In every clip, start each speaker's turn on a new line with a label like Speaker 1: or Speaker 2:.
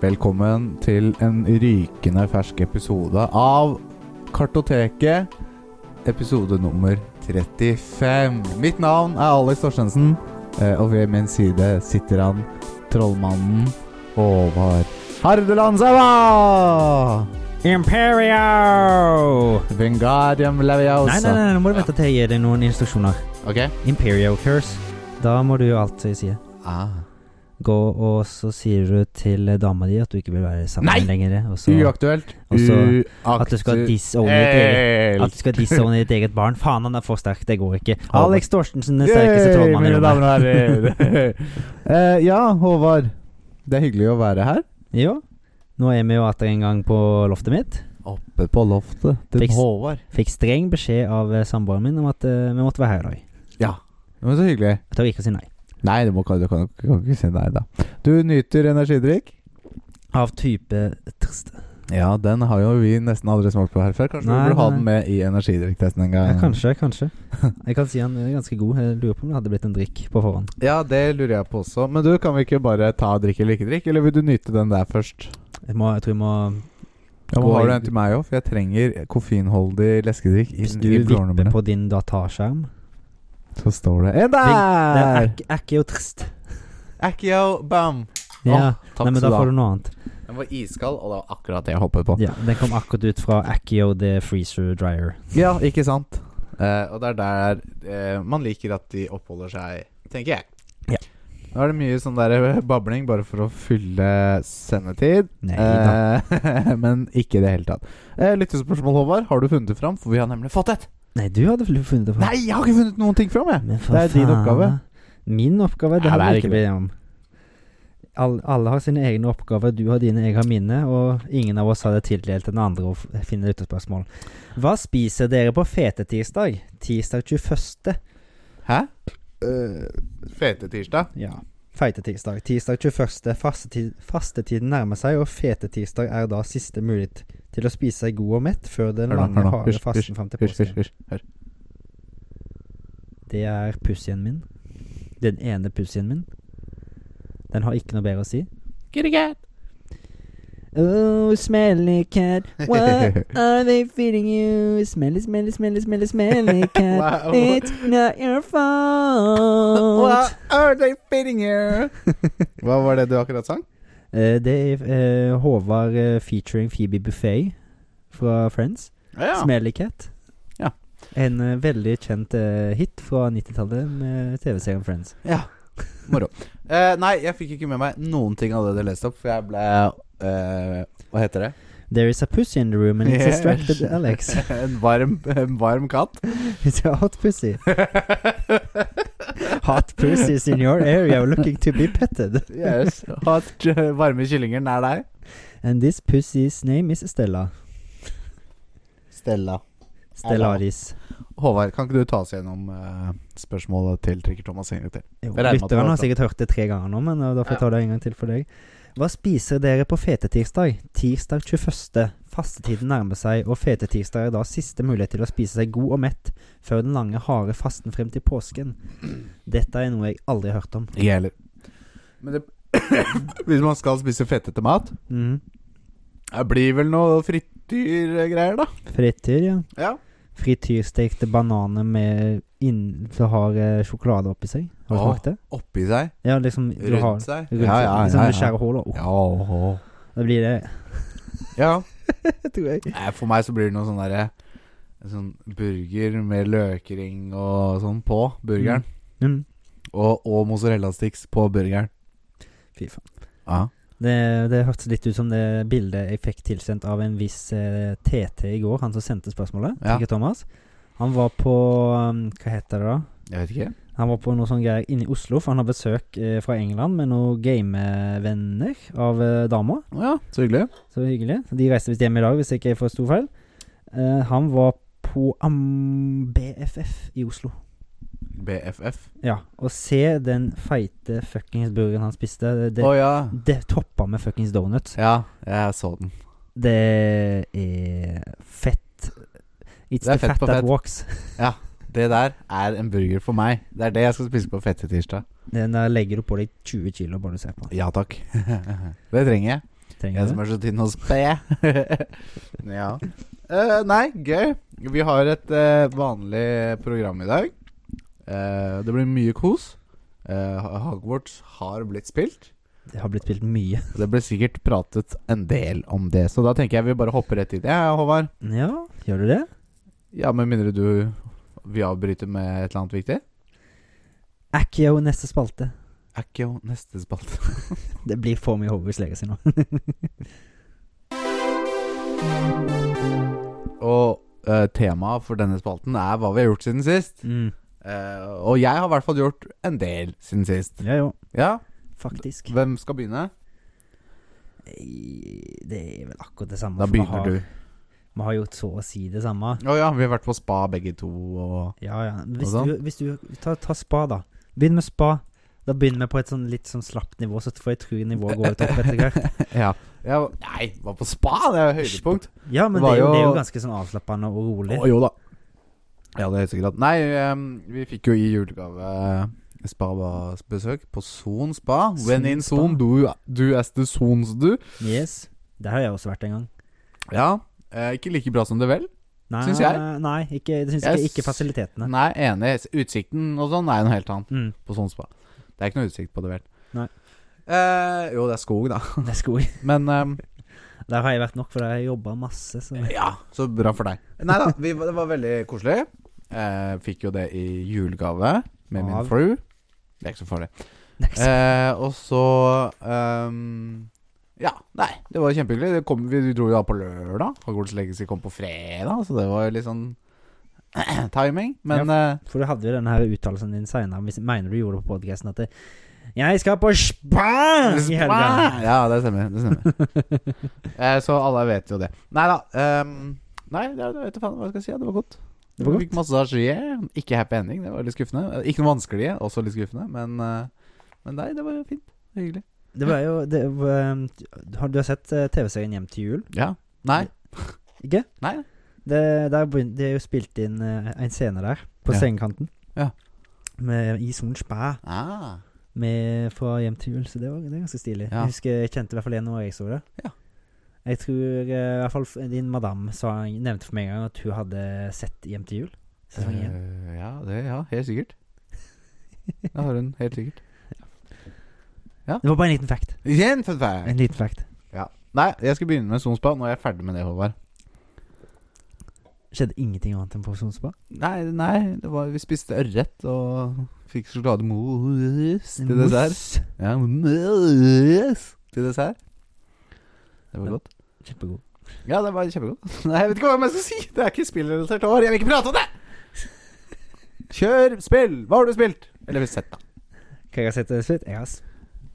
Speaker 1: velkommen til en rykende fersk episode av Kartoteket. Episode nummer 35. Mitt navn er Alex Torstensen, eh, og ved min side sitter han, trollmannen Håvard Hardeland Sæva!
Speaker 2: Imperio!
Speaker 1: Wingardium
Speaker 2: Nei, nei,
Speaker 1: Leviosa.
Speaker 2: nei, nå må du vente til jeg gir deg noen instruksjoner.
Speaker 1: Ok.
Speaker 2: Imperio curse. Da må du gjøre alt som jeg sier.
Speaker 1: Ah.
Speaker 2: Gå, og så sier du til dama di at du ikke vil være sammen
Speaker 1: Nei!
Speaker 2: med henne lenger. Og så
Speaker 1: Uaktuelt.
Speaker 2: Og så
Speaker 1: Uaktuelt.
Speaker 2: at du skal disown ditt eget At du skal disown ditt eget barn. Faen, han er for sterk. Det går ikke. Alex Torstensen, den sterkeste
Speaker 1: Yay,
Speaker 2: trollmannen i
Speaker 1: mine
Speaker 2: rommet.
Speaker 1: damer og herrer. Eh, ja, Håvard. Det er hyggelig å være her.
Speaker 2: Jo. Nå er vi jo atter en gang på loftet mitt.
Speaker 1: Oppe på loftet til
Speaker 2: Fiks.
Speaker 1: Håvard.
Speaker 2: Fikk streng beskjed av eh, samboeren min om at eh, vi måtte være her i dag.
Speaker 1: Det var så hyggelig.
Speaker 2: Jeg tør ikke å si nei.
Speaker 1: Nei, du, må, du kan, du kan ikke si nei, da. Du nyter energidrikk?
Speaker 2: Av type trist.
Speaker 1: Ja, den har jo vi nesten aldri smakt på her før. Kanskje
Speaker 2: Nei,
Speaker 1: vi burde ha
Speaker 2: nei.
Speaker 1: den med i energidrikktesten en gang.
Speaker 2: Ja, kanskje, kanskje. Jeg kan si han er ganskje god. Jeg lurer på om det hadde blitt en drikk på forhånd.
Speaker 1: Ja, det lurer jeg på også. Men du, kan vi ikke bare ta drikk eller ikke drikk? Eller vil du nyte den der først?
Speaker 2: Jeg, må, jeg tror jeg må
Speaker 1: Ja, men
Speaker 2: Gå
Speaker 1: har du
Speaker 2: i-
Speaker 1: en til meg òg? For jeg trenger koffeinholdig leskedrikk
Speaker 2: Hvis
Speaker 1: inn
Speaker 2: du
Speaker 1: i blodårene
Speaker 2: vipper
Speaker 1: mine.
Speaker 2: på din dataskjerm
Speaker 1: Så står det En
Speaker 2: Det
Speaker 1: der!
Speaker 2: er ikke- er ikke jo trist.
Speaker 1: Accio, bam!
Speaker 2: Ja,
Speaker 1: takk
Speaker 2: Nei,
Speaker 1: skal
Speaker 2: men da
Speaker 1: du
Speaker 2: får du
Speaker 1: ha.
Speaker 2: noe annet.
Speaker 1: Den var iskald, og det var akkurat det jeg hoppet på.
Speaker 2: Ja, Den kom akkurat ut fra Accio the Freezer Dryer.
Speaker 1: Ja, ikke sant? Eh, og det er der eh, man liker at de oppholder seg, tenker jeg.
Speaker 2: Ja.
Speaker 1: Nå er det mye sånn der eh, babling bare for å fylle sendetid.
Speaker 2: Nei da.
Speaker 1: Eh, men ikke i det hele tatt. Eh, Lyttespørsmål, Håvard. Har du funnet det fram? For vi har nemlig fått et!
Speaker 2: Nei, du hadde vel funnet det på
Speaker 1: Nei, jeg har ikke funnet noen ting fram, jeg!
Speaker 2: Men for
Speaker 1: det er din
Speaker 2: faen,
Speaker 1: oppgave.
Speaker 2: da. Min oppgave? Det
Speaker 1: Nei, det
Speaker 2: har
Speaker 1: er
Speaker 2: vi ikke
Speaker 1: ikke det.
Speaker 2: bedt om. All, alle har sine egne oppgaver. Du har dine, jeg har mine. Og ingen av oss hadde tildelt den andre å f- finne lyttespørsmål. Hva spiser dere på fetetirsdag? Tirsdag 21.
Speaker 1: Hæ? Eh, Fete tirsdag.
Speaker 2: Ja. Feitetirsdag. Tirsdag 21. Fastetid, fastetiden nærmer seg, og fetetirsdag er da siste mulighet til å spise seg god og mett før den
Speaker 1: Hør nå,
Speaker 2: lange,
Speaker 1: hør nå.
Speaker 2: harde
Speaker 1: Hysj,
Speaker 2: fasten fram til
Speaker 1: Hysj, hysj,
Speaker 2: påske.
Speaker 1: hysj. Hør.
Speaker 2: Det er pussien min. Den ene pussien min. Den har ikke noe bedre å si. Oh, smelly cat, what are they feeding you? Smelly, smelly, smelly, smelly, smelly cat.
Speaker 1: Wow.
Speaker 2: It's not your fault.
Speaker 1: are they fitting you? Hva var det du akkurat sang?
Speaker 2: Eh, det er eh, Håvard eh, featuring Phoebe Buffet fra Friends. Smelly cat.
Speaker 1: Ja.
Speaker 2: En eh, veldig kjent eh, hit fra 90-tallet med TV-serien Friends.
Speaker 1: Ja. Moro. Eh, nei, jeg fikk ikke med meg noen ting av det du leste opp, for jeg ble eh, Hva heter det?
Speaker 2: There is a pussy in the room and it's distracted
Speaker 1: Yes.
Speaker 2: Alex.
Speaker 1: en, varm, en varm katt.
Speaker 2: It's a hot pussy. Hot pussies in your area looking to be petted.
Speaker 1: yes. Hot, j- varme kyllinger nær deg.
Speaker 2: And this pussy's name is Stella.
Speaker 1: Stella.
Speaker 2: Stellaris.
Speaker 1: Håvard, kan ikke du ta oss gjennom eh, spørsmålet til Trikker Thomas en gang til? Jeg
Speaker 2: Jo,
Speaker 1: regner med at det var
Speaker 2: Lytterne har
Speaker 1: Stella.
Speaker 2: sikkert hørt det tre ganger nå, men eh, da får jeg ta det en gang til for deg. Hva spiser dere på fetetirsdag? Tirsdag 21. Fastetiden nærmer seg, og fetetirsdag er da siste mulighet til å spise seg god og mett før den lange, harde fasten frem til påsken. Dette er noe jeg aldri har hørt om.
Speaker 1: Ikke jeg heller. Men det Hvis man skal spise fettete mat,
Speaker 2: Mm.
Speaker 1: det blir vel noe frityrgreier, da?
Speaker 2: Frityr, ja.
Speaker 1: Ja.
Speaker 2: Frityrstekte bananer med inn, som har eh, sjokolade oppi seg. Har du
Speaker 1: Åh.
Speaker 2: smakt det?
Speaker 1: Oppi seg?
Speaker 2: Ja, liksom du har,
Speaker 1: Rundt seg?
Speaker 2: rundt seg, liksom du skjærer hull, og oh,
Speaker 1: Ja.
Speaker 2: da blir det
Speaker 1: ja.
Speaker 2: tror jeg.
Speaker 1: Nei, for meg så blir det noe sånn derre Sånn burger med løkring og sånn på burgeren.
Speaker 2: Mm.
Speaker 1: Og, og mozzarella-sticks på burgeren.
Speaker 2: Fy faen.
Speaker 1: Ja.
Speaker 2: Det, det hørtes litt ut som det bildet jeg fikk tilsendt av en viss eh, TT i går, han som sendte spørsmålet.
Speaker 1: Ja.
Speaker 2: Ikke Thomas. Han var på um, Hva heter det da?
Speaker 1: Jeg vet ikke.
Speaker 2: Han var på noe sånn greier inne i Oslo, for han har besøk eh, fra England med noen gamevenner av eh, dama.
Speaker 1: Å ja, så hyggelig.
Speaker 2: Så hyggelig. De reiste visst hjem i dag, hvis ikke jeg forsto feil. Eh, han var på um, Am BFF i Oslo.
Speaker 1: BFF.
Speaker 2: Ja. Og se den feite fuckings burgeren han spiste. Det,
Speaker 1: Å ja.
Speaker 2: det toppa med fuckings donuts.
Speaker 1: Ja, jeg så den.
Speaker 2: Det er fett. It's
Speaker 1: Det er
Speaker 2: the
Speaker 1: fett
Speaker 2: fat
Speaker 1: på
Speaker 2: that
Speaker 1: fett.
Speaker 2: walks.
Speaker 1: Det der er en burger for meg. Det er det jeg skal spise på fette tirsdag.
Speaker 2: Den der legger du på deg 20 kilo, bare du ser på.
Speaker 1: Ja takk. det trenger jeg.
Speaker 2: Trenger
Speaker 1: Jeg
Speaker 2: du
Speaker 1: som
Speaker 2: det?
Speaker 1: er så tynn og sped. ja. Eh, nei, gøy. Vi har et eh, vanlig program i dag. Eh, det blir mye kos. Eh, Ha- Hogwarts har blitt spilt.
Speaker 2: Det har blitt spilt mye.
Speaker 1: Det ble sikkert pratet en del om det, så da tenker jeg vi bare hopper rett i det, ja, Håvard.
Speaker 2: Ja, gjør du det?
Speaker 1: Ja, med mindre du vil avbryte med et eller annet viktig?
Speaker 2: Accio neste spalte.
Speaker 1: Er ikke jo neste spalte.
Speaker 2: Det blir for mye Hogwarts Legacy nå.
Speaker 1: Og eh, temaet for denne spalten er hva vi har gjort siden sist.
Speaker 2: Mm.
Speaker 1: Eh, og jeg har i hvert fall gjort en del siden sist.
Speaker 2: Ja jo,
Speaker 1: Ja,
Speaker 2: faktisk.
Speaker 1: hvem skal begynne?
Speaker 2: Eh, Det er vel akkurat det samme.
Speaker 1: Da
Speaker 2: for vi
Speaker 1: begynner
Speaker 2: har-
Speaker 1: du.
Speaker 2: Vi har gjort så å si det samme.
Speaker 1: Å ja, vi har vært på spa begge to, og
Speaker 2: Ja, ja. Hvis
Speaker 1: Og sånn.
Speaker 2: du, hvis du ta, ta spa, da. Begynn med spa. Da begynner vi på et sånn litt sånn slapt nivå, så får jeg tro nivået går litt opp etter hvert.
Speaker 1: Ja. ja nei, var på spa! Det er jo høydepunkt.
Speaker 2: Ja, men
Speaker 1: Det var
Speaker 2: det, er jo, det er
Speaker 1: jo-
Speaker 2: jo ganske sånn avslappende
Speaker 1: Å
Speaker 2: og rolig.
Speaker 1: jo da. Ja, det er helt sikkert. Nei, em, vi fikk jo i julegave spa-besøk på Son spa.
Speaker 2: Son
Speaker 1: When in
Speaker 2: spa.
Speaker 1: Son, du, du as the Sons du.
Speaker 2: Yes. Der har jeg også vært en gang.
Speaker 1: Ja. eh, ikke like bra som det vel.
Speaker 2: Nei,
Speaker 1: Syns jeg.
Speaker 2: Nei, ikke, det syns
Speaker 1: Jeg
Speaker 2: jeg ikke. Ikke
Speaker 1: s-
Speaker 2: fasilitetene.
Speaker 1: Nei, enig. Utsikten og sånn er jo noe helt annet
Speaker 2: Mm.
Speaker 1: på Son spa. Det er ikke noe utsikt på det vel.
Speaker 2: Nei.
Speaker 1: Eh, jo, det er skog, da.
Speaker 2: Det er skog.
Speaker 1: Men em,
Speaker 2: Der har jeg vært nok, for der har jeg jobba masse. Så.
Speaker 1: Ja, så bra for deg. Nei da, vi, det var veldig koselig. Eh, fikk jo det i julegave med min
Speaker 2: Av?
Speaker 1: fru. Det er ikke så farlig. Eh, og så ehm, Ja, nei, det var kjempehyggelig. Det kom, vi dro jo da på lørdag. Hogwarts Legacy kom på fredag, så det var jo litt sånn timing. Men eh,
Speaker 2: For du hadde jo denne her uttalelsen din seinere. Mener du gjorde det på podkasten at det, 'Jeg skal på spa!' i helga.
Speaker 1: Ja, det stemmer. Det stemmer. eh, så alle vet jo det. Nei da. ehm, nei, det, jeg vet da faen hva jeg skal si. ja, Det var godt.
Speaker 2: Det var
Speaker 1: Vi Fikk massasje. Ikke happy ending, det var litt skuffende. Eh, Ikke noe vanskelige, også litt skuffende. Men, eh, men nei, det var jo fint. Hyggelig.
Speaker 2: Det var jo det, var- har- Du har sett eh, TV-serien 'Hjem til jul'?
Speaker 1: Ja. Nei.
Speaker 2: Ikke?
Speaker 1: Nei.
Speaker 2: Det, der begyn- det er jo spilt inn eh, en scene der, på
Speaker 1: Ja.
Speaker 2: sengekanten.
Speaker 1: Ja.
Speaker 2: Med, I Son Spa,
Speaker 1: Ah.
Speaker 2: med, fra Hjem til jul, så det, var, det er ganske stilig.
Speaker 1: Ja.
Speaker 2: Jeg husker jeg kjente i hvert fall igjen når jeg så det.
Speaker 1: Ja.
Speaker 2: Jeg tror eh, i hvert fall f- din madame sa, nevnte for meg en gang at hun hadde sett 'Hjem til jul'. Sesong én.
Speaker 1: Eh, ja, det, ja, helt sikkert. Det har hun helt sikkert.
Speaker 2: Det var bare en liten fact.
Speaker 1: Igjen fun fact!
Speaker 2: En liten fact.
Speaker 1: Nei, jeg skal begynne med Sonspa. Nå er jeg ferdig med det, Håvard.
Speaker 2: Skjedde ingenting annet enn på Son Spa.
Speaker 1: Nei, nei det var, vi spiste ørret og fikk sjokolademousse til dessert.
Speaker 2: Mousse.
Speaker 1: Ja, mousse til dessert. Det var godt.
Speaker 2: Kjempegod.
Speaker 1: Ja, det var kjempegodt. Nei, jeg vet ikke hva jeg skal si. Det er ikke spillrelatert år. Jeg vil ikke prate om det! Kjør spill! Hva har du spilt? Eller sett, da.
Speaker 2: Hva jeg har sett til slutt? Jeg har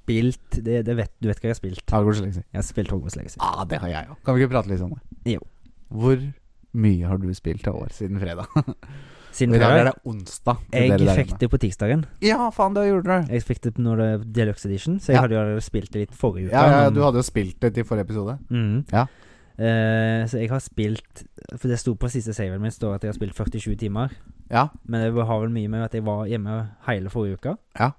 Speaker 2: spilt det, det vet, Du vet hva jeg har spilt?
Speaker 1: Hogwarts Legacy.
Speaker 2: Jeg har spilt Hogwarts Legacy.
Speaker 1: Ah, det har jeg òg. Kan vi ikke prate litt om det?
Speaker 2: Jo.
Speaker 1: Hvor mye har du spilt av år siden fredag?
Speaker 2: Siden
Speaker 1: I dag er
Speaker 2: før.
Speaker 1: det onsdag. til dere
Speaker 2: Jeg
Speaker 1: der
Speaker 2: fikk
Speaker 1: inne.
Speaker 2: det på tirsdagen.
Speaker 1: Ja, faen, det gjorde du.
Speaker 2: Jeg fikk det når det er Deluxe Edition, så jeg
Speaker 1: Ja.
Speaker 2: hadde jo allerede spilt det litt forrige uke.
Speaker 1: Ja, ja,
Speaker 2: men-
Speaker 1: du hadde jo spilt det til forrige episode.
Speaker 2: Mhm.
Speaker 1: Ja.
Speaker 2: Eh, så jeg har spilt For det sto på siste saveren min står at jeg har spilt 47 timer.
Speaker 1: Ja.
Speaker 2: Men det har vel mye med at jeg var hjemme hele forrige uka.
Speaker 1: Ja.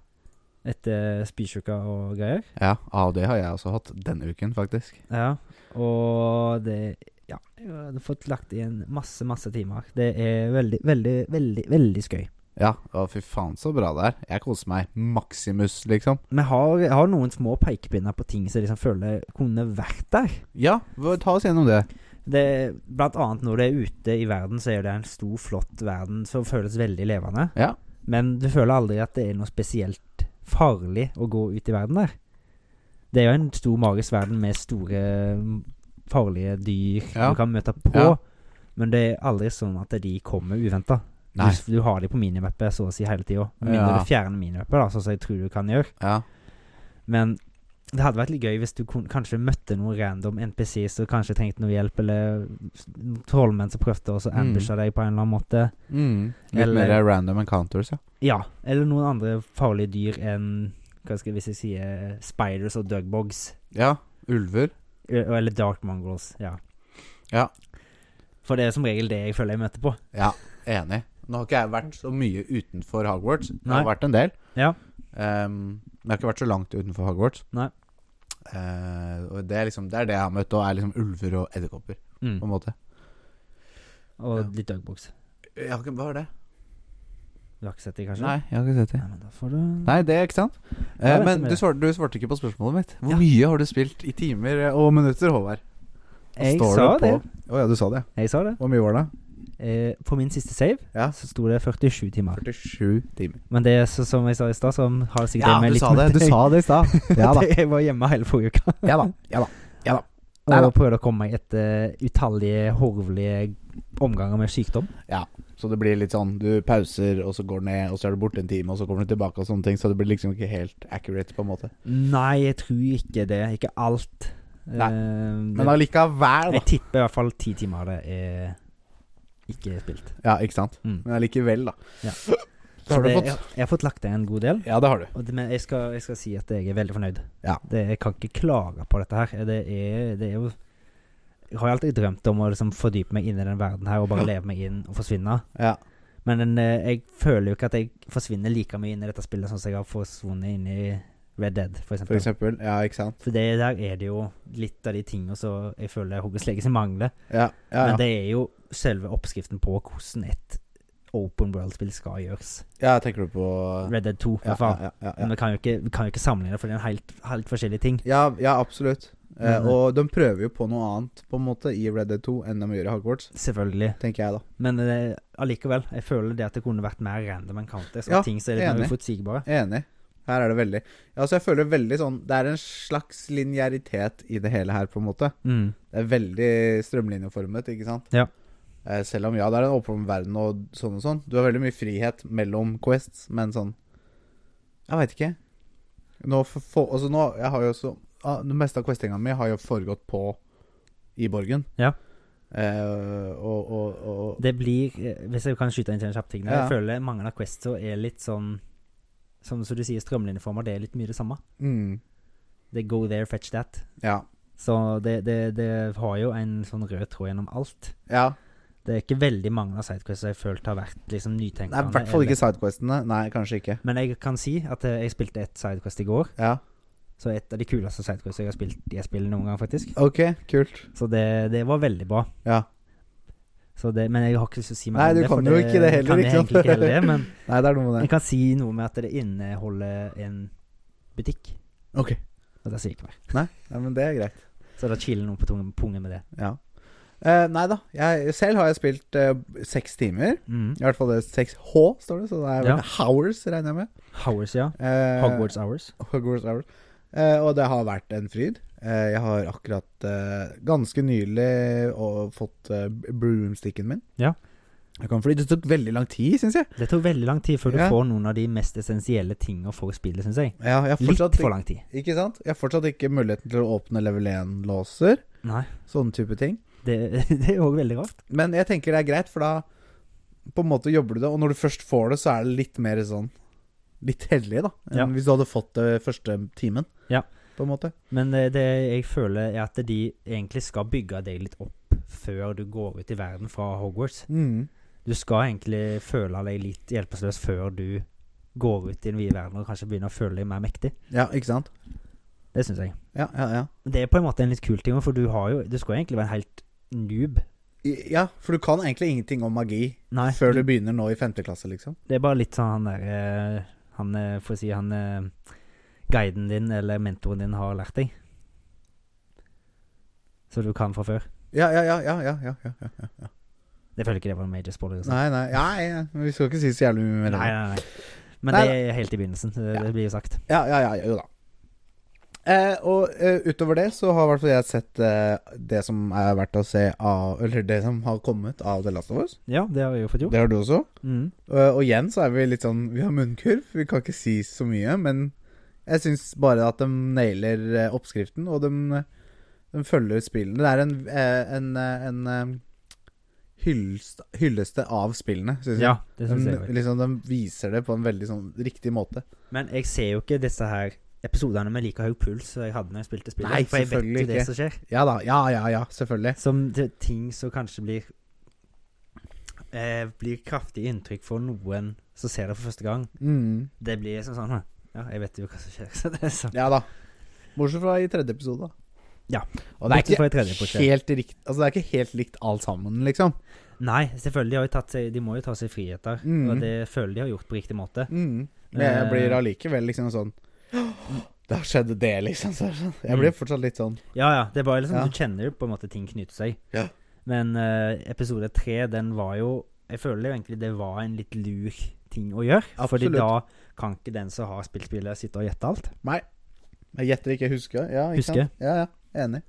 Speaker 2: Etter spysjuka og greier.
Speaker 1: Ja, ah, det har jeg også hatt denne uken, faktisk.
Speaker 2: Ja, og det Ja, jeg har fått lagt inn masse, masse timer. Det er veldig, veldig, veldig veldig skøy.
Speaker 1: Ja, å fy faen så bra det er. Jeg koser meg maksimus, liksom.
Speaker 2: Vi har, jeg har noen små pekepinner på ting som jeg liksom føler kunne vært der.
Speaker 1: Ja, hva- ta oss gjennom det.
Speaker 2: Det, blant annet når du er ute i verden, så er det en stor, flott verden som føles veldig levende.
Speaker 1: Ja.
Speaker 2: Men du føler aldri at det er noe spesielt farlig å gå ut i verden der. Det er jo en stor magisk verden med store, mm, farlige dyr
Speaker 1: Ja.
Speaker 2: du kan møte på.
Speaker 1: Ja.
Speaker 2: Men det er aldri sånn at de kommer uventa. Du,
Speaker 1: Nei.
Speaker 2: du har de på minimappet så å si hele tida. Med mindre
Speaker 1: Ja.
Speaker 2: du fjerner minimappet, da, sånn som jeg tror du kan gjøre.
Speaker 1: Ja.
Speaker 2: Men det hadde vært litt gøy hvis du kun, kanskje møtte noen random NPCs som kanskje trengte noe hjelp, eller s- trollmenn som prøvde å
Speaker 1: Mm.
Speaker 2: ambushe deg på en eller annen måte.
Speaker 1: Mm. Litt
Speaker 2: Eller-
Speaker 1: mer random encounters, ja.
Speaker 2: Ja, eller noen andre farlige dyr enn Hva skal jeg hvis jeg sier spiders og dugbogs?
Speaker 1: Ja, ulver.
Speaker 2: Ø- Eller dark mongols, ja.
Speaker 1: Ja.
Speaker 2: For det er som regel det jeg føler jeg møter på.
Speaker 1: Ja, enig. Nå har ikke jeg vært så mye utenfor Hogwarts. Det
Speaker 2: Nei.
Speaker 1: har vært en del.
Speaker 2: Ja.
Speaker 1: Ehm, men jeg har ikke vært så langt utenfor Hogwarts.
Speaker 2: Nei.
Speaker 1: Eh, og det er liksom Det er det jeg har møtt, og er liksom ulver og edderkopper, på en måte.
Speaker 2: Mm. Og
Speaker 1: Ja.
Speaker 2: litt dogbox.
Speaker 1: Jeg har ikke, hva er det?
Speaker 2: Du har ikke sett det, kanskje?
Speaker 1: Nei, jeg har ikke sett det.
Speaker 2: Nei, men da får du
Speaker 1: Nei, det er ikke sant.
Speaker 2: Det
Speaker 1: Eh,
Speaker 2: er det som
Speaker 1: men du
Speaker 2: er det.
Speaker 1: svarte, du svarte ikke på spørsmålet mitt. Hvor
Speaker 2: Ja.
Speaker 1: mye har du spilt i timer eh, og minutter, Håvard?
Speaker 2: Jeg sa det.
Speaker 1: Å ja, du sa det.
Speaker 2: Jeg sa det.
Speaker 1: Hvor mye var det?
Speaker 2: Eh, på min siste save
Speaker 1: Ja.
Speaker 2: så sto det 47 timer.
Speaker 1: 47 timer.
Speaker 2: Men det er så, som jeg sa i stad, som har sikkert
Speaker 1: Ja,
Speaker 2: det med
Speaker 1: du
Speaker 2: litt
Speaker 1: sa det.
Speaker 2: med
Speaker 1: Du
Speaker 2: deg.
Speaker 1: sa det i stad. Ja da.
Speaker 2: Jeg var hjemme hele forrige uka
Speaker 1: Ja da. Ja da. Nei da.
Speaker 2: og prøvde å komme meg etter utallige horvelige omganger med sykdom.
Speaker 1: Så det blir litt sånn du pauser, og så går du ned, og så er du borte en time, og så kommer du tilbake og sånne ting. Så det blir liksom ikke helt accurate, på en måte.
Speaker 2: Nei, jeg tror ikke det. Ikke alt.
Speaker 1: Nei.
Speaker 2: Eh, det-
Speaker 1: Men allikevel, da.
Speaker 2: jeg tipper i hvert fall ti timer av det er ikke spilt.
Speaker 1: Ja, ikke sant.
Speaker 2: Mm.
Speaker 1: Men allikevel, da.
Speaker 2: Ja.
Speaker 1: Så har du
Speaker 2: det, jeg,
Speaker 1: fått.
Speaker 2: jeg har fått lagt det en god del.
Speaker 1: Ja, det har du.
Speaker 2: Og det, men jeg skal, jeg skal si at jeg er veldig fornøyd.
Speaker 1: Ja.
Speaker 2: Det, jeg kan ikke klage på dette her. Det er, det er jo Jeg har jo alltid drømt om å liksom fordype meg inn i den verden her og bare leve meg inn og forsvinne.
Speaker 1: Ja.
Speaker 2: Men den, eh, jeg føler jo ikke at jeg forsvinner like mye inn i dette spillet som jeg har forsvunnet inn i Red Dead, for
Speaker 1: For
Speaker 2: eksempel. For,
Speaker 1: eksempel. Ja, ikke sant.
Speaker 2: det der er det jo litt av de tingene som jeg føler Hogges Legacy mangler.
Speaker 1: Ja, ja,
Speaker 2: Men
Speaker 1: ja.
Speaker 2: det er jo selve oppskriften på hvordan et open world-spill skal gjøres.
Speaker 1: ja tenker du på
Speaker 2: Red Dead 2, i
Speaker 1: ja,
Speaker 2: hvert fall.
Speaker 1: ja, ja, ja.
Speaker 2: Men vi kan jo ikke, vi kan jo ikke sammenligne det, for det er en helt, helt forskjellige ting.
Speaker 1: Ja, ja absolutt. Eh,
Speaker 2: Men-
Speaker 1: og de prøver jo på noe annet på en måte i Red Dead 2 enn de gjør i Hogwarts,
Speaker 2: Selvfølgelig.
Speaker 1: tenker jeg da.
Speaker 2: Men eh, allikevel, jeg føler det at det kunne vært mer random enn Counter. Så
Speaker 1: Ja,
Speaker 2: ting som er litt
Speaker 1: enig.
Speaker 2: mer uforutsigbare.
Speaker 1: Jeg er Enig. Her er det veldig Ja, så jeg føler veldig sånn Det er en slags linearitet i det hele her, på en måte.
Speaker 2: Mm.
Speaker 1: Det er veldig strømlinjeformet, ikke sant?
Speaker 2: Ja.
Speaker 1: Eh, selv om ja, det er en åpen verden og sånn og sånn. Du har veldig mye frihet mellom quests, men sånn Jeg veit ikke. Nå, for, for, altså nå jeg har jo også ah, Det meste av questinga mi har jo foregått på i borgen.
Speaker 2: Ja.
Speaker 1: Eh, og, og, og
Speaker 2: Det blir eh, Hvis jeg kan skyte inn til en kjapp ting der,
Speaker 1: Ja.
Speaker 2: Jeg føler mange av questene er litt sånn Som som du sier, strømlinjeformer. Det er litt mye det samme.
Speaker 1: mm,
Speaker 2: Det er go there, fetch that.
Speaker 1: Ja.
Speaker 2: Så det, det, det har jo en sånn rød tråd gjennom alt.
Speaker 1: Ja.
Speaker 2: Det er ikke veldig mange av sidequestene jeg følte har vært liksom
Speaker 1: Det er
Speaker 2: nytenkende.
Speaker 1: i hvert fall
Speaker 2: eller-
Speaker 1: ikke sidequestene. Nei, kanskje ikke.
Speaker 2: Men jeg kan si at eh, jeg spilte et sidequest i går.
Speaker 1: Ja.
Speaker 2: Så et av de kuleste sidequestene jeg har spilt i et spill noen gang, faktisk.
Speaker 1: OK, kult.
Speaker 2: Så det, det var veldig bra.
Speaker 1: Ja.
Speaker 2: Så det, men jeg har ikke lyst til å si mer
Speaker 1: Nei,
Speaker 2: om
Speaker 1: du
Speaker 2: det. for
Speaker 1: kan jo ikke det heller, liksom.
Speaker 2: kan
Speaker 1: ikke
Speaker 2: jeg
Speaker 1: sant?
Speaker 2: egentlig ikke heller det, men
Speaker 1: Nei, det er noe med
Speaker 2: jeg
Speaker 1: det.
Speaker 2: kan si noe med at det inneholder en butikk.
Speaker 1: OK.
Speaker 2: Og det sier jeg ikke mer.
Speaker 1: Nei, nei men det er greit.
Speaker 2: Så da chiller noen på tungen, pungen med det.
Speaker 1: Ja. Eh, nei da. Jeg, selv har jeg spilt eh, seks timer.
Speaker 2: Mm.
Speaker 1: I hvert fall det er 6H, står det. Så det er vel
Speaker 2: Ja.
Speaker 1: hours, regner jeg med.
Speaker 2: Hours, ja.
Speaker 1: Eh,
Speaker 2: Hogwarts Hours.
Speaker 1: Hogwarts hours. Eh, og det har vært en fryd. Eh, jeg har akkurat eh, ganske nylig og fått eh, broomsticken min.
Speaker 2: Ja.
Speaker 1: Jeg kan fly. Det tok veldig lang tid, syns jeg.
Speaker 2: Det tok veldig lang tid før du
Speaker 1: Ja.
Speaker 2: får noen av de mest essensielle tingene for spillet, syns jeg.
Speaker 1: Ja, jeg har
Speaker 2: Litt
Speaker 1: fortsatt,
Speaker 2: for lang tid.
Speaker 1: Ikke sant? Jeg har fortsatt ikke muligheten til å åpne level 1-låser.
Speaker 2: Nei.
Speaker 1: Sånne type ting.
Speaker 2: Det, det er òg veldig rart.
Speaker 1: Men jeg tenker det er greit, for da på en måte jobber du det, og når du først får det, så er det litt mer sånn Litt hellig, da, enn
Speaker 2: Ja.
Speaker 1: hvis du hadde fått det første timen.
Speaker 2: Ja.
Speaker 1: På en måte.
Speaker 2: Men det, det jeg føler, er at de egentlig skal bygge deg litt opp før du går ut i verden fra Hogwarts.
Speaker 1: Mm.
Speaker 2: Du skal egentlig føle deg litt hjelpeløs før du går ut i den vide verden og kanskje begynner å føle deg mer mektig.
Speaker 1: Ja, ikke sant?
Speaker 2: Det syns jeg.
Speaker 1: Ja, ja, ja.
Speaker 2: Det er på en måte en litt kul ting, for du, har jo, du skal jo egentlig være en helt noob.
Speaker 1: I- Ja, for du kan egentlig ingenting om magi
Speaker 2: Nei,
Speaker 1: før du begynner nå i femte klasse, liksom.
Speaker 2: det er bare litt sånn han der eh, Han, eh, for å si han eh, Guiden din eller mentoren din har lært deg. Så du kan fra før.
Speaker 1: Ja, ja, ja, ja, ja, ja, ja, ja, ja, ja.
Speaker 2: Jeg føler ikke det var en major spoiler. altså.
Speaker 1: Nei, nei, ja, ja, men vi skal ikke si så jævlig mye mer. om
Speaker 2: nei,
Speaker 1: det.
Speaker 2: nei, nei. Men
Speaker 1: Nei,
Speaker 2: det er helt i begynnelsen. Det,
Speaker 1: Ja.
Speaker 2: det blir jo sagt.
Speaker 1: Ja, ja, ja, jo da. Eh, og eh, utover det så har i hvert fall jeg sett eh, det som er verdt å se av Eller det som har kommet av The Last of Us.
Speaker 2: Ja, det har jeg jo fått gjort.
Speaker 1: Det har du også.
Speaker 2: Mm.
Speaker 1: Eh, og igjen så er vi litt sånn Vi har munnkurv, vi kan ikke si så mye, men jeg syns bare at de nailer eh, oppskriften, og de, de følger spillene. Det er en, eh, en, eh, en eh, hyllest, hylleste av spillene, syns jeg.
Speaker 2: Ja, det syns jeg
Speaker 1: de,
Speaker 2: òg.
Speaker 1: liksom, de viser det på en veldig sånn riktig måte.
Speaker 2: Men jeg ser jo ikke disse her episodene med like høy puls som jeg hadde når jeg spilte spillet.
Speaker 1: Nei,
Speaker 2: for jeg vet
Speaker 1: selvfølgelig
Speaker 2: jo det
Speaker 1: ikke.
Speaker 2: som skjer.
Speaker 1: Ja da. Ja, ja, ja. Selvfølgelig.
Speaker 2: Som det, ting som kanskje blir eh, Blir kraftig inntrykk for noen som ser det for første gang.
Speaker 1: Mm.
Speaker 2: Det blir liksom sånn «Hm, Ja, jeg vet jo hva som skjer. Så det er sånn.
Speaker 1: Ja da. Bortsett fra i tredje episode, da.
Speaker 2: Ja.
Speaker 1: Og det er,
Speaker 2: Bortsett fra i
Speaker 1: ikke
Speaker 2: tredje episode.
Speaker 1: helt rikt, altså det er ikke helt likt alt sammen, liksom.
Speaker 2: Nei, selvfølgelig. De, har jo tatt seg, de må jo ta seg friheter.
Speaker 1: Mm.
Speaker 2: Og det føler de har gjort på riktig måte.
Speaker 1: Mm. Men jeg
Speaker 2: Eh.
Speaker 1: blir allikevel liksom sånn Da skjedde det, liksom. Så er det sånn. Jeg
Speaker 2: Mm.
Speaker 1: blir fortsatt litt sånn
Speaker 2: Ja, ja. Det er bare liksom
Speaker 1: Ja.
Speaker 2: Du kjenner jo på en måte ting knyter seg.
Speaker 1: Ja.
Speaker 2: Men eh, episode tre, den var jo Jeg føler jo egentlig det var en litt lur ting å gjøre. Fordi da
Speaker 1: Absolutt.
Speaker 2: kan ikke den som har spilt spillet, sitte og gjette alt.
Speaker 1: Jeg gjetter ikke, jeg husker. Ja, ikke
Speaker 2: Husker.
Speaker 1: sant? Ja, ja, enig.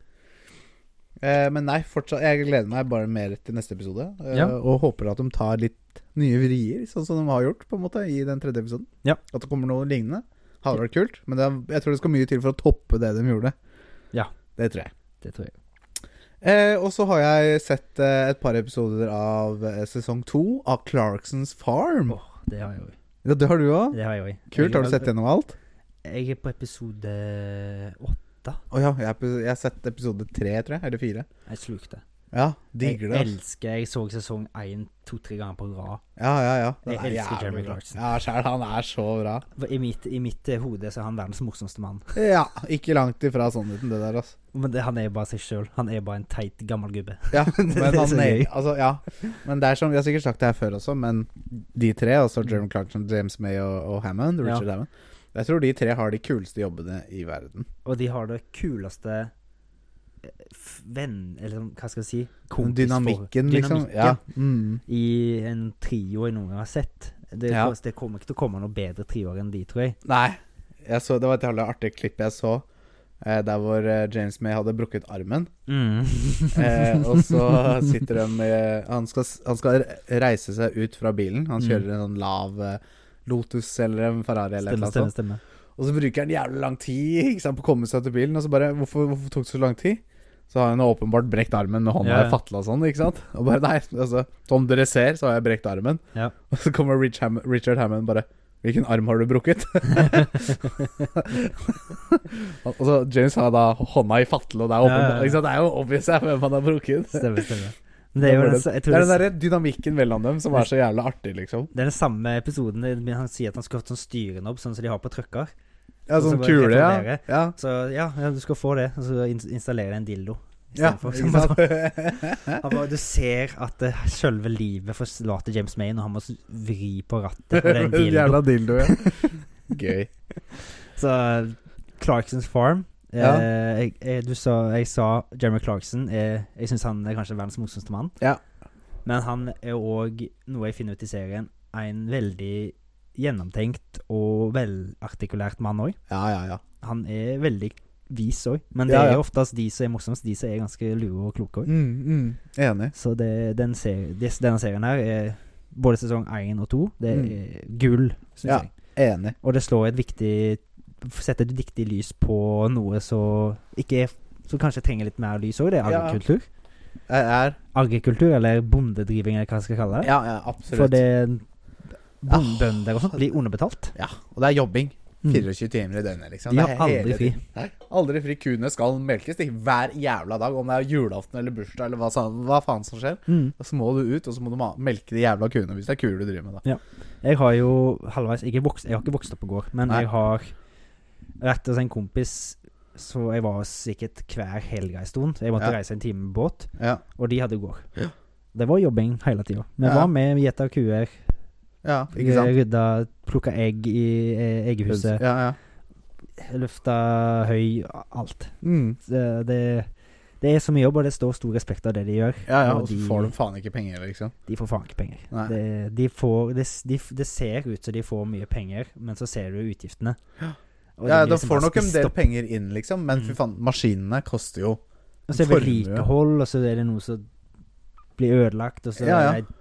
Speaker 1: Eh, men nei, fortsatt, jeg gleder meg bare mer til neste episode. eh,
Speaker 2: Ja.
Speaker 1: Og håper at de tar litt nye vrier, sånn som de har gjort på en måte i den tredje episoden.
Speaker 2: Ja.
Speaker 1: At det kommer noe lignende. Hadde vært kult, men det, er- jeg tror det skal mye til for å toppe det de gjorde.
Speaker 2: Ja.
Speaker 1: Det tror jeg.
Speaker 2: Det tror jeg.
Speaker 1: Eh, og så har jeg sett eh, et par episoder av eh, sesong to av Clarksons Farm.
Speaker 2: Åh, det har jeg òg.
Speaker 1: Ja, det har du òg.
Speaker 2: Det har jeg òg.
Speaker 1: Kult. Har du sett gjennom alt?
Speaker 2: Jeg er på episode åtte.
Speaker 1: Å ja, jeg, er på- jeg har sett episode tre, tror jeg. Eller fire.
Speaker 2: Jeg slukte.
Speaker 1: Ja, digger det.
Speaker 2: Jeg
Speaker 1: ass.
Speaker 2: elsker Jeg så sesong én to-tre ganger på rad.
Speaker 1: Ja, ja, ja.
Speaker 2: Jeg
Speaker 1: Den er
Speaker 2: elsker
Speaker 1: jævlig
Speaker 2: Jeremy
Speaker 1: bra.
Speaker 2: Clarkson.
Speaker 1: Ja, sjæl, han er så bra.
Speaker 2: I mitt, I mitt eh, hode så er han verdens morsomste mann.
Speaker 1: Ja, ikke langt ifra sannheten, det der, altså.
Speaker 2: Men det, han er jo bare seg sjøl. Han er bare en teit, gammel gubbe.
Speaker 1: Ja, men
Speaker 2: Det er
Speaker 1: han
Speaker 2: så
Speaker 1: er,
Speaker 2: gøy.
Speaker 1: altså, ja. Men det er som, Vi har sikkert sagt det her før også, men de tre, altså Jeremy Clarkson, James May og, og Hammond, Richard Hammond Jeg tror de tre har de kuleste jobbene i verden.
Speaker 2: Og de har det kuleste eh, f- venn... Eller sånn, hva skal jeg si?
Speaker 1: Den
Speaker 2: Kompisforhold-
Speaker 1: Dynamikken, liksom.
Speaker 2: Dynamikken
Speaker 1: Ja. Mm.
Speaker 2: I en trio jeg noen gang har sett. Det,
Speaker 1: Ja.
Speaker 2: det kommer ikke til å komme noe bedre trioer enn de, tror jeg.
Speaker 1: Nei, jeg så, det var et jævlig artig klipp jeg så, eh, der hvor eh, James May hadde brukket armen. Eh, og så sitter de med han skal, han skal reise seg ut fra bilen. Han kjører en sånn lav eh, Lotus eller en Ferrari eller
Speaker 2: Stemme,
Speaker 1: noe
Speaker 2: stemme,
Speaker 1: sånt.
Speaker 2: stemme.
Speaker 1: Og så bruker han jævlig lang tid ikke sant, på å komme seg til bilen. Og så bare Hvorfor, hvorfor tok det så lang tid? Så har han åpenbart brekt armen med hånda
Speaker 2: Ja, ja.
Speaker 1: i fatla og sånn, ikke sant? Og bare nei, altså Som dere ser, så har jeg brekt armen.
Speaker 2: Ja.
Speaker 1: Og så kommer Rich Ham Richard Hammond bare Hvilken arm har du brukket? og så James har da hånda i fatle, og det er,
Speaker 2: Ja, ja,
Speaker 1: åpenbart,
Speaker 2: ja.
Speaker 1: ikke sant? det er jo obvious her hvem han har brukket.
Speaker 2: stemme, stemme. Men det er jo
Speaker 1: Det er
Speaker 2: den, jeg
Speaker 1: Det
Speaker 2: tror
Speaker 1: er
Speaker 2: det,
Speaker 1: den derre dynamikken mellom dem som er så jævla artig, liksom.
Speaker 2: det er den samme episoden der han sier at han skulle hatt sånn styrenobb, sånn som de har på trucker.
Speaker 1: Ja,
Speaker 2: Og så
Speaker 1: sånn
Speaker 2: bare
Speaker 1: kule, ja.
Speaker 2: reflektere.
Speaker 1: ja.
Speaker 2: Så ja, ja, du skal få det. Og så ins- installerer jeg en dildo.
Speaker 1: Ja,
Speaker 2: istedenfor. Så
Speaker 1: ikke
Speaker 2: bare
Speaker 1: sant?
Speaker 2: Han bare, du ser at det selve livet forlater James May når han må s- vri på rattet på den bilen.
Speaker 1: Jævla dildo, ja. Gøy.
Speaker 2: Så eh, Clarksons Farm eh,
Speaker 1: Ja.
Speaker 2: jeg, jeg, du sa, jeg sa Jeremy Clarkson. eh, jeg syns han er kanskje verdens morsomste mann.
Speaker 1: Ja.
Speaker 2: Men han er òg, noe jeg finner ut i serien, en veldig gjennomtenkt og velartikulert mann òg.
Speaker 1: Ja, ja, ja.
Speaker 2: Han er veldig vis òg. Men det
Speaker 1: Ja, ja.
Speaker 2: er oftest de som er morsomst, de som er ganske lure og kloke òg.
Speaker 1: Mm, mm. Enig.
Speaker 2: Så det, den ser, des, denne serien her er både sesong 1 og 2. Det er gull, syns
Speaker 1: Mm. Ja.
Speaker 2: jeg.
Speaker 1: Enig.
Speaker 2: Og det slår et viktig Setter et viktig lys på noe som ikke er Som kanskje trenger litt mer lys òg. Det er
Speaker 1: Ja.
Speaker 2: agrikultur.
Speaker 1: Jeg er
Speaker 2: Agrikultur, eller bondedriving, eller hva jeg skal kalle det.
Speaker 1: Ja, ja
Speaker 2: For
Speaker 1: absolutt. Ah.
Speaker 2: det bon- Bønder og sånt blir underbetalt.
Speaker 1: Ja, og det er jobbing.
Speaker 2: Mm.
Speaker 1: 24 timer i døgnet, liksom.
Speaker 2: De
Speaker 1: Det
Speaker 2: har
Speaker 1: er hele
Speaker 2: aldri fri.
Speaker 1: tiden. Nei, aldri fri. Kuene skal melkes de, hver jævla dag. Om det er julaften eller bursdag eller hva, sa- hva faen som skjer.
Speaker 2: Mm.
Speaker 1: Så må du ut, og så må du ma- melke de jævla kuene hvis det er kuer du driver med, da.
Speaker 2: Jeg har jo halvveis Jeg, er vokst, jeg har ikke vokst opp på gård, men
Speaker 1: Nei.
Speaker 2: jeg har vært hos en kompis, så jeg var sikkert hver helg en stund. Jeg måtte
Speaker 1: Ja.
Speaker 2: reise en time med båt.
Speaker 1: Ja,
Speaker 2: Og de hadde gård. Det var jobbing hele tida. Vi
Speaker 1: Ja.
Speaker 2: var med, vi gjetta kuer,
Speaker 1: ja ikke sant?
Speaker 2: rydda, plukka egg i eh, eggehuset,
Speaker 1: Ja, ja.
Speaker 2: lufta høy, alt.
Speaker 1: Mm.
Speaker 2: Det, det, det er så mye jobb, og det står stor respekt av det de gjør.
Speaker 1: Ja, ja,
Speaker 2: Og
Speaker 1: og så
Speaker 2: de-
Speaker 1: får de faen ikke penger, liksom.
Speaker 2: De får faen ikke penger.
Speaker 1: Nei.
Speaker 2: Det, de får, det, s- de, f- det ser ut som de får mye penger, men så ser du utgiftene. Og
Speaker 1: Ja,
Speaker 2: det blir
Speaker 1: De
Speaker 2: liksom
Speaker 1: får
Speaker 2: bare
Speaker 1: nok en
Speaker 2: spist
Speaker 1: del
Speaker 2: opp.
Speaker 1: penger inn, liksom, men fy
Speaker 2: Mm. Altså,
Speaker 1: faen, maskinene koster jo
Speaker 2: Og så er det
Speaker 1: formue.
Speaker 2: vedlikehold, og så er det noe som blir ødelagt, og så
Speaker 1: Ja, ja.
Speaker 2: er det ei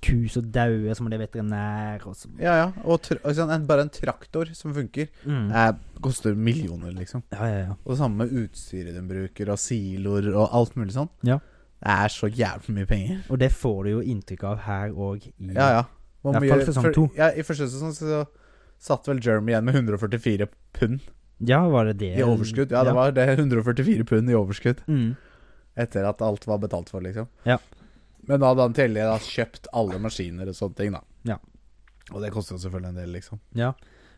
Speaker 2: ku som dauer, så må det veterinær, og så
Speaker 1: Ja, ja. Og tr og sånn, en, bare en traktor som funker,
Speaker 2: mm.
Speaker 1: eh, koster millioner, liksom.
Speaker 2: Ja, ja, ja.
Speaker 1: Og det samme med utstyret de bruker, og siloer og alt mulig sånn.
Speaker 2: Ja.
Speaker 1: Det er så jævlig mye penger.
Speaker 2: Og det får du jo inntrykk av her òg.
Speaker 1: Ja, ja.
Speaker 2: I hvert fall sesong
Speaker 1: for-
Speaker 2: to.
Speaker 1: Ja, I første sesong så satt vel Jeremy igjen med 144 pund
Speaker 2: ja, var det det?
Speaker 1: i overskudd. Ja, det var det 144 pund i overskudd
Speaker 2: mm.
Speaker 1: etter at alt var betalt for, liksom.
Speaker 2: Ja.
Speaker 1: Men da hadde han tidligere da kjøpt alle maskiner og sånne ting, da.
Speaker 2: Ja.
Speaker 1: Og det koster jo selvfølgelig en del, liksom.
Speaker 2: ja.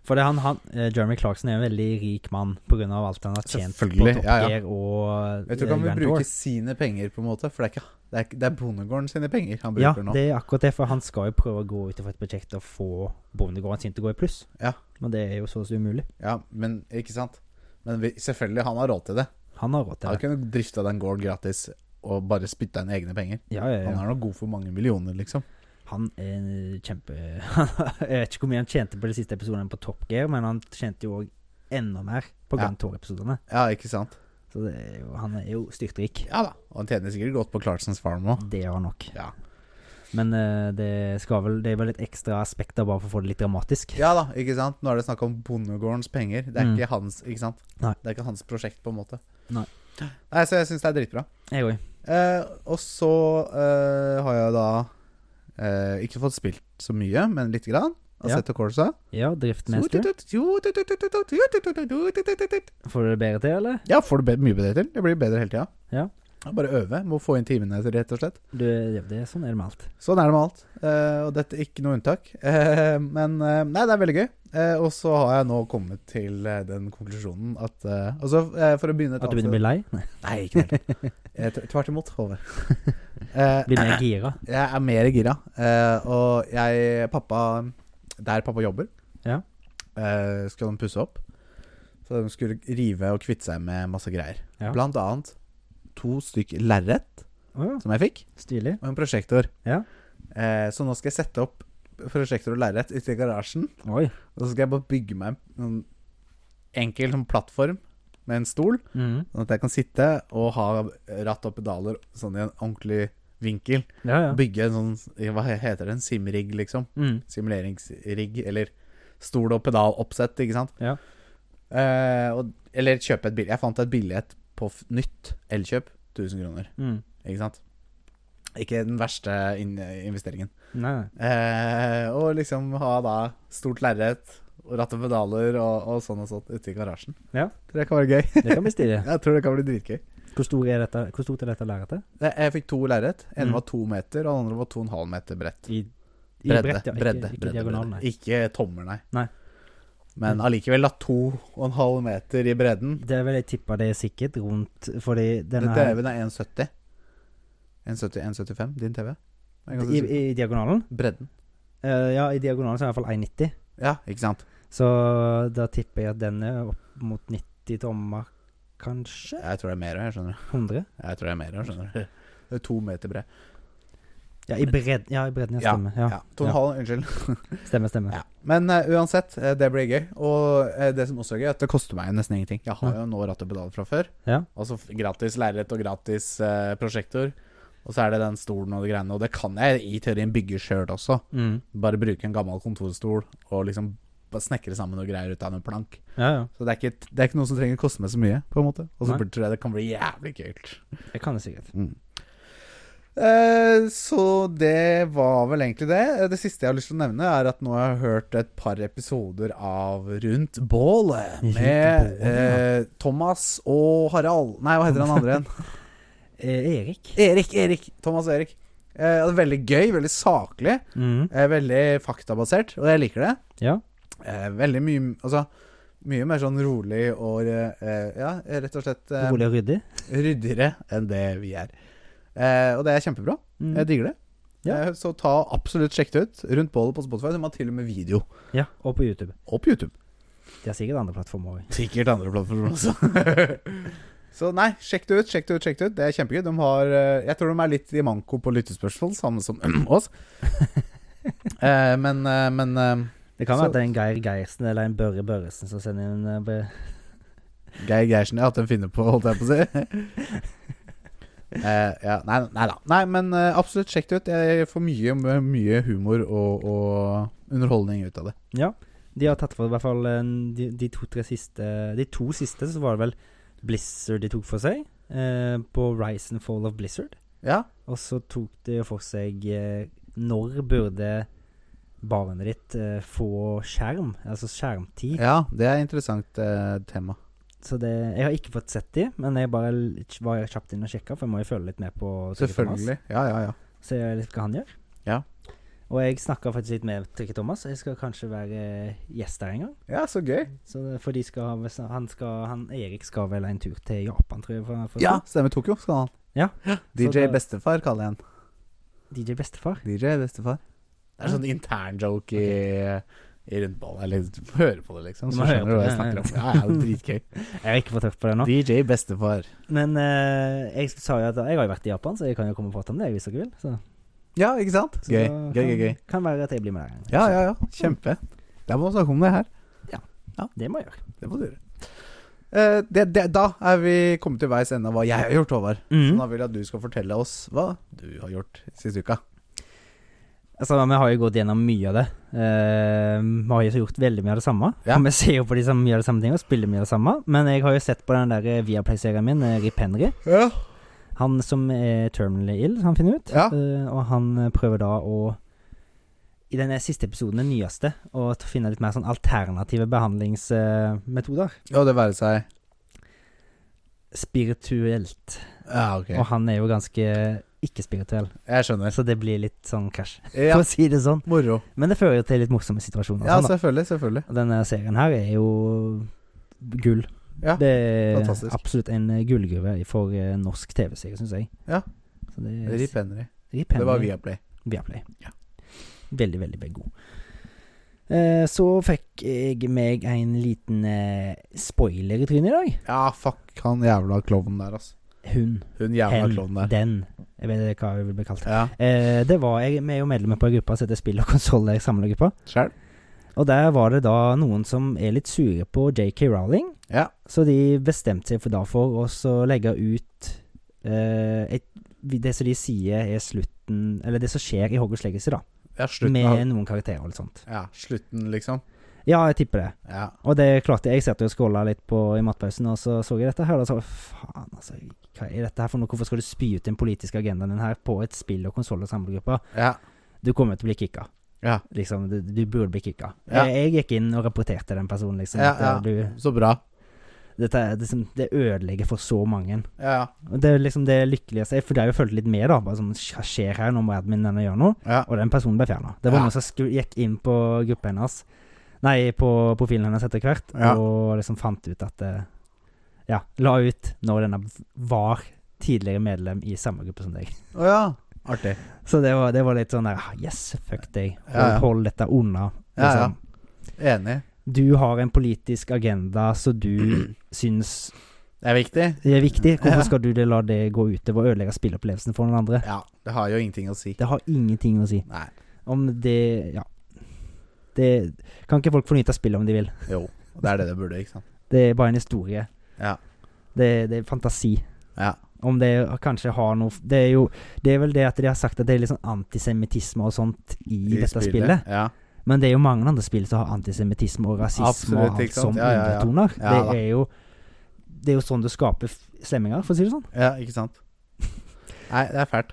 Speaker 2: For det han, han, eh, Jeremy Clarkson er en veldig rik mann pga. alt han har tjent på
Speaker 1: Selvfølgelig,
Speaker 2: Top
Speaker 1: ja, ja.
Speaker 2: Gear og
Speaker 1: Jeg tror ikke han
Speaker 2: eh, Grand
Speaker 1: vil bruke
Speaker 2: Tour.
Speaker 1: sine penger, på en måte. For det er ikke Det er, ikke- det er bondegården sine penger han
Speaker 2: Ja,
Speaker 1: bruker nå.
Speaker 2: det er akkurat det, for han skal jo prøve å gå ut fra et prosjekt og få bondegården sin til å gå i pluss.
Speaker 1: Ja.
Speaker 2: Men det er jo så å si umulig.
Speaker 1: Ja, men ikke sant? Men vi, selvfølgelig, han har råd til det.
Speaker 2: Han har råd til
Speaker 1: Han
Speaker 2: det.
Speaker 1: kunne drifta den gården gratis og bare spytta inn egne penger.
Speaker 2: Ja, ja,
Speaker 1: Han
Speaker 2: ja.
Speaker 1: er nå god for mange millioner, liksom.
Speaker 2: Han er en eh, kjempe Jeg vet ikke hvor mye han tjente på de siste episodene på Top Gear, men han tjente jo òg enda mer på
Speaker 1: Ja.
Speaker 2: Grand Tour-episodene.
Speaker 1: Ja, ikke sant?
Speaker 2: Så det er jo, han er jo styrtrik.
Speaker 1: Ja da. Og han tjener sikkert godt på Clarksons Farm òg.
Speaker 2: Det gjør han nok.
Speaker 1: Ja.
Speaker 2: Men eh, det, skal vel, det er vel et ekstra aspekt der bare for å få det litt dramatisk.
Speaker 1: Ja da, ikke sant? Nå er det snakk om bondegårdens penger. Det er
Speaker 2: Mm.
Speaker 1: ikke hans, ikke sant?
Speaker 2: Nei.
Speaker 1: Det er ikke hans prosjekt, på en måte.
Speaker 2: Nei.
Speaker 1: Nei, så jeg syns det er dritbra.
Speaker 2: Jeg òg.
Speaker 1: Eh, og så eh, har jeg da eh, ikke fått spilt så mye, men lite grann. Og
Speaker 2: Ja.
Speaker 1: sett til Corsa.
Speaker 2: Ja, Driftmester. Får du det bedre til, eller?
Speaker 1: Ja, får du be- mye bedre til. Det blir bedre hele tida.
Speaker 2: Ja.
Speaker 1: Bare øve. Må få inn timene, rett og slett.
Speaker 2: Du, det, det, sånn er det med alt.
Speaker 1: Sånn er det med alt. Eh, og dette er ikke noe unntak. Eh, men eh, nei, det er veldig gøy. Eh, og så har jeg nå kommet til eh, den konklusjonen at eh, Altså, eh, for å begynne et
Speaker 2: At du begynner å bli lei? Nei.
Speaker 1: Nei, ikke helt. Eh, tv- Tvert imot, Håvard. Eh,
Speaker 2: Blir mer gira?
Speaker 1: Jeg er mer gira. eh, og jeg Pappa Der pappa jobber,
Speaker 2: Ja.
Speaker 1: eh, skal de pusse opp. Så de skulle rive og kvitte seg med masse greier.
Speaker 2: Ja.
Speaker 1: Blant annet to stykk lerret
Speaker 2: Å ja,
Speaker 1: som jeg fikk,
Speaker 2: stilig.
Speaker 1: og en prosjektor.
Speaker 2: Ja.
Speaker 1: Eh, så nå skal jeg sette opp prosjektor og lerret ute i garasjen.
Speaker 2: Oi.
Speaker 1: Og så skal jeg bare bygge meg en enkel sånn plattform med en stol,
Speaker 2: Mhm.
Speaker 1: sånn at jeg kan sitte og ha ratt og pedaler sånn i en ordentlig vinkel.
Speaker 2: Ja, ja.
Speaker 1: Bygge en sånn Hva heter det? En simrigg, liksom.
Speaker 2: Mhm.
Speaker 1: Simuleringsrigg. Eller stol- og pedaloppsett, ikke sant.
Speaker 2: Ja.
Speaker 1: Eh, og, eller kjøpe et bil Jeg fant et billett på f nytt Elkjøp. 1000 kroner,
Speaker 2: Mhm.
Speaker 1: ikke sant. Ikke den verste in investeringen.
Speaker 2: Nei, nei.
Speaker 1: Eh, og liksom ha da stort lerret og ratt og pedaler og, og sånn og sånt ute i garasjen.
Speaker 2: Ja.
Speaker 1: Tror jeg kan være gøy.
Speaker 2: det kan bli stilig.
Speaker 1: Jeg tror det kan bli dritgøy.
Speaker 2: Hvor, stor er dette, hvor stort er dette lerretet?
Speaker 1: Jeg, jeg fikk to lerret. En
Speaker 2: Mm.
Speaker 1: var to meter, og den andre var to og en halv meter bredt.
Speaker 2: I, i
Speaker 1: Bredde.
Speaker 2: brett, ja. Ikke,
Speaker 1: bredde,
Speaker 2: ikke
Speaker 1: bredde,
Speaker 2: diagonal,
Speaker 1: bredde.
Speaker 2: nei.
Speaker 1: Ikke tommer, nei.
Speaker 2: Nei. Mm.
Speaker 1: Men allikevel, da. To og en halv meter i bredden.
Speaker 2: Det er vel jeg tipper det er sikkert rundt Fordi denne
Speaker 1: Dette
Speaker 2: her
Speaker 1: TV-en er 1,70. 1,70, 1,75. Din TV? Jeg er ganske
Speaker 2: i,
Speaker 1: sikker.
Speaker 2: I diagonalen?
Speaker 1: Bredden.
Speaker 2: Eh, ja, i diagonalen så er det iallfall 1,90.
Speaker 1: Ja, ikke sant.
Speaker 2: Så da tipper jeg at den er opp mot 90 tommer, kanskje?
Speaker 1: Jeg tror det er mer òg, jeg skjønner.
Speaker 2: 100?
Speaker 1: Jeg tror det er mer også, skjønner. Det er to meter bred.
Speaker 2: Ja, i, bred, ja, i bredden, ja. Stemmer. Ja,
Speaker 1: Ja, to og en halv, unnskyld.
Speaker 2: stemmer. stemmer.
Speaker 1: Ja. Men eh, uansett, eh, det blir gøy. Og eh, det som også er gøy, er at det koster meg nesten ingenting. Jeg har jo nå ratt og pedal fra før.
Speaker 2: Ja.
Speaker 1: Og så f- gratis lerret og gratis eh, prosjektor. Og så er det den stolen og de greiene. Og det kan jeg i teorien bygge sjøl også.
Speaker 2: Mm.
Speaker 1: Bare bruke en gammel kontorstol og liksom bare snekre sammen noe greier ut av en plank.
Speaker 2: ja, ja.
Speaker 1: Så det er, ikke, det er ikke noe som trenger å koste meg så mye, på en måte. Og så
Speaker 2: Nei.
Speaker 1: burde- tror jeg det kan bli jævlig kult.
Speaker 2: Jeg kan det sikkert.
Speaker 1: Mm. Eh, så det var vel egentlig det. Eh, Det siste jeg har lyst til å nevne, er at nå har jeg hørt et par episoder av Rundt bålet
Speaker 2: Rundt
Speaker 1: med
Speaker 2: bålet, ja.
Speaker 1: eh, Thomas og Harald Nei, hva heter han andre igjen?
Speaker 2: Eh, Erik?
Speaker 1: Erik, Erik. Thomas og Erik. Eh, det er veldig gøy, veldig saklig,
Speaker 2: Mm.
Speaker 1: eh, veldig faktabasert, og jeg liker det.
Speaker 2: Ja.
Speaker 1: Eh, veldig mye Altså mye mer sånn rolig og eh, ja, rett og slett eh,
Speaker 2: Rolig og ryddig?
Speaker 1: ryddigere enn det vi er. Eh, og det er kjempebra.
Speaker 2: Mm.
Speaker 1: Jeg digger det.
Speaker 2: Ja.
Speaker 1: Eh, Så ta absolutt sjekk det ut. Rundt bålet på Spotify. De har til og med video.
Speaker 2: Ja, og på YouTube.
Speaker 1: Og på YouTube.
Speaker 2: De har sikkert andre plattformer òg.
Speaker 1: Sikkert andre plattformer også. så nei, sjekk det ut, sjekk det ut, sjekk det ut. Det er kjempegøy. De har eh, Jeg tror de er litt i manko på lyttespørsmål, samme som oss. Eh, men eh, men eh,
Speaker 2: Det kan
Speaker 1: Så-
Speaker 2: være at det er en Geir Geirsen eller en Børre Børresen som sender en eh, bre-
Speaker 1: Geir Geirsen, ja, at de finner på, holdt jeg på å si. Eh, ja, nei, nei da. Nei, men eh, absolutt, sjekk det ut. Jeg får mye, mye humor og, og underholdning ut av det.
Speaker 2: Ja. De har tatt for i hvert fall en- de, de to-tre siste De to siste, så var det vel Blizzard de tok for seg. Eh, på Rise and Fall of Blizzard.
Speaker 1: Ja,
Speaker 2: Og så tok de for seg eh, Når burde barnet ditt eh, få skjerm? Altså skjermtid.
Speaker 1: ja det er et interessant eh, tema.
Speaker 2: Så det Jeg har ikke fått sett de, men jeg bare l- var kjapt inn og sjekka, for jeg må jo følge litt med på Torgeir Thomas.
Speaker 1: Selvfølgelig. Ja, ja, ja.
Speaker 2: Se litt hva han gjør.
Speaker 1: Ja.
Speaker 2: Og jeg snakka faktisk litt med Trikke Thomas. Jeg skal kanskje være gjest der en gang.
Speaker 1: Ja, så gøy.
Speaker 2: Så det- for de skal, ha- han, skal, han Erik skal vel en tur til Japan, tror jeg. For, for
Speaker 1: Ja, stemmer Tokyo, skal han.
Speaker 2: Ja. Så
Speaker 1: DJ
Speaker 2: da-
Speaker 1: Bestefar kaller jeg han.
Speaker 2: DJ Bestefar.
Speaker 1: DJ Bestefar. Det er sånn intern joke i, i rundballen. Eller høre på det, liksom.
Speaker 2: Du
Speaker 1: Så
Speaker 2: må høre
Speaker 1: skjønner du
Speaker 2: på
Speaker 1: hva jeg
Speaker 2: det, ja,
Speaker 1: snakker om. Ja, ja, det er dritgøy.
Speaker 2: Jeg har ikke fått hørt på det nå.
Speaker 1: DJ Bestefar.
Speaker 2: Men eh, jeg sa jo at jeg har jo vært i Japan, så jeg kan jo komme og prate om det hvis dere vil. Så,
Speaker 1: Ja, ikke sant?
Speaker 2: så
Speaker 1: Gøy,
Speaker 2: da
Speaker 1: gøy,
Speaker 2: kan,
Speaker 1: gøy. gøy.
Speaker 2: Kan være at jeg blir med der en gang.
Speaker 1: Ja, ja, ja. Kjempe. Da må vi snakke om det her.
Speaker 2: Det må jeg gjøre.
Speaker 1: Det må du gjøre. Eh, det, det, da er vi kommet til veis ende av hva jeg Sånn har gjort, Håvard.
Speaker 2: Mhm.
Speaker 1: Så da vil jeg at du skal fortelle oss hva du har gjort siste uka.
Speaker 2: Altså, Vi har jo gått gjennom mye av det. Eh, vi har jo gjort veldig mye av det samme.
Speaker 1: Ja.
Speaker 2: Og vi ser jo på de samme, mye av det samme ting og spiller mye av det samme. Men jeg har jo sett på den der eh, Viaplay-serien min, eh, Rip Henry.
Speaker 1: Ja.
Speaker 2: Han som er terminally ill, han finner ut.
Speaker 1: Ja.
Speaker 2: Eh, og han eh, prøver da å I den siste episoden, den nyeste, å t- finne litt mer sånn alternative eh, behandlingsmetoder.
Speaker 1: Og det være seg
Speaker 2: Spirituelt.
Speaker 1: Ja, ok.
Speaker 2: Og han er jo ganske ikke-spirituell,
Speaker 1: Jeg skjønner.
Speaker 2: så det blir litt sånn crash,
Speaker 1: Ja,
Speaker 2: for å si det sånn.
Speaker 1: moro.
Speaker 2: Men det fører jo til litt morsomme situasjoner. og
Speaker 1: Ja, altså.
Speaker 2: sånn, da.
Speaker 1: selvfølgelig. Selvfølgelig.
Speaker 2: Og denne serien her er jo gull.
Speaker 1: Ja,
Speaker 2: det er
Speaker 1: fantastisk.
Speaker 2: absolutt en eh, gullgruve for eh, norsk TV-serie, syns jeg.
Speaker 1: Ja.
Speaker 2: Så det,
Speaker 1: Rip Henry.
Speaker 2: Rip
Speaker 1: Det var
Speaker 2: Henry.
Speaker 1: Viaplay.
Speaker 2: Viaplay.
Speaker 1: Ja.
Speaker 2: Veldig, veldig, veldig god. Eh, så fikk jeg meg en liten eh, spoiler i trynet i dag.
Speaker 1: Ja, fuck han jævla klovnen der, altså.
Speaker 2: Hun.
Speaker 1: Hun jævla klovnen der.
Speaker 2: Den. Jeg vet ikke hva jeg vil bli kalt.
Speaker 1: Ja,
Speaker 2: Eh, det var, jeg, vi er jo medlemmer på en gruppe som heter Spill og konsoll samlergruppa.
Speaker 1: sjæl.
Speaker 2: Og der var det da noen som er litt sure på JK Rowling.
Speaker 1: Ja.
Speaker 2: Så de bestemte seg for da for å så legge ut eh, et, det som de sier er slutten Eller det som skjer i Hogwarts Legacy, da.
Speaker 1: Ja, slutten av
Speaker 2: Med noen karakterer og litt sånt.
Speaker 1: Ja, slutten, liksom.
Speaker 2: Ja, jeg tipper det.
Speaker 1: Ja.
Speaker 2: Og det klarte jeg. Jeg satt og scrolla litt på i matpausen, og så så jeg dette her. Og så faen, altså. Hva er dette her for noe? Hvorfor skal du spy ut den politiske agendaen din her på et spill- og konsoll- og samlegrupper?
Speaker 1: ja.
Speaker 2: Du kommer til å bli kicka.
Speaker 1: Ja.
Speaker 2: Liksom, du, du burde bli kicka.
Speaker 1: Ja.
Speaker 2: Jeg, jeg gikk inn og rapporterte den personen, liksom.
Speaker 1: Ja,
Speaker 2: at,
Speaker 1: ja.
Speaker 2: eh, Du,
Speaker 1: Så bra.
Speaker 2: dette, er liksom, det ødelegger for så mange.
Speaker 1: Ja,
Speaker 2: Og det er liksom det lykkeligste. For det har jo fulgt litt med, da. Bare sånn, hva skjer her? Nå må adminen gjøre noe.
Speaker 1: ja.
Speaker 2: Og den personen ble fjerna. Det var
Speaker 1: Ja.
Speaker 2: noen som sku- gikk inn på gruppa hennes Nei, på profilen hennes etter hvert,
Speaker 1: Ja.
Speaker 2: og liksom fant ut at eh, Ja, la ut når denne var tidligere medlem i samme gruppe som deg.
Speaker 1: Å ja. Artig.
Speaker 2: Så det var, det var litt sånn der ah, Yes, fuck deg. Hold,
Speaker 1: Ja, ja.
Speaker 2: hold dette unna.
Speaker 1: Ja, ja.
Speaker 2: liksom.
Speaker 1: Enig.
Speaker 2: Du har en politisk agenda som du syns
Speaker 1: Det er viktig.
Speaker 2: er
Speaker 1: Ja.
Speaker 2: viktig. Hvorfor skal du det- la det gå utover og ødelegge spilleopplevelsen for noen andre?
Speaker 1: Ja. Det har jo ingenting å si.
Speaker 2: Det har ingenting å si.
Speaker 1: Nei.
Speaker 2: Om det Ja. Det Kan ikke folk få nyte av spillet om de vil.
Speaker 1: Jo. Det er det det burde, ikke sant.
Speaker 2: Det er bare en historie.
Speaker 1: Ja.
Speaker 2: Det, det er fantasi.
Speaker 1: Ja.
Speaker 2: Om det kanskje har noe Det er jo Det er vel det at de har sagt at det er litt sånn antisemittisme og sånt i, dette spillet.
Speaker 1: Ja.
Speaker 2: Men det er jo mange andre spill som har antisemittisme og rasisme
Speaker 1: Absolutt,
Speaker 2: og alt
Speaker 1: ikke sant?
Speaker 2: som
Speaker 1: Ja, ja, ja.
Speaker 2: undertoner.
Speaker 1: Ja, da.
Speaker 2: det er jo Det er jo sånn du skaper f- slemminger, for å si det sånn.
Speaker 1: ja, ikke sant. Nei, det er fælt.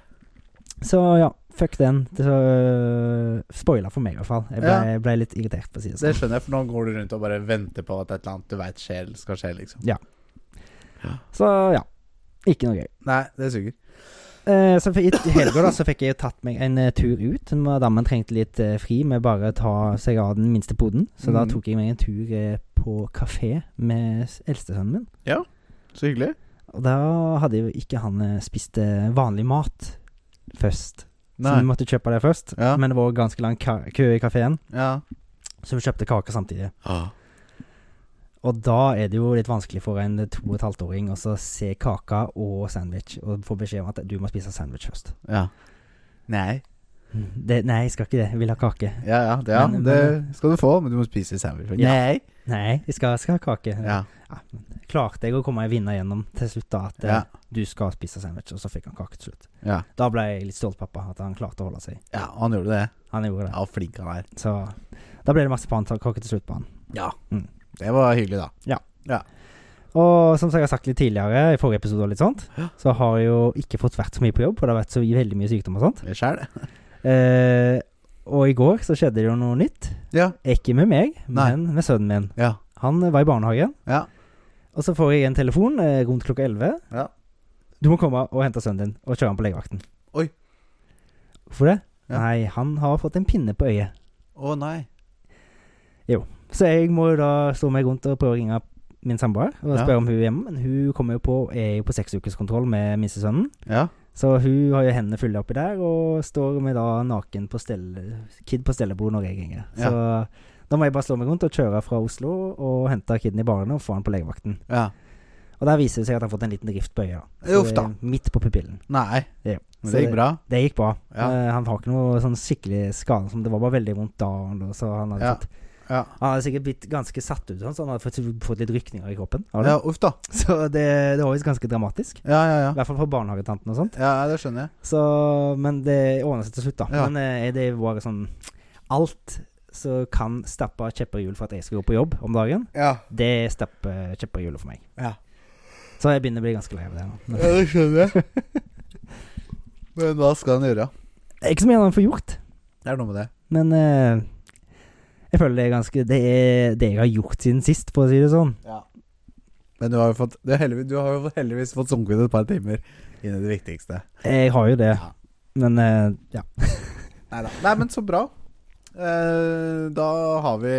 Speaker 2: Så ja, fuck den. Det, øh, spoiler for meg, i hvert fall. Jeg ble,
Speaker 1: Ja.
Speaker 2: jeg ble litt irritert, for å si det
Speaker 1: Det
Speaker 2: sånn.
Speaker 1: skjønner jeg, for nå går du rundt og bare venter på at et eller annet du veit skjer, skal skje, liksom.
Speaker 2: Så ja. Ikke noe gøy.
Speaker 1: Nei, det suger.
Speaker 2: Eh, så for- i helga da, så fikk jeg jo tatt meg en eh, tur ut. Madammen trengte litt eh, fri med bare å ta seg av den minste poden. Så da
Speaker 1: Mhm.
Speaker 2: tok jeg meg en tur eh, på kafé med s- eldstesønnen min.
Speaker 1: Så hyggelig.
Speaker 2: Og da hadde jo ikke han eh, spist eh, vanlig mat først. Så
Speaker 1: Nei.
Speaker 2: vi måtte kjøpe det først.
Speaker 1: Ja.
Speaker 2: Men det var ganske lang ka kø i kafeen,
Speaker 1: Ja.
Speaker 2: så vi kjøpte kake samtidig. Og da er det jo litt vanskelig for en eh, to og et halvt åring å så se kaka og sandwich og få beskjed om at du må spise sandwich først.
Speaker 1: ja. Nei. Mhm.
Speaker 2: Det, nei, jeg skal ikke det. Jeg vil ha kake.
Speaker 1: Ja, ja, det, ja.
Speaker 2: Men-
Speaker 1: det skal du få, men du må spise sandwich. først.
Speaker 2: Ja.
Speaker 1: Nei.
Speaker 2: Nei, jeg skal, jeg skal ha kake.
Speaker 1: Ja.
Speaker 2: Klarte jeg å komme meg vinner gjennom til slutt, da, at eh,
Speaker 1: Ja.
Speaker 2: du skal spise sandwich, og så fikk han kake til slutt.
Speaker 1: Ja.
Speaker 2: Da ble jeg litt stolt, pappa, at han klarte å holde seg.
Speaker 1: ja, han gjorde det.
Speaker 2: Han gjorde det.
Speaker 1: Ja, flink han er.
Speaker 2: Så da ble det marsipankake til slutt på han.
Speaker 1: Ja.
Speaker 2: Mm.
Speaker 1: Det var hyggelig, da.
Speaker 2: Og som jeg har sagt litt tidligere, i forrige episode og litt sånt,
Speaker 1: Ja.
Speaker 2: så har jeg jo ikke fått vært så mye på jobb, og det har vært så veldig mye sykdom og sånt.
Speaker 1: Det skjer, det.
Speaker 2: Eh, og i går så skjedde det jo noe nytt.
Speaker 1: Ja.
Speaker 2: Ikke med meg,
Speaker 1: Nei.
Speaker 2: men med sønnen min.
Speaker 1: Ja.
Speaker 2: Han eh, var i barnehagen,
Speaker 1: Ja.
Speaker 2: og så får jeg en telefon eh, rundt klokka 11.
Speaker 1: Ja.
Speaker 2: Du må komme og hente sønnen din og kjøre han på legevakten.
Speaker 1: Oi.
Speaker 2: Hvorfor det?
Speaker 1: Ja.
Speaker 2: Nei, han har fått en pinne på øyet.
Speaker 1: Å nei.
Speaker 2: Så jeg må jo da slå meg rundt og prøve å ringe min samboer og
Speaker 1: Ja.
Speaker 2: spørre om hun er hjemme. Men hun kommer jo på, er jo på seksukerskontroll med minstesønnen.
Speaker 1: Ja.
Speaker 2: Så hun har jo hendene fulle oppi der, og står med da naken på stelle, kid på stellebord når jeg ringer. Så da må jeg bare slå meg rundt og kjøre fra Oslo og hente kiden i barene og få han på legevakten.
Speaker 1: ja.
Speaker 2: Og der viser det seg at han har fått en liten rift på øyet. da. Så
Speaker 1: Uff da.
Speaker 2: det er Midt på pupillen.
Speaker 1: Nei.
Speaker 2: Ja.
Speaker 1: Men
Speaker 2: Så
Speaker 1: det gikk bra.
Speaker 2: Det gikk bra.
Speaker 1: Ja.
Speaker 2: Eh, han har ikke noe sånn skikkelig skade, som det var bare veldig vondt da. og Så han hadde,
Speaker 1: Ja.
Speaker 2: fått,
Speaker 1: Ja.
Speaker 2: han hadde sikkert blitt ganske satt ut, sånn, så han hadde fått, fått litt rykninger i kroppen. av det.
Speaker 1: ja. Uff da.
Speaker 2: Så det, det var visst ganske dramatisk.
Speaker 1: Ja, ja,
Speaker 2: I
Speaker 1: ja.
Speaker 2: hvert fall for barnehagetanten og sånn.
Speaker 1: Ja, det skjønner jeg.
Speaker 2: Så, men det ordna seg til slutt, da.
Speaker 1: Ja.
Speaker 2: Men eh, det var sånn Alt som kan stappe kjepper i hjul for at jeg skal gå på jobb om dagen,
Speaker 1: Ja.
Speaker 2: det stapper kjepper i hjulet for meg.
Speaker 1: Ja.
Speaker 2: Så jeg begynner å bli ganske lei av det nå.
Speaker 1: ja det skjønner jeg. Men hva skal han gjøre?
Speaker 2: Det er Ikke så mye annet å få gjort,
Speaker 1: Det er noe med det.
Speaker 2: men eh, jeg føler det er ganske Det er det jeg har gjort siden sist, for å si det sånn.
Speaker 1: Men du har jo fått, du har heldigvis, du har jo heldigvis fått sunket et par timer inn i det viktigste.
Speaker 2: Jeg har jo det,
Speaker 1: Ja.
Speaker 2: men eh, ja.
Speaker 1: Neida. Nei, men så bra. Eh, da har vi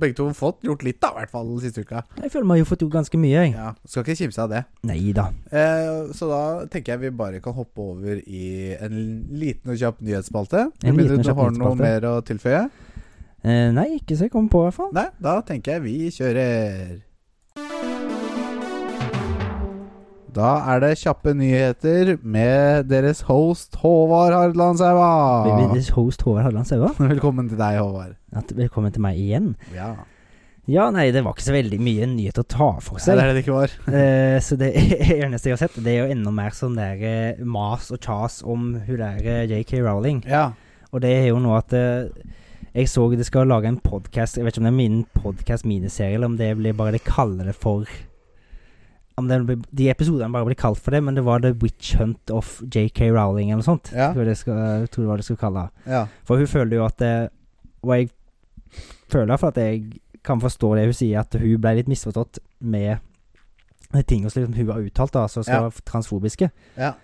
Speaker 1: begge to fått gjort litt, da, i hvert fall siste uka.
Speaker 2: Jeg føler vi har jo fått gjort ganske mye, jeg.
Speaker 1: Ja, Skal ikke kimse av det.
Speaker 2: Nei da.
Speaker 1: Eh, så da tenker jeg vi bare kan hoppe over i en liten og kjapp nyhetsspalte.
Speaker 2: En
Speaker 1: Med mindre
Speaker 2: liten og
Speaker 1: du
Speaker 2: kjapp
Speaker 1: har noe
Speaker 2: nyhetsspalte.
Speaker 1: mer å tilføye?
Speaker 2: Eh, nei, ikke så jeg kom på, i hvert fall.
Speaker 1: Nei, da tenker jeg vi kjører. Da er det kjappe nyheter med deres host Håvard Hardland Sæva.
Speaker 2: Baby, host Håvard Halland Saua.
Speaker 1: Velkommen til deg, Håvard.
Speaker 2: At- Velkommen til meg igjen.
Speaker 1: Ja.
Speaker 2: Ja, nei, det var ikke så veldig mye nyhet å ta for
Speaker 1: Det
Speaker 2: seg.
Speaker 1: er det det ikke var.
Speaker 2: Eh, så det eneste jeg har sett, det er jo enda mer sånn der eh, mas og kjas om hun der eh, JK Rowling.
Speaker 1: Ja.
Speaker 2: Og det er jo nå at eh, jeg så de skal lage en podkast Jeg vet ikke om det er min podkast-miniserie, eller om det blir bare de kaller det for Om det blir, de episodene bare blir kalt for det, men det var The Witch Hunt of JK Rowling eller noe sånt.
Speaker 1: Ja.
Speaker 2: Tror jeg det skal, jeg tror det var det skulle kalle det.
Speaker 1: Ja.
Speaker 2: For hun føler jo at eh, Og jeg føler iallfall at jeg kan forstå det hun sier, at hun ble litt misforstått med de tingene som liksom hun har uttalt, da, som skal
Speaker 1: Ja.
Speaker 2: være transfobiske.
Speaker 1: Ja.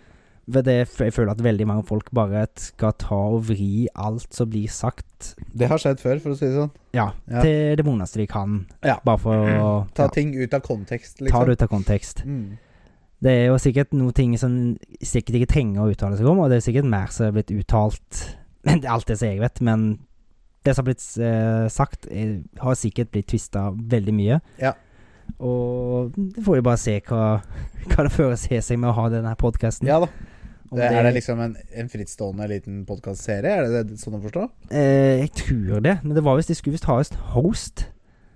Speaker 2: Ved det, f- jeg føler at veldig mange folk bare t- skal ta og vri alt som blir sagt,
Speaker 1: Det har skjedd før, for å si det sånn.
Speaker 2: ja,
Speaker 1: Ja.
Speaker 2: til det vondeste de kan.
Speaker 1: Ja. Mm.
Speaker 2: Bare for å
Speaker 1: Ta
Speaker 2: ja,
Speaker 1: ting ut av kontekst, liksom.
Speaker 2: ta det ut av kontekst.
Speaker 1: Mm.
Speaker 2: Det er jo sikkert noen ting som sikkert ikke trenger å uttale seg om, og det er sikkert mer som er blitt uttalt enn alt det som jeg vet, men det som har blitt eh, sagt, er, har sikkert blitt tvista veldig mye.
Speaker 1: Ja.
Speaker 2: Og det får vi bare se hva, hva det fører til seg med å ha denne podkasten.
Speaker 1: Ja da. Det, er det liksom en, en frittstående liten podkastserie? Er det, det sånn å forstå?
Speaker 2: Eh, jeg tror det, men det var visst de skulle visst ha en host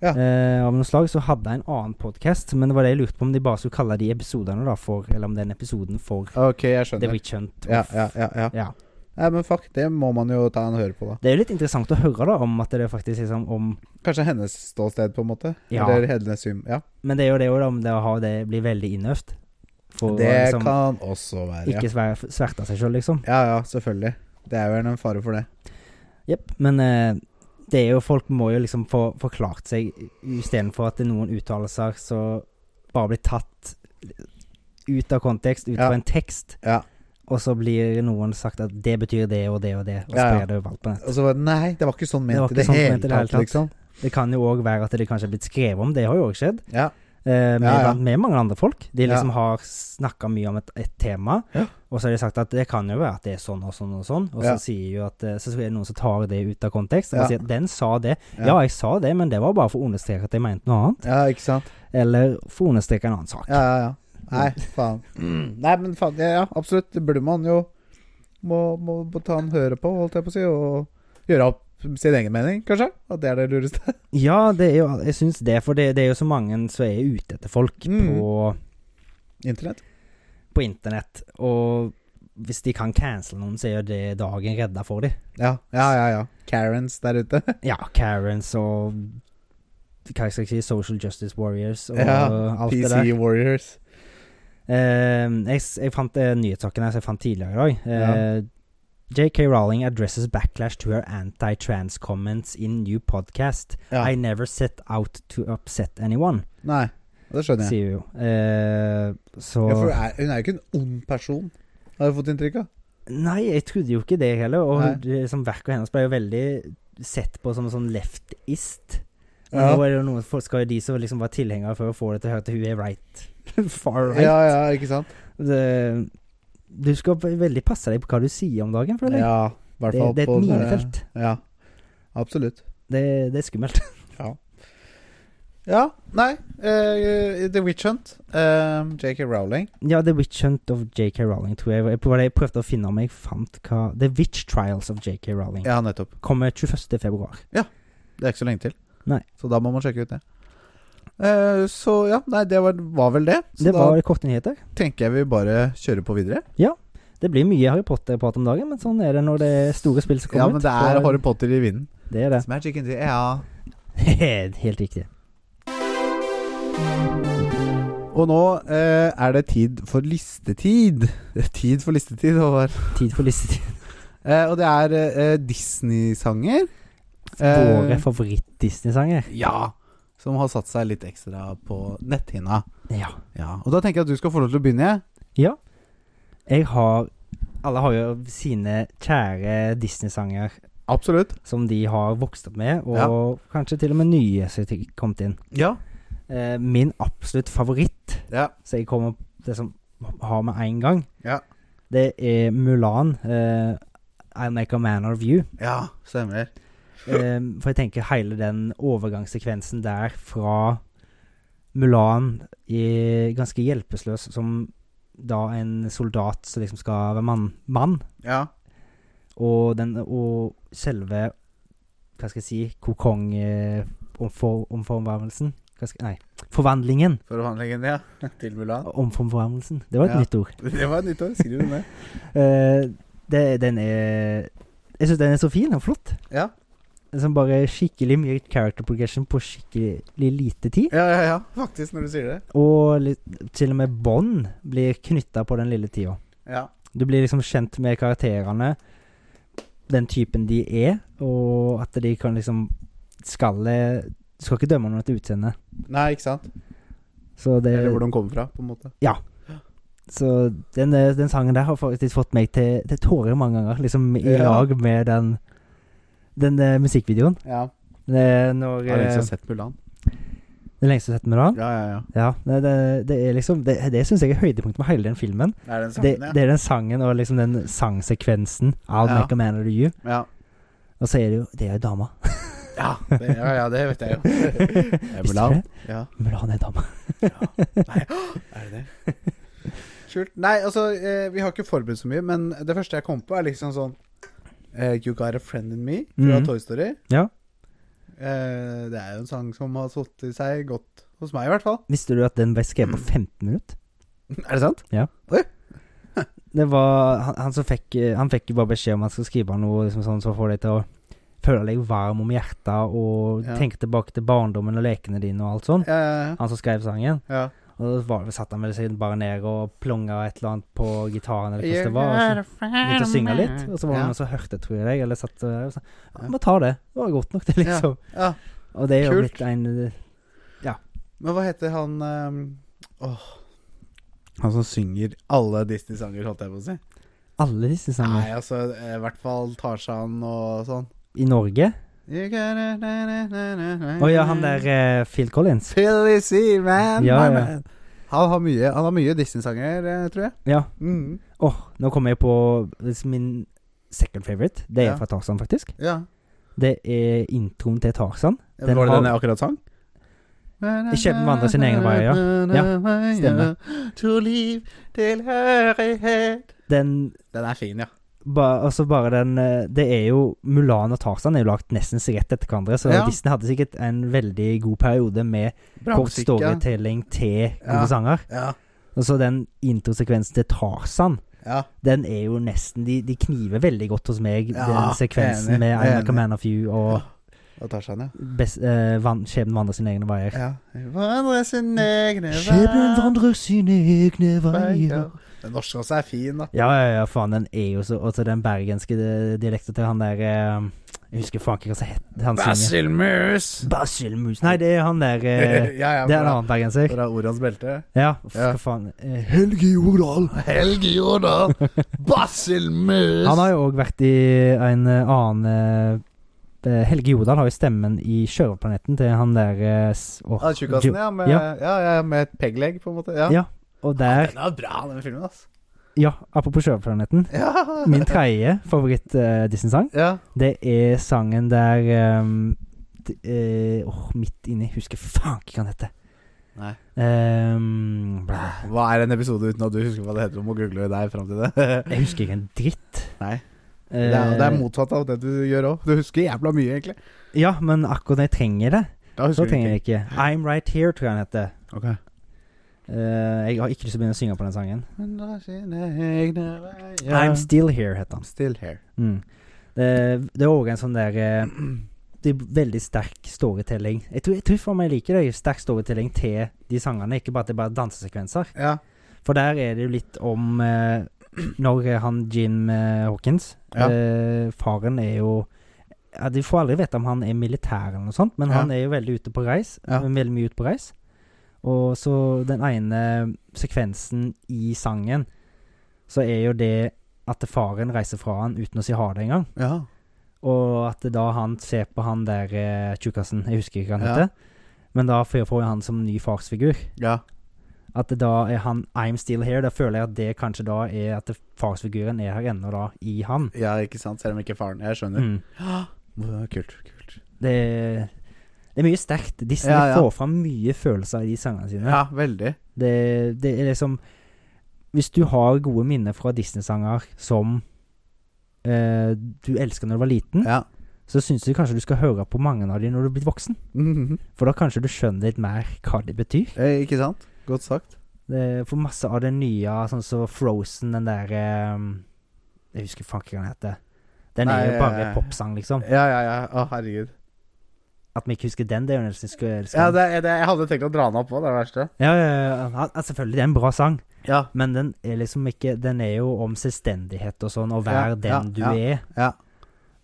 Speaker 1: Ja.
Speaker 2: eh, av noe slag. Så hadde jeg en annen podkast, men det var det jeg lurte på om de bare skulle kalle de episodene da for Eller om den episoden for
Speaker 1: Ok, jeg
Speaker 2: The
Speaker 1: skjønner.
Speaker 2: Witch Hunt.
Speaker 1: Ja,
Speaker 2: of-
Speaker 1: ja, ja, ja.
Speaker 2: ja.
Speaker 1: Nei, men fuck, det må man jo ta en høre på, da.
Speaker 2: Det er jo litt interessant å høre da om at det er faktisk liksom om
Speaker 1: Kanskje hennes ståsted, på en måte?
Speaker 2: Ja.
Speaker 1: Eller hennes syn? Ja.
Speaker 2: Men det er jo det også da, om det å ha det blir veldig innøvd. For
Speaker 1: Det
Speaker 2: å liksom
Speaker 1: kan også være, ja.
Speaker 2: ikke sver, sverte seg sjøl, liksom.
Speaker 1: Ja ja, selvfølgelig. Det er vel en fare for det.
Speaker 2: Jepp. Men eh, det er jo folk må jo liksom få forklart seg istedenfor at det er noen uttalelser som bare blir tatt ut av kontekst, ut
Speaker 1: Ja.
Speaker 2: fra en tekst.
Speaker 1: Ja.
Speaker 2: Og så blir noen sagt at det betyr det og det og det, og
Speaker 1: Ja, ja.
Speaker 2: sprer det overalt på nett.
Speaker 1: Og så var det Nei, det var ikke sånn
Speaker 2: Det var
Speaker 1: ment i det
Speaker 2: ikke sånn
Speaker 1: hele
Speaker 2: ment i det hele
Speaker 1: tatt,
Speaker 2: tatt.
Speaker 1: liksom.
Speaker 2: Det kan jo òg være at det kanskje er blitt skrevet om, det har jo òg skjedd.
Speaker 1: Ja.
Speaker 2: Eh, med,
Speaker 1: Ja, ja.
Speaker 2: blant- med mange andre folk. De
Speaker 1: Ja.
Speaker 2: liksom har snakka mye om et, et tema,
Speaker 1: Ja.
Speaker 2: og så har de sagt at det kan jo være at det er sånn og sånn og sånn, og
Speaker 1: Ja.
Speaker 2: så sier jo at eh, Så er det noen som tar det ut av kontekst, og
Speaker 1: Ja.
Speaker 2: bare sier at 'den sa det'.
Speaker 1: Ja.
Speaker 2: Ja. jeg sa det, men det var bare for å understreke at jeg mente noe annet.
Speaker 1: Ja, ikke sant?
Speaker 2: Eller for å understreke en annen sak.
Speaker 1: Ja, ja, ja. Nei, faen. Nei, men faen, ja, ja, absolutt. Det burde man jo må, må, må ta en høre på, holdt jeg på å si, og gjøre opp sin egen mening, kanskje? At det er det lureste?
Speaker 2: Ja, det er jo, jeg syns det, for det, det er jo så mange som er ute etter folk
Speaker 1: Mm.
Speaker 2: på,
Speaker 1: Internett?
Speaker 2: på internett, og hvis de kan cancele noen, så er jo det dagen redda for dem.
Speaker 1: Ja, ja, ja. ja. Karens der ute.
Speaker 2: Ja, Karens og Hva skal jeg si Social Justice Warriors og
Speaker 1: Ja,
Speaker 2: alt det
Speaker 1: PC
Speaker 2: der.
Speaker 1: Warriors.
Speaker 2: Eh, jeg, s- jeg fant eh, nyhetssaken her som jeg fant tidligere i dag. Eh, JK Rowling addresses backlash to her anti-trans comments in new podcast.
Speaker 1: Ja.
Speaker 2: I never set out to upset anyone,
Speaker 1: Nei, det skjønner jeg.
Speaker 2: sier hun jo. Eh, så
Speaker 1: Ja, for hun er, hun er jo ikke en ond person, har jeg fått inntrykk av.
Speaker 2: Nei, jeg trodde jo ikke det heller. Og
Speaker 1: Nei.
Speaker 2: det- som verket hennes ble jo veldig sett på som en sånn leftist. Og
Speaker 1: Ja.
Speaker 2: Nå er det jo noen folk skal jo de som liksom var tilhengere for å få det til å høre til hun er right. Far right.
Speaker 1: Ja, ja, ikke sant?
Speaker 2: Det, du skal v- veldig passe deg på hva du sier om dagen, føler jeg.
Speaker 1: Ja, i hvert
Speaker 2: det,
Speaker 1: fall
Speaker 2: det er
Speaker 1: på
Speaker 2: et
Speaker 1: den-
Speaker 2: minefelt.
Speaker 1: Ja, absolutt.
Speaker 2: Det, det er skummelt.
Speaker 1: Ja. Ja, nei eh, The Witch Hunt, eh, JK Rowling.
Speaker 2: Ja, The Witch Hunt of JK Rowling, tror jeg. Jeg prøvde, jeg prøvde å finne om jeg fant hva The Witch Trials of JK Rowling
Speaker 1: Ja, nettopp.
Speaker 2: kommer 21. februar.
Speaker 1: Det er ikke så lenge til.
Speaker 2: Nei.
Speaker 1: Så da må man sjekke ut det. Eh, så ja, nei, det var, var vel det. Så
Speaker 2: det
Speaker 1: da
Speaker 2: var korte nyheter.
Speaker 1: tenker jeg vi bare kjører på videre.
Speaker 2: Det blir mye Harry Potter-prat om dagen, men sånn er det når det er store spill som
Speaker 1: Ja, men
Speaker 2: kommer ut.
Speaker 1: det er
Speaker 2: Så
Speaker 1: Harry Potter i vinden.
Speaker 2: Det er det.
Speaker 1: It's magic in the air.
Speaker 2: Helt riktig.
Speaker 1: Og nå eh, er det tid for listetid. Det er Tid for listetid, Håvard.
Speaker 2: Tid for listetid.
Speaker 1: Eh, og det er eh, Disney-sanger.
Speaker 2: Våre
Speaker 1: Eh,
Speaker 2: favoritt-Disney-sanger.
Speaker 1: ja. Som har satt seg litt ekstra på netthinna.
Speaker 2: Ja.
Speaker 1: Ja, Og da tenker jeg at du skal få lov til å begynne. jeg.
Speaker 2: Ja. Jeg har Alle har jo sine kjære Disney-sanger
Speaker 1: Absolutt.
Speaker 2: som de har vokst opp med, og
Speaker 1: Ja.
Speaker 2: kanskje til og med nye som har kommet inn.
Speaker 1: Ja.
Speaker 2: Eh, min absolutt favoritt,
Speaker 1: Ja.
Speaker 2: så jeg kommer det som har med én gang,
Speaker 1: Ja.
Speaker 2: det er Mulan. Eh, I make a man of you.
Speaker 1: ja stemmer.
Speaker 2: Eh, for jeg tenker hele den overgangssekvensen der fra Mulan er ganske hjelpeløs som da en soldat som liksom skal være mann, mann
Speaker 1: Ja.
Speaker 2: og, den, og selve Hva skal jeg si eh, Kokong-omformvarmelsen? nei, forvandlingen.
Speaker 1: For å handle ja. Til Mulan.
Speaker 2: Omformvarmelsen. Det var et
Speaker 1: Ja.
Speaker 2: nytt ord.
Speaker 1: Det var et nytt år. Skriv det ned.
Speaker 2: Eh, det, den er Jeg syns den er så fin og flott.
Speaker 1: Ja.
Speaker 2: Som bare er skikkelig mye character progression på skikkelig lite tid.
Speaker 1: Ja, ja, ja. Faktisk, når du sier det.
Speaker 2: Og litt, til og med bånd blir knytta på den lille tida.
Speaker 1: Ja.
Speaker 2: Du blir liksom kjent med karakterene, den typen de er, og at de kan liksom Skal Du skal ikke dømme noen etter utseende.
Speaker 1: Nei, ikke sant?
Speaker 2: Så, det,
Speaker 1: Eller hvor de kommer fra, på en måte.
Speaker 2: så den, eh, den sangen der har faktisk fått meg til, til tårer mange ganger, liksom i
Speaker 1: Ja.
Speaker 2: lag med den, den eh, musikkvideoen.
Speaker 1: Ja.
Speaker 2: Det, er når,
Speaker 1: Har du
Speaker 2: eh,
Speaker 1: ikke sett Mulan?
Speaker 2: det lengste jeg har sett med den.
Speaker 1: Ja, ja, ja.
Speaker 2: Ja, det, det, det er liksom Det, det syns jeg er høydepunktet med hele den filmen.
Speaker 1: Det er den
Speaker 2: det,
Speaker 1: sangen, ja.
Speaker 2: det er den sangen og liksom den sangsekvensen. I'll
Speaker 1: Ja.
Speaker 2: make a man of you.
Speaker 1: ja.
Speaker 2: Og så er det jo Det er jo dama.
Speaker 1: Ja, det, ja, ja, det vet jeg jo.
Speaker 2: Visste du
Speaker 1: Mulan.
Speaker 2: det?
Speaker 1: Ja.
Speaker 2: Mulan er dama.
Speaker 1: Er det det? Kult. Nei, altså, eh, vi har ikke forberedt så mye, men det første jeg kom på, er liksom sånn eh, You Got A Friend In Me fra
Speaker 2: Mhm.
Speaker 1: Toy Story.
Speaker 2: Ja.
Speaker 1: Eh, det er jo en sang som har satt i seg godt hos meg, i hvert fall.
Speaker 2: Visste du at den ble skrevet
Speaker 1: Mm.
Speaker 2: på 15 minutter?
Speaker 1: er det sant?
Speaker 2: Det var han, han som fikk eh, Han fikk jo bare beskjed om at han skulle skrive noe liksom sånn som får deg til å føle deg varm om hjertet og
Speaker 1: Ja.
Speaker 2: tenke tilbake til barndommen og lekene dine og alt sånn.
Speaker 1: Ja, ja,
Speaker 2: Han som skrev sangen.
Speaker 1: ja.
Speaker 2: Og da var, satt han vel seg bare ned og plonga et eller annet på gitaren eller hva det var. Og så begynte å synge litt, og så var det
Speaker 1: Ja.
Speaker 2: noen som hørte, tror jeg, eller satt der og sa
Speaker 1: Ja.
Speaker 2: ja, Bare ta det. Det var godt nok, det, liksom.
Speaker 1: ja. ja.
Speaker 2: Og det er jo
Speaker 1: Kult.
Speaker 2: blitt en
Speaker 1: Men hva heter han um, Åh Han som synger alle Disney-sanger, holdt jeg på å si.
Speaker 2: Alle disse
Speaker 1: Nei,
Speaker 2: sangene
Speaker 1: altså, eh, i hvert fall Tarzan og sånn.
Speaker 2: i Norge.
Speaker 1: Å
Speaker 2: Å ja, han der eh, Phil Collins.
Speaker 1: Philly Seaman.
Speaker 2: Ja,
Speaker 1: my
Speaker 2: ja.
Speaker 1: man. Han har mye, han har mye Disney-sanger, eh, tror jeg.
Speaker 2: Ja.
Speaker 1: Mm.
Speaker 2: Åh, nå kommer jeg på hvis min second favorite. Det er
Speaker 1: Ja.
Speaker 2: fra Tarzan, faktisk.
Speaker 1: ja.
Speaker 2: Det er introen til Tarzan.
Speaker 1: Ja,
Speaker 2: Den
Speaker 1: var det
Speaker 2: har-
Speaker 1: den jeg akkurat sang?
Speaker 2: Ikke den vandrer sin egen vei, ja. Ja, stemmer.
Speaker 1: To liv, tilhørighet
Speaker 2: Den
Speaker 1: Den er fin, ja.
Speaker 2: ba, Altså bare den eh, Det er jo Mulan og Tarzan er jo lagt nesten rett etter hverandre, så
Speaker 1: Ja.
Speaker 2: Disney hadde sikkert en veldig god periode med
Speaker 1: Bra
Speaker 2: kort
Speaker 1: musikk, ja.
Speaker 2: storytelling til
Speaker 1: Ja.
Speaker 2: gode sanger.
Speaker 1: Ja.
Speaker 2: Og så den introsekvensen til Tarzan,
Speaker 1: ja.
Speaker 2: den er jo nesten De, de kniver veldig godt hos meg,
Speaker 1: Ja,
Speaker 2: den sekvensen
Speaker 1: enig,
Speaker 2: med I'm
Speaker 1: enig.
Speaker 2: like a man of you og
Speaker 1: Og Tarzan, ja.
Speaker 2: best, eh, van, Skjebnen vandrer sine egne veier.
Speaker 1: ja. Vandrer sin egne vei
Speaker 2: Skjebnen vandrer sine egne veier.
Speaker 1: Den norske også er fin, da.
Speaker 2: Ja, ja, ja, faen, den er jo så Og så den bergenske eh, dialekten til han der eh, Jeg husker faen ikke hva som het han synger.
Speaker 1: Basil Moose!
Speaker 2: Basil Moose. Nei, det er han der eh,
Speaker 1: ja, ja,
Speaker 2: Det er en
Speaker 1: bra.
Speaker 2: annen bergenser.
Speaker 1: Fra Orans belte.
Speaker 2: Ja, f-
Speaker 1: Ja.
Speaker 2: hva faen. Eh,
Speaker 1: Helge Jordal. Helge Jordal. Basil Moose.
Speaker 2: Han har jo òg vært i en eh, annen eh, eh, Helge Jodal har jo stemmen i Sjørøverplaneten til han der eh, s- åh,
Speaker 1: ah, Tjukkasen,
Speaker 2: Jo-
Speaker 1: ja. Med, ja.
Speaker 2: Ja.
Speaker 1: ja, med et pegglegg, på en måte. Ja.
Speaker 2: Ja. Og der
Speaker 1: Den er bra, den filmen, altså.
Speaker 2: Ja, apropos Sjørøverplaneten.
Speaker 1: Ja.
Speaker 2: Min tredje eh, favoritt-Disney-sang,
Speaker 1: ja.
Speaker 2: det er sangen der ehm, d- eh, Åh, midt inni Husker faen ikke hva den heter.
Speaker 1: Nei.
Speaker 2: Ehm, bla.
Speaker 1: Hva er en episode uten at du husker hva det heter? Du må google deg fram til det.
Speaker 2: jeg husker ikke en dritt.
Speaker 1: Nei. Det er, det er motsatt av det du gjør òg. Du husker jævla mye, egentlig.
Speaker 2: Eh, Ja, men akkurat når jeg trenger det,
Speaker 1: Da
Speaker 2: så
Speaker 1: husker du
Speaker 2: trenger jeg det ikke. I'm Right Here, tror jeg den heter.
Speaker 1: Ok.
Speaker 2: Eh, jeg har ikke lyst til å begynne å synge på den sangen.
Speaker 1: Men da sine egne veier.
Speaker 2: I'm Still Here heter den.
Speaker 1: still here.
Speaker 2: Mm. Det, det er òg en sånn der eh, Det er veldig sterk storytelling. Jeg tror, jeg tror for meg jeg liker det. Sterk storytelling til de sangene, ikke bare at det er bare dansesekvenser.
Speaker 1: Ja.
Speaker 2: For der er det jo litt om eh, Når er han Jim eh, Hawkins
Speaker 1: Ja.
Speaker 2: eh, Faren er jo ja, De får aldri vite om han er militær eller noe sånt, men
Speaker 1: Ja.
Speaker 2: han er jo veldig ute på reis. eh,
Speaker 1: Ja.
Speaker 2: Veldig mye ute på reis. Og så den ene sekvensen i sangen, så er jo det at faren reiser fra han uten å si ha det engang.
Speaker 1: ja.
Speaker 2: Og at da han ser på han der eh, tjukkasen, jeg husker ikke hva han
Speaker 1: Ja.
Speaker 2: heter, men da får får jo han som ny farsfigur.
Speaker 1: Ja.
Speaker 2: At det da er han I'm still here. Da føler jeg at det kanskje da er at det- farsfiguren er her ennå, da, i han.
Speaker 1: Ja, ikke sant? Selv om ikke faren Jeg skjønner.
Speaker 2: Mm.
Speaker 1: Må- Kult. kult
Speaker 2: Det, er- det er mye sterkt. Disney
Speaker 1: Ja, ja.
Speaker 2: får fram mye følelser i de sangene sine.
Speaker 1: Ja, veldig.
Speaker 2: Det, det er liksom Hvis du har gode minner fra Disney-sanger som eh, du elsker når du var liten,
Speaker 1: Ja.
Speaker 2: så syns du kanskje du skal høre på mange av dem når du er blitt voksen.
Speaker 1: Mhm.
Speaker 2: For da kanskje du skjønner litt mer hva de betyr.
Speaker 1: Eh, Ikke sant? Godt sagt.
Speaker 2: Det, for masse av det nye, sånn som Frozen, den der ehm, Jeg husker faen ikke hva den heter. Den
Speaker 1: Nei,
Speaker 2: er jo bare
Speaker 1: eh,
Speaker 2: popsang, liksom.
Speaker 1: Ja, ja, ja. Å, herregud.
Speaker 2: At vi ikke husker den, det er jo nesten skulle elske.
Speaker 1: Ja, det, er- det, er- jeg hadde tenkt å dra den opp òg, det er det verste.
Speaker 2: ja, ja, ja, ja, selvfølgelig, det er en bra sang,
Speaker 1: Ja.
Speaker 2: men den er liksom ikke Den er jo om selvstendighet og sånn, og
Speaker 1: Ja,
Speaker 2: vær den
Speaker 1: ja,
Speaker 2: du
Speaker 1: ja,
Speaker 2: er.
Speaker 1: ja.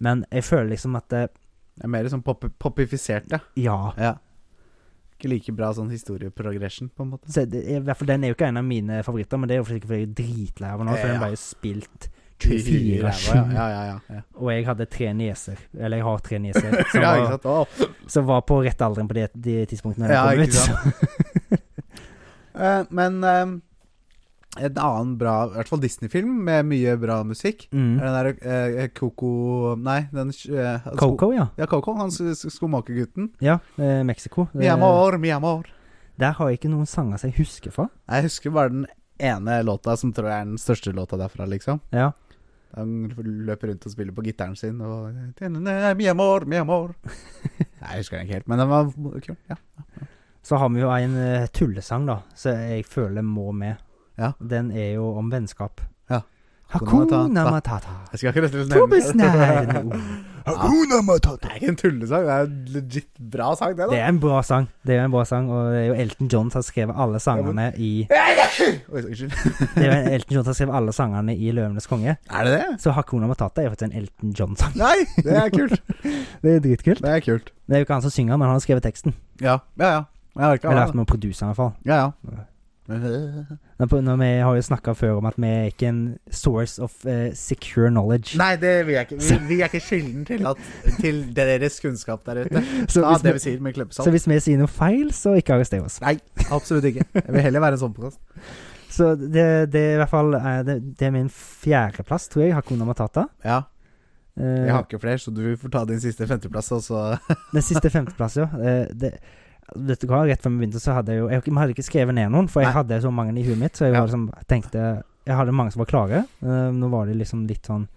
Speaker 2: Men jeg føler liksom at det,
Speaker 1: Det er mer sånn pop popifisert, ja.
Speaker 2: Ja.
Speaker 1: ja. Ikke like bra sånn historieprogression, på en måte.
Speaker 2: Så det, er- I hvert fall den er jo ikke en av mine favoritter, men det er jo sikkert fordi jeg er dritlei av den nå, for
Speaker 1: Ja.
Speaker 2: den ble jo spilt
Speaker 1: I ræva,
Speaker 2: 24-7,
Speaker 1: ja. Ja, ja, ja. ja.
Speaker 2: og jeg hadde tre nieser. Eller jeg har tre nieser. som
Speaker 1: ja,
Speaker 2: var-
Speaker 1: ikke sant? Å.
Speaker 2: Som var på rett alderen på de, de tidspunktene den
Speaker 1: Ja,
Speaker 2: kom
Speaker 1: ikke
Speaker 2: ut. så-
Speaker 1: Eh, men eh, en annen bra, i hvert fall Disney-film, med mye bra musikk,
Speaker 2: Mm.
Speaker 1: er den der eh, Coco Nei, den eh, sko-
Speaker 2: Coco, ja.
Speaker 1: Ja, Coco, han sk- sk- skomakergutten.
Speaker 2: Ja, eh, Mexico.
Speaker 1: Mi
Speaker 2: Eh,
Speaker 1: amor, mi amor.
Speaker 2: Der har jeg ikke noen sanger som jeg husker fra.
Speaker 1: Jeg husker bare den ene låta som tror jeg er den største låta derfra, liksom.
Speaker 2: Ja.
Speaker 1: Han løper rundt og spiller på gitaren sin og Mi amor, mi amor. Nei, jeg husker den ikke helt, men den var kul. Ja.
Speaker 2: Så har vi jo en eh, tullesang, da, som jeg føler må med.
Speaker 1: Ja.
Speaker 2: Den er jo om vennskap.
Speaker 1: Ja.
Speaker 2: Hakuna
Speaker 1: Matata.
Speaker 2: matata.
Speaker 1: Jeg skal ikke rett og slett
Speaker 2: Tobesnær.
Speaker 1: nevne det.
Speaker 2: Hakuna matata.
Speaker 1: Det er ikke en tullesang, det er en legit bra sang, det, da.
Speaker 2: Det er en bra sang, Det er en bra sang og det er jo Elton John som har skrevet alle sangene i
Speaker 1: Oi, unnskyld.
Speaker 2: Det er jo Elton John som har skrevet alle sangene i 'Løvenes konge'.
Speaker 1: Er det det?
Speaker 2: Så Hakuna matata er jo faktisk en Elton John-sang.
Speaker 1: Nei, det er kult.
Speaker 2: Det er dritkult.
Speaker 1: Det er kult.
Speaker 2: Det er jo ikke han som synger, men han har skrevet teksten.
Speaker 1: Ja, ja. ja. Jeg orker
Speaker 2: Eller vært
Speaker 1: det.
Speaker 2: med å produse, i hvert fall.
Speaker 1: Ja, ja.
Speaker 2: Men på- Når vi har jo snakka før om at vi er ikke en source of eh, secure knowledge.
Speaker 1: Nei, det vil jeg ikke. Vi, vi er ikke skylden til, at, til deres kunnskap der ute.
Speaker 2: så,
Speaker 1: Ja,
Speaker 2: hvis
Speaker 1: det
Speaker 2: vi,
Speaker 1: vi sier med
Speaker 2: så
Speaker 1: klypesalt.
Speaker 2: hvis vi sier noe feil, så ikke arrester oss.
Speaker 1: Absolutt ikke. Jeg vil heller være en sånn podkast.
Speaker 2: Så det, det er i hvert fall eh, det, det er min fjerdeplass, tror jeg, Hakuna Matata.
Speaker 1: Ja,
Speaker 2: Eh,
Speaker 1: jeg har ikke flere, så du får ta din siste femteplass, og så
Speaker 2: Den siste femteplass, ja. Eh, det, vet du hva, rett før vi begynte, så hadde jeg jo Jeg vi hadde ikke skrevet ned noen, for jeg
Speaker 1: Nei.
Speaker 2: hadde så mange i huet mitt, så jeg
Speaker 1: Ja.
Speaker 2: var liksom, tenkte Jeg hadde mange som var klare. Eh, nå var de liksom litt sånn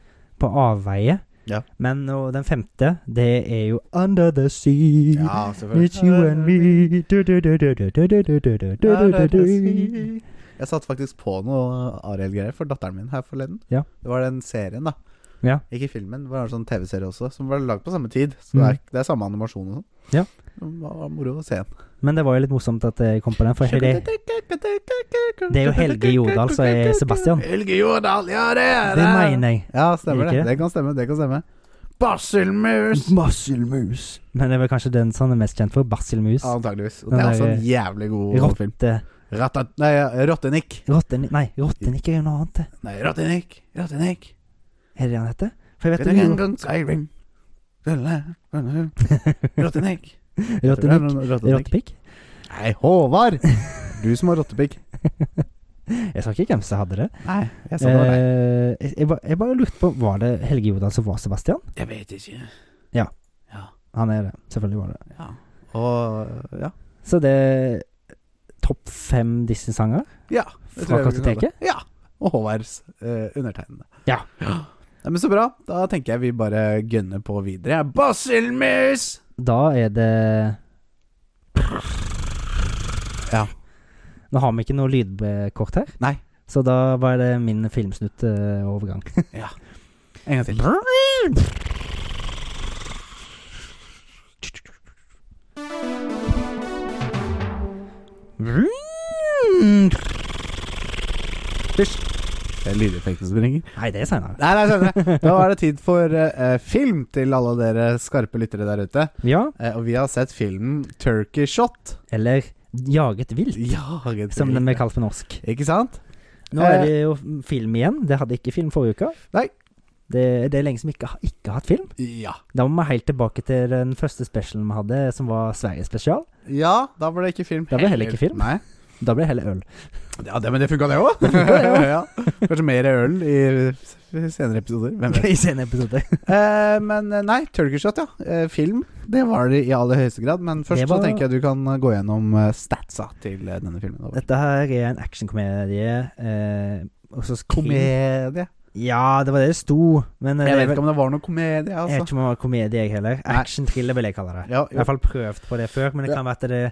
Speaker 2: på avveie.
Speaker 1: Ja.
Speaker 2: Men og den femte, det er jo Under the Sea.
Speaker 1: Ja,
Speaker 2: It's you and me. Du, du, du, du, du, du, du, du, du, du, du, du.
Speaker 1: Jeg satt faktisk på noe Ariel-greier for datteren min her forleden.
Speaker 2: Ja.
Speaker 1: Det var den serien, da.
Speaker 2: Ja.
Speaker 1: Ikke filmen, det var en sånn TV-serie også, som var lagd på samme tid. Så det, er, det er samme animasjon og sånn.
Speaker 2: Mm. Ja.
Speaker 1: Det var moro å se den.
Speaker 2: Men det var jo litt morsomt at jeg kom på den, for det, det er jo Helge Jordal som er Sebastian.
Speaker 1: Helge Jordal, ja det er
Speaker 2: Det mener jeg.
Speaker 1: Ja, stemmer det.
Speaker 2: Er det ikke det?
Speaker 1: Det kan stemme, det kan stemme. Basilmus!
Speaker 2: Basilmus. Men det er vel kanskje den som han er mest kjent for. Basilmus.
Speaker 1: Antakeligvis. Og
Speaker 2: Den
Speaker 1: det er også
Speaker 2: der-
Speaker 1: en jævlig god film.
Speaker 2: Rotte...
Speaker 1: Ratat... Nei, Rottenik.
Speaker 2: Rotten... Nei, Rottenik er jo noe annet, det.
Speaker 1: Nei, Rottenik. Rottenik.
Speaker 2: Er det det han heter? For jeg vet jo mye
Speaker 1: Rottenik. Rottenik.
Speaker 2: om- Rottenik. Rottepikk?
Speaker 1: Nei, Håvard! Du som har rottepigg.
Speaker 2: Jeg sa ikke hvem som hadde det.
Speaker 1: Nei, jeg sa det var deg.
Speaker 2: Eh, jeg, jeg, ba- jeg bare lurte på, var det Helge Jordal som var Sebastian?
Speaker 1: Jeg vet ikke.
Speaker 2: Ja.
Speaker 1: Ja.
Speaker 2: Han er det. Selvfølgelig var det det.
Speaker 1: ja. Og ja.
Speaker 2: Så det Topp fem Disney-sanger?
Speaker 1: Ja. det tror jeg
Speaker 2: Fra
Speaker 1: vi kan
Speaker 2: kartoteket?
Speaker 1: kalle det. Ja. Og Håvards eh, undertegnede.
Speaker 2: Ja.
Speaker 1: Nei, men så bra. Da tenker jeg vi bare gønner på videre. Basilmus!
Speaker 2: Da er det
Speaker 1: Ja.
Speaker 2: Nå har vi ikke noe lydkort her,
Speaker 1: Nei.
Speaker 2: så da var det min filmsnutt-overgang.
Speaker 1: En gang til. Det er lydeffekten som ringer.
Speaker 2: Nei, det er seinere.
Speaker 1: Nei, nei, senere. Da er det tid for eh, eh, film til alle dere skarpe lyttere der ute.
Speaker 2: Ja,
Speaker 1: Eh, og vi har sett filmen Turkey Shot.
Speaker 2: eller Jaget vilt,
Speaker 1: Ja, gutter.
Speaker 2: som den blir kalt på norsk.
Speaker 1: Ikke sant?
Speaker 2: Nå er det jo film igjen. Det hadde ikke film forrige uke.
Speaker 1: Eh, Nei.
Speaker 2: Det, det er lenge som ikke, har- ikke har hatt film.
Speaker 1: Ja.
Speaker 2: Da må vi helt tilbake til den første specialen vi hadde, som var Sverige spesial.
Speaker 1: Ja, da ble det ikke film.
Speaker 2: Da ble det heller ikke film.
Speaker 1: Nei.
Speaker 2: Da ble det heller øl.
Speaker 1: Ja, det, men det funka, det òg. ja. Kanskje mer øl i senere episoder. Hvem vet.
Speaker 2: I senere episode.
Speaker 1: Eh, men eh, nei, Turkey Shot, ja. Eh, film. Det var det i aller høyeste grad. Men først
Speaker 2: Det var-
Speaker 1: så tenker jeg du kan eh, gå gjennom eh, statsa til eh, denne filmen. da.
Speaker 2: Dette her er en actionkomedie. Eh, og så skri- Eh,
Speaker 1: Komedie.
Speaker 2: Ja, det var det det sto. Men eh,
Speaker 1: Jeg
Speaker 2: det er
Speaker 1: vet
Speaker 2: vel-
Speaker 1: ikke om det var noe komedie,
Speaker 2: jeg vet
Speaker 1: altså.
Speaker 2: ikke om det var komedie, jeg heller. Action-thriller vil jeg kalle det.
Speaker 1: Ja,
Speaker 2: Jeg har i
Speaker 1: jo.
Speaker 2: hvert fall prøvd på det før, men det
Speaker 1: Ja.
Speaker 2: kan være at det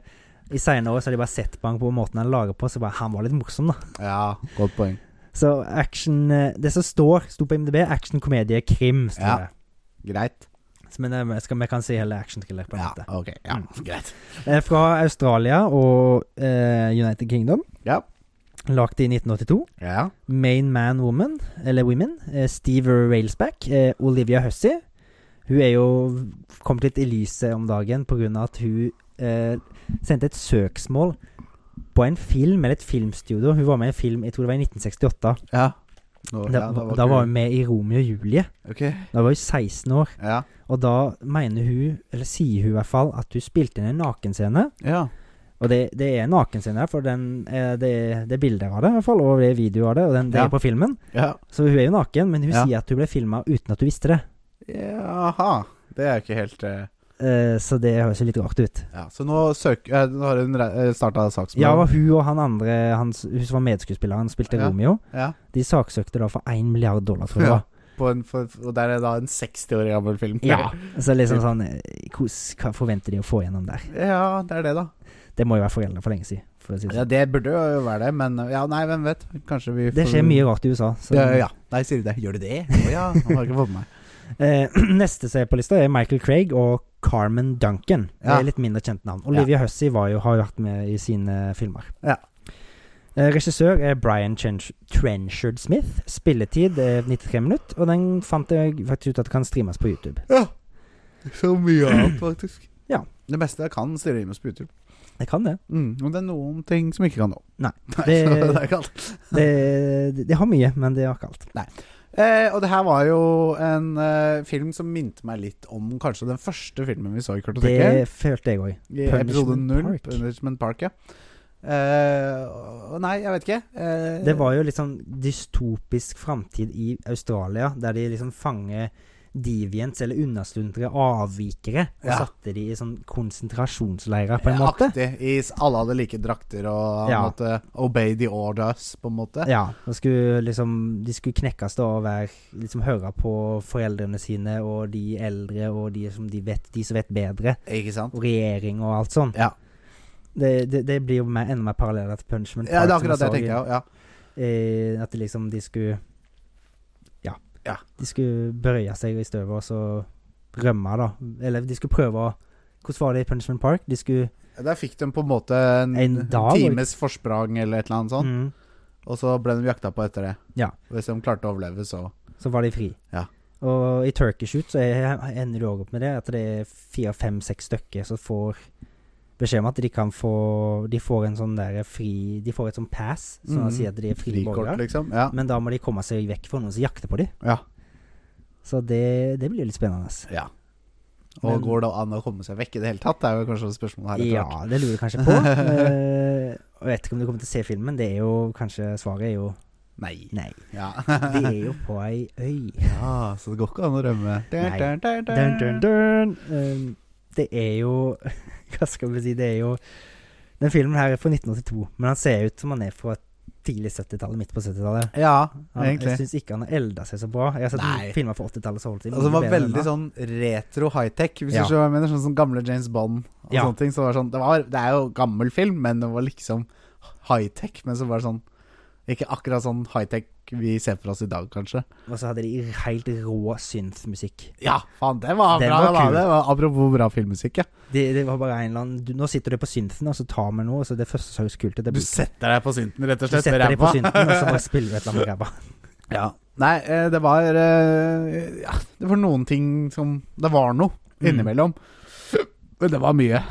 Speaker 2: i seinere år så har de bare sett på han på måten han lager på, så bare Han var litt morsom, da.
Speaker 1: ja, godt poeng.
Speaker 2: Så action eh, Det som står, sto på IMDb, action, komedie, krim, sto
Speaker 1: Ja.
Speaker 2: det.
Speaker 1: Greit.
Speaker 2: Så, men eh, skal, vi kan si heller action-thriller, på en
Speaker 1: Ja,
Speaker 2: måte.
Speaker 1: ok. Ja,
Speaker 2: Mm.
Speaker 1: greit.
Speaker 2: Eh, fra Australia og eh, United Kingdom.
Speaker 1: Ja.
Speaker 2: Lagt i 1982.
Speaker 1: Ja.
Speaker 2: Main Man Woman, eller Women, eh, Steve Railsback, eh, Olivia Hussey. Hun er jo kommet litt i lyset om dagen pga. at hun eh, sendte et søksmål på en film, eller et filmstudio. Hun var med i en film jeg tror det var i 1968.
Speaker 1: ja. Nå,
Speaker 2: Da,
Speaker 1: ja,
Speaker 2: da var hun med i Romeo og Julie.
Speaker 1: Ok.
Speaker 2: Da var hun 16 år.
Speaker 1: Ja.
Speaker 2: Og da mener hun, eller sier hun i hvert fall, at hun spilte inn en nakenscene.
Speaker 1: Ja.
Speaker 2: Og det, det er nakenscene her, for den, eh, det, det er bilder av det, i hvert fall, og det er video av det, og den, det
Speaker 1: Ja.
Speaker 2: er på filmen.
Speaker 1: ja.
Speaker 2: Så hun er jo naken, men hun
Speaker 1: Ja.
Speaker 2: sier at hun ble filma uten at hun visste det.
Speaker 1: Jaha. Det er jo ikke helt eh,
Speaker 2: Eh, så det høres jo litt rart ut.
Speaker 1: Ja, så nå søker eh, Nå har hun starta saksmål?
Speaker 2: Ja, og hun og han andre, han, s- hun som var medskuespilleren, spilte
Speaker 1: Ja.
Speaker 2: Romeo,
Speaker 1: Ja,
Speaker 2: de saksøkte da for én milliard dollar, tror jeg.
Speaker 1: Ja.
Speaker 2: det var.
Speaker 1: på en, for, og der er da en 60 år gammel film.
Speaker 2: Ja. Så liksom sånn eh, hos- Hva forventer de å få gjennom der?
Speaker 1: Ja, det er det, da.
Speaker 2: Det må jo være foreldre for lenge siden. For å si det,
Speaker 1: Ja,
Speaker 2: sånn.
Speaker 1: Det burde jo være det, men eh, ja, nei, hvem vet. Kanskje vi
Speaker 2: det skjer mye rart i USA. Så,
Speaker 1: Ja, ja. Nei, sier du det? Gjør du det? Å ja, han har ikke fått med meg.
Speaker 2: Eh, neste som er på lista, er Michael Craig og Carmen Duncan. Det
Speaker 1: Ja.
Speaker 2: er litt mindre kjent navn. Olivia Hussey var jo, har jo vært med i sine filmer.
Speaker 1: Ja.
Speaker 2: Eh, regissør er Brian Trench Trenchard Smith. Spilletid er 93 minutter, og den fant jeg faktisk ut at kan streames på YouTube.
Speaker 1: Ja. Så mye annet, faktisk.
Speaker 2: Ja.
Speaker 1: Det beste kan stirre inn med spytur.
Speaker 2: Jeg kan det.
Speaker 1: Mm, men det er noen ting som ikke kan nå.
Speaker 2: Nei,
Speaker 1: Nei,
Speaker 2: det-
Speaker 1: så det er ikke alt.
Speaker 2: Det, det, det har mye, men det har ikke alt.
Speaker 1: Eh, og det her var jo en eh, film som minte meg litt om kanskje den første filmen vi så i kartoteket.
Speaker 2: Det følte jeg òg.
Speaker 1: I
Speaker 2: Punishment
Speaker 1: episode 0,
Speaker 2: Park.
Speaker 1: Punishment Park, ja. Eh, og- nei, jeg vet ikke. Eh,
Speaker 2: Det var jo litt sånn dystopisk framtid i Australia, der de liksom fanger deviants eller unnasluntre avvikere, og
Speaker 1: Ja.
Speaker 2: satte de i sånn konsentrasjonsleirer, på en måte.
Speaker 1: Aktig. I, s- alle hadde like drakter og
Speaker 2: Ja.
Speaker 1: måtte obey the orders, på en måte.
Speaker 2: Ja, og skulle liksom, De skulle knekkes da og være, liksom høre på foreldrene sine og de eldre og de som, de vet, de som vet bedre,
Speaker 1: Ikke sant?
Speaker 2: og regjering og alt sånn.
Speaker 1: Ja.
Speaker 2: Det, det, det blir jo mer, enda mer paralleller til Punishment
Speaker 1: Ja, det er
Speaker 2: Park, som
Speaker 1: akkurat det jeg
Speaker 2: så i-
Speaker 1: tenker. Ja.
Speaker 2: eh, At det liksom de skulle ja,
Speaker 1: Ja.
Speaker 2: De skulle bøye seg i støvet og så rømme, da. Eller de skulle prøve å Hvordan var det i Punishment Park? De skulle
Speaker 1: Ja. Der fikk de på en måte en,
Speaker 2: En dag,
Speaker 1: times forsprang eller et eller annet sånt,
Speaker 2: mm,
Speaker 1: og så ble de jakta på etter det.
Speaker 2: Ja.
Speaker 1: Hvis de klarte å overleve, så
Speaker 2: Så var de fri.
Speaker 1: Ja.
Speaker 2: Og i Turkish Shoot så er, ender du òg opp med det, at det er fire, fem, seks stykker som får beskjed om at de kan få De får en sånn der fri De får et sånn pass, som
Speaker 1: Mm.
Speaker 2: sier at de er frie
Speaker 1: Frikort,
Speaker 2: borgere.
Speaker 1: liksom. Ja.
Speaker 2: Men da må de komme seg vekk fra noen som jakter på dem.
Speaker 1: ja.
Speaker 2: Så det, det blir litt spennende.
Speaker 1: ja. Og
Speaker 2: Men-
Speaker 1: går det an å komme seg vekk i det hele tatt? Det er jo kanskje spørsmålet her. etter
Speaker 2: Ja,
Speaker 1: hvert.
Speaker 2: det lurer jeg kanskje på. Eh, og jeg vet ikke om du kommer til å se filmen. Det er jo kanskje Svaret er jo
Speaker 1: Nei.
Speaker 2: nei.
Speaker 1: Ja.
Speaker 2: De er jo på ei øy.
Speaker 1: ja, så det går ikke an å rømme.
Speaker 2: Nei.
Speaker 1: Dun, dun, dun,
Speaker 2: Dun,
Speaker 1: dun.
Speaker 2: dun, dun. Um, det er jo Hva skal vi si, det er jo Den filmen her er fra 1982, men han ser ut som han er fra tidlig 70-tallet, midt på 70-tallet.
Speaker 1: Ja,
Speaker 2: Han- Jeg
Speaker 1: egentlig.
Speaker 2: syns ikke han har elda seg så bra. Jeg har sett
Speaker 1: Nei.
Speaker 2: filmer fra 80-tallet som holdt seg
Speaker 1: Altså, det var
Speaker 2: mye bedre enn
Speaker 1: veldig
Speaker 2: da.
Speaker 1: sånn retro high-tech, hvis
Speaker 2: Ja.
Speaker 1: du skjønner hva jeg mener. Sånn som gamle James Bond og
Speaker 2: Ja.
Speaker 1: sånne ting. Så det, var sånn, det, var, det er jo gammel film, men det var liksom high-tech. Men så var det sånn Ikke akkurat sånn high-tech vi ser for oss i dag, kanskje.
Speaker 2: Og så hadde de helt rå synth-musikk.
Speaker 1: Ja, faen, det var
Speaker 2: Den
Speaker 1: bra!
Speaker 2: var
Speaker 1: da.
Speaker 2: kul.
Speaker 1: det var, apropos bra filmmusikk, ja.
Speaker 2: Det, det var bare en eller annen du, Nå sitter du på synthen, og så tar vi noe, og så det første som høres kult ut, det
Speaker 1: Du
Speaker 2: blir
Speaker 1: setter deg på synten, rett
Speaker 2: Du
Speaker 1: og slett.
Speaker 2: setter
Speaker 1: med
Speaker 2: deg på
Speaker 1: ræva.
Speaker 2: synthen, og så bare spiller du et eller annet ræva.
Speaker 1: Ja. Nei, eh, det var eh, Ja, det var noen ting som Det var noe innimellom. Men det var mye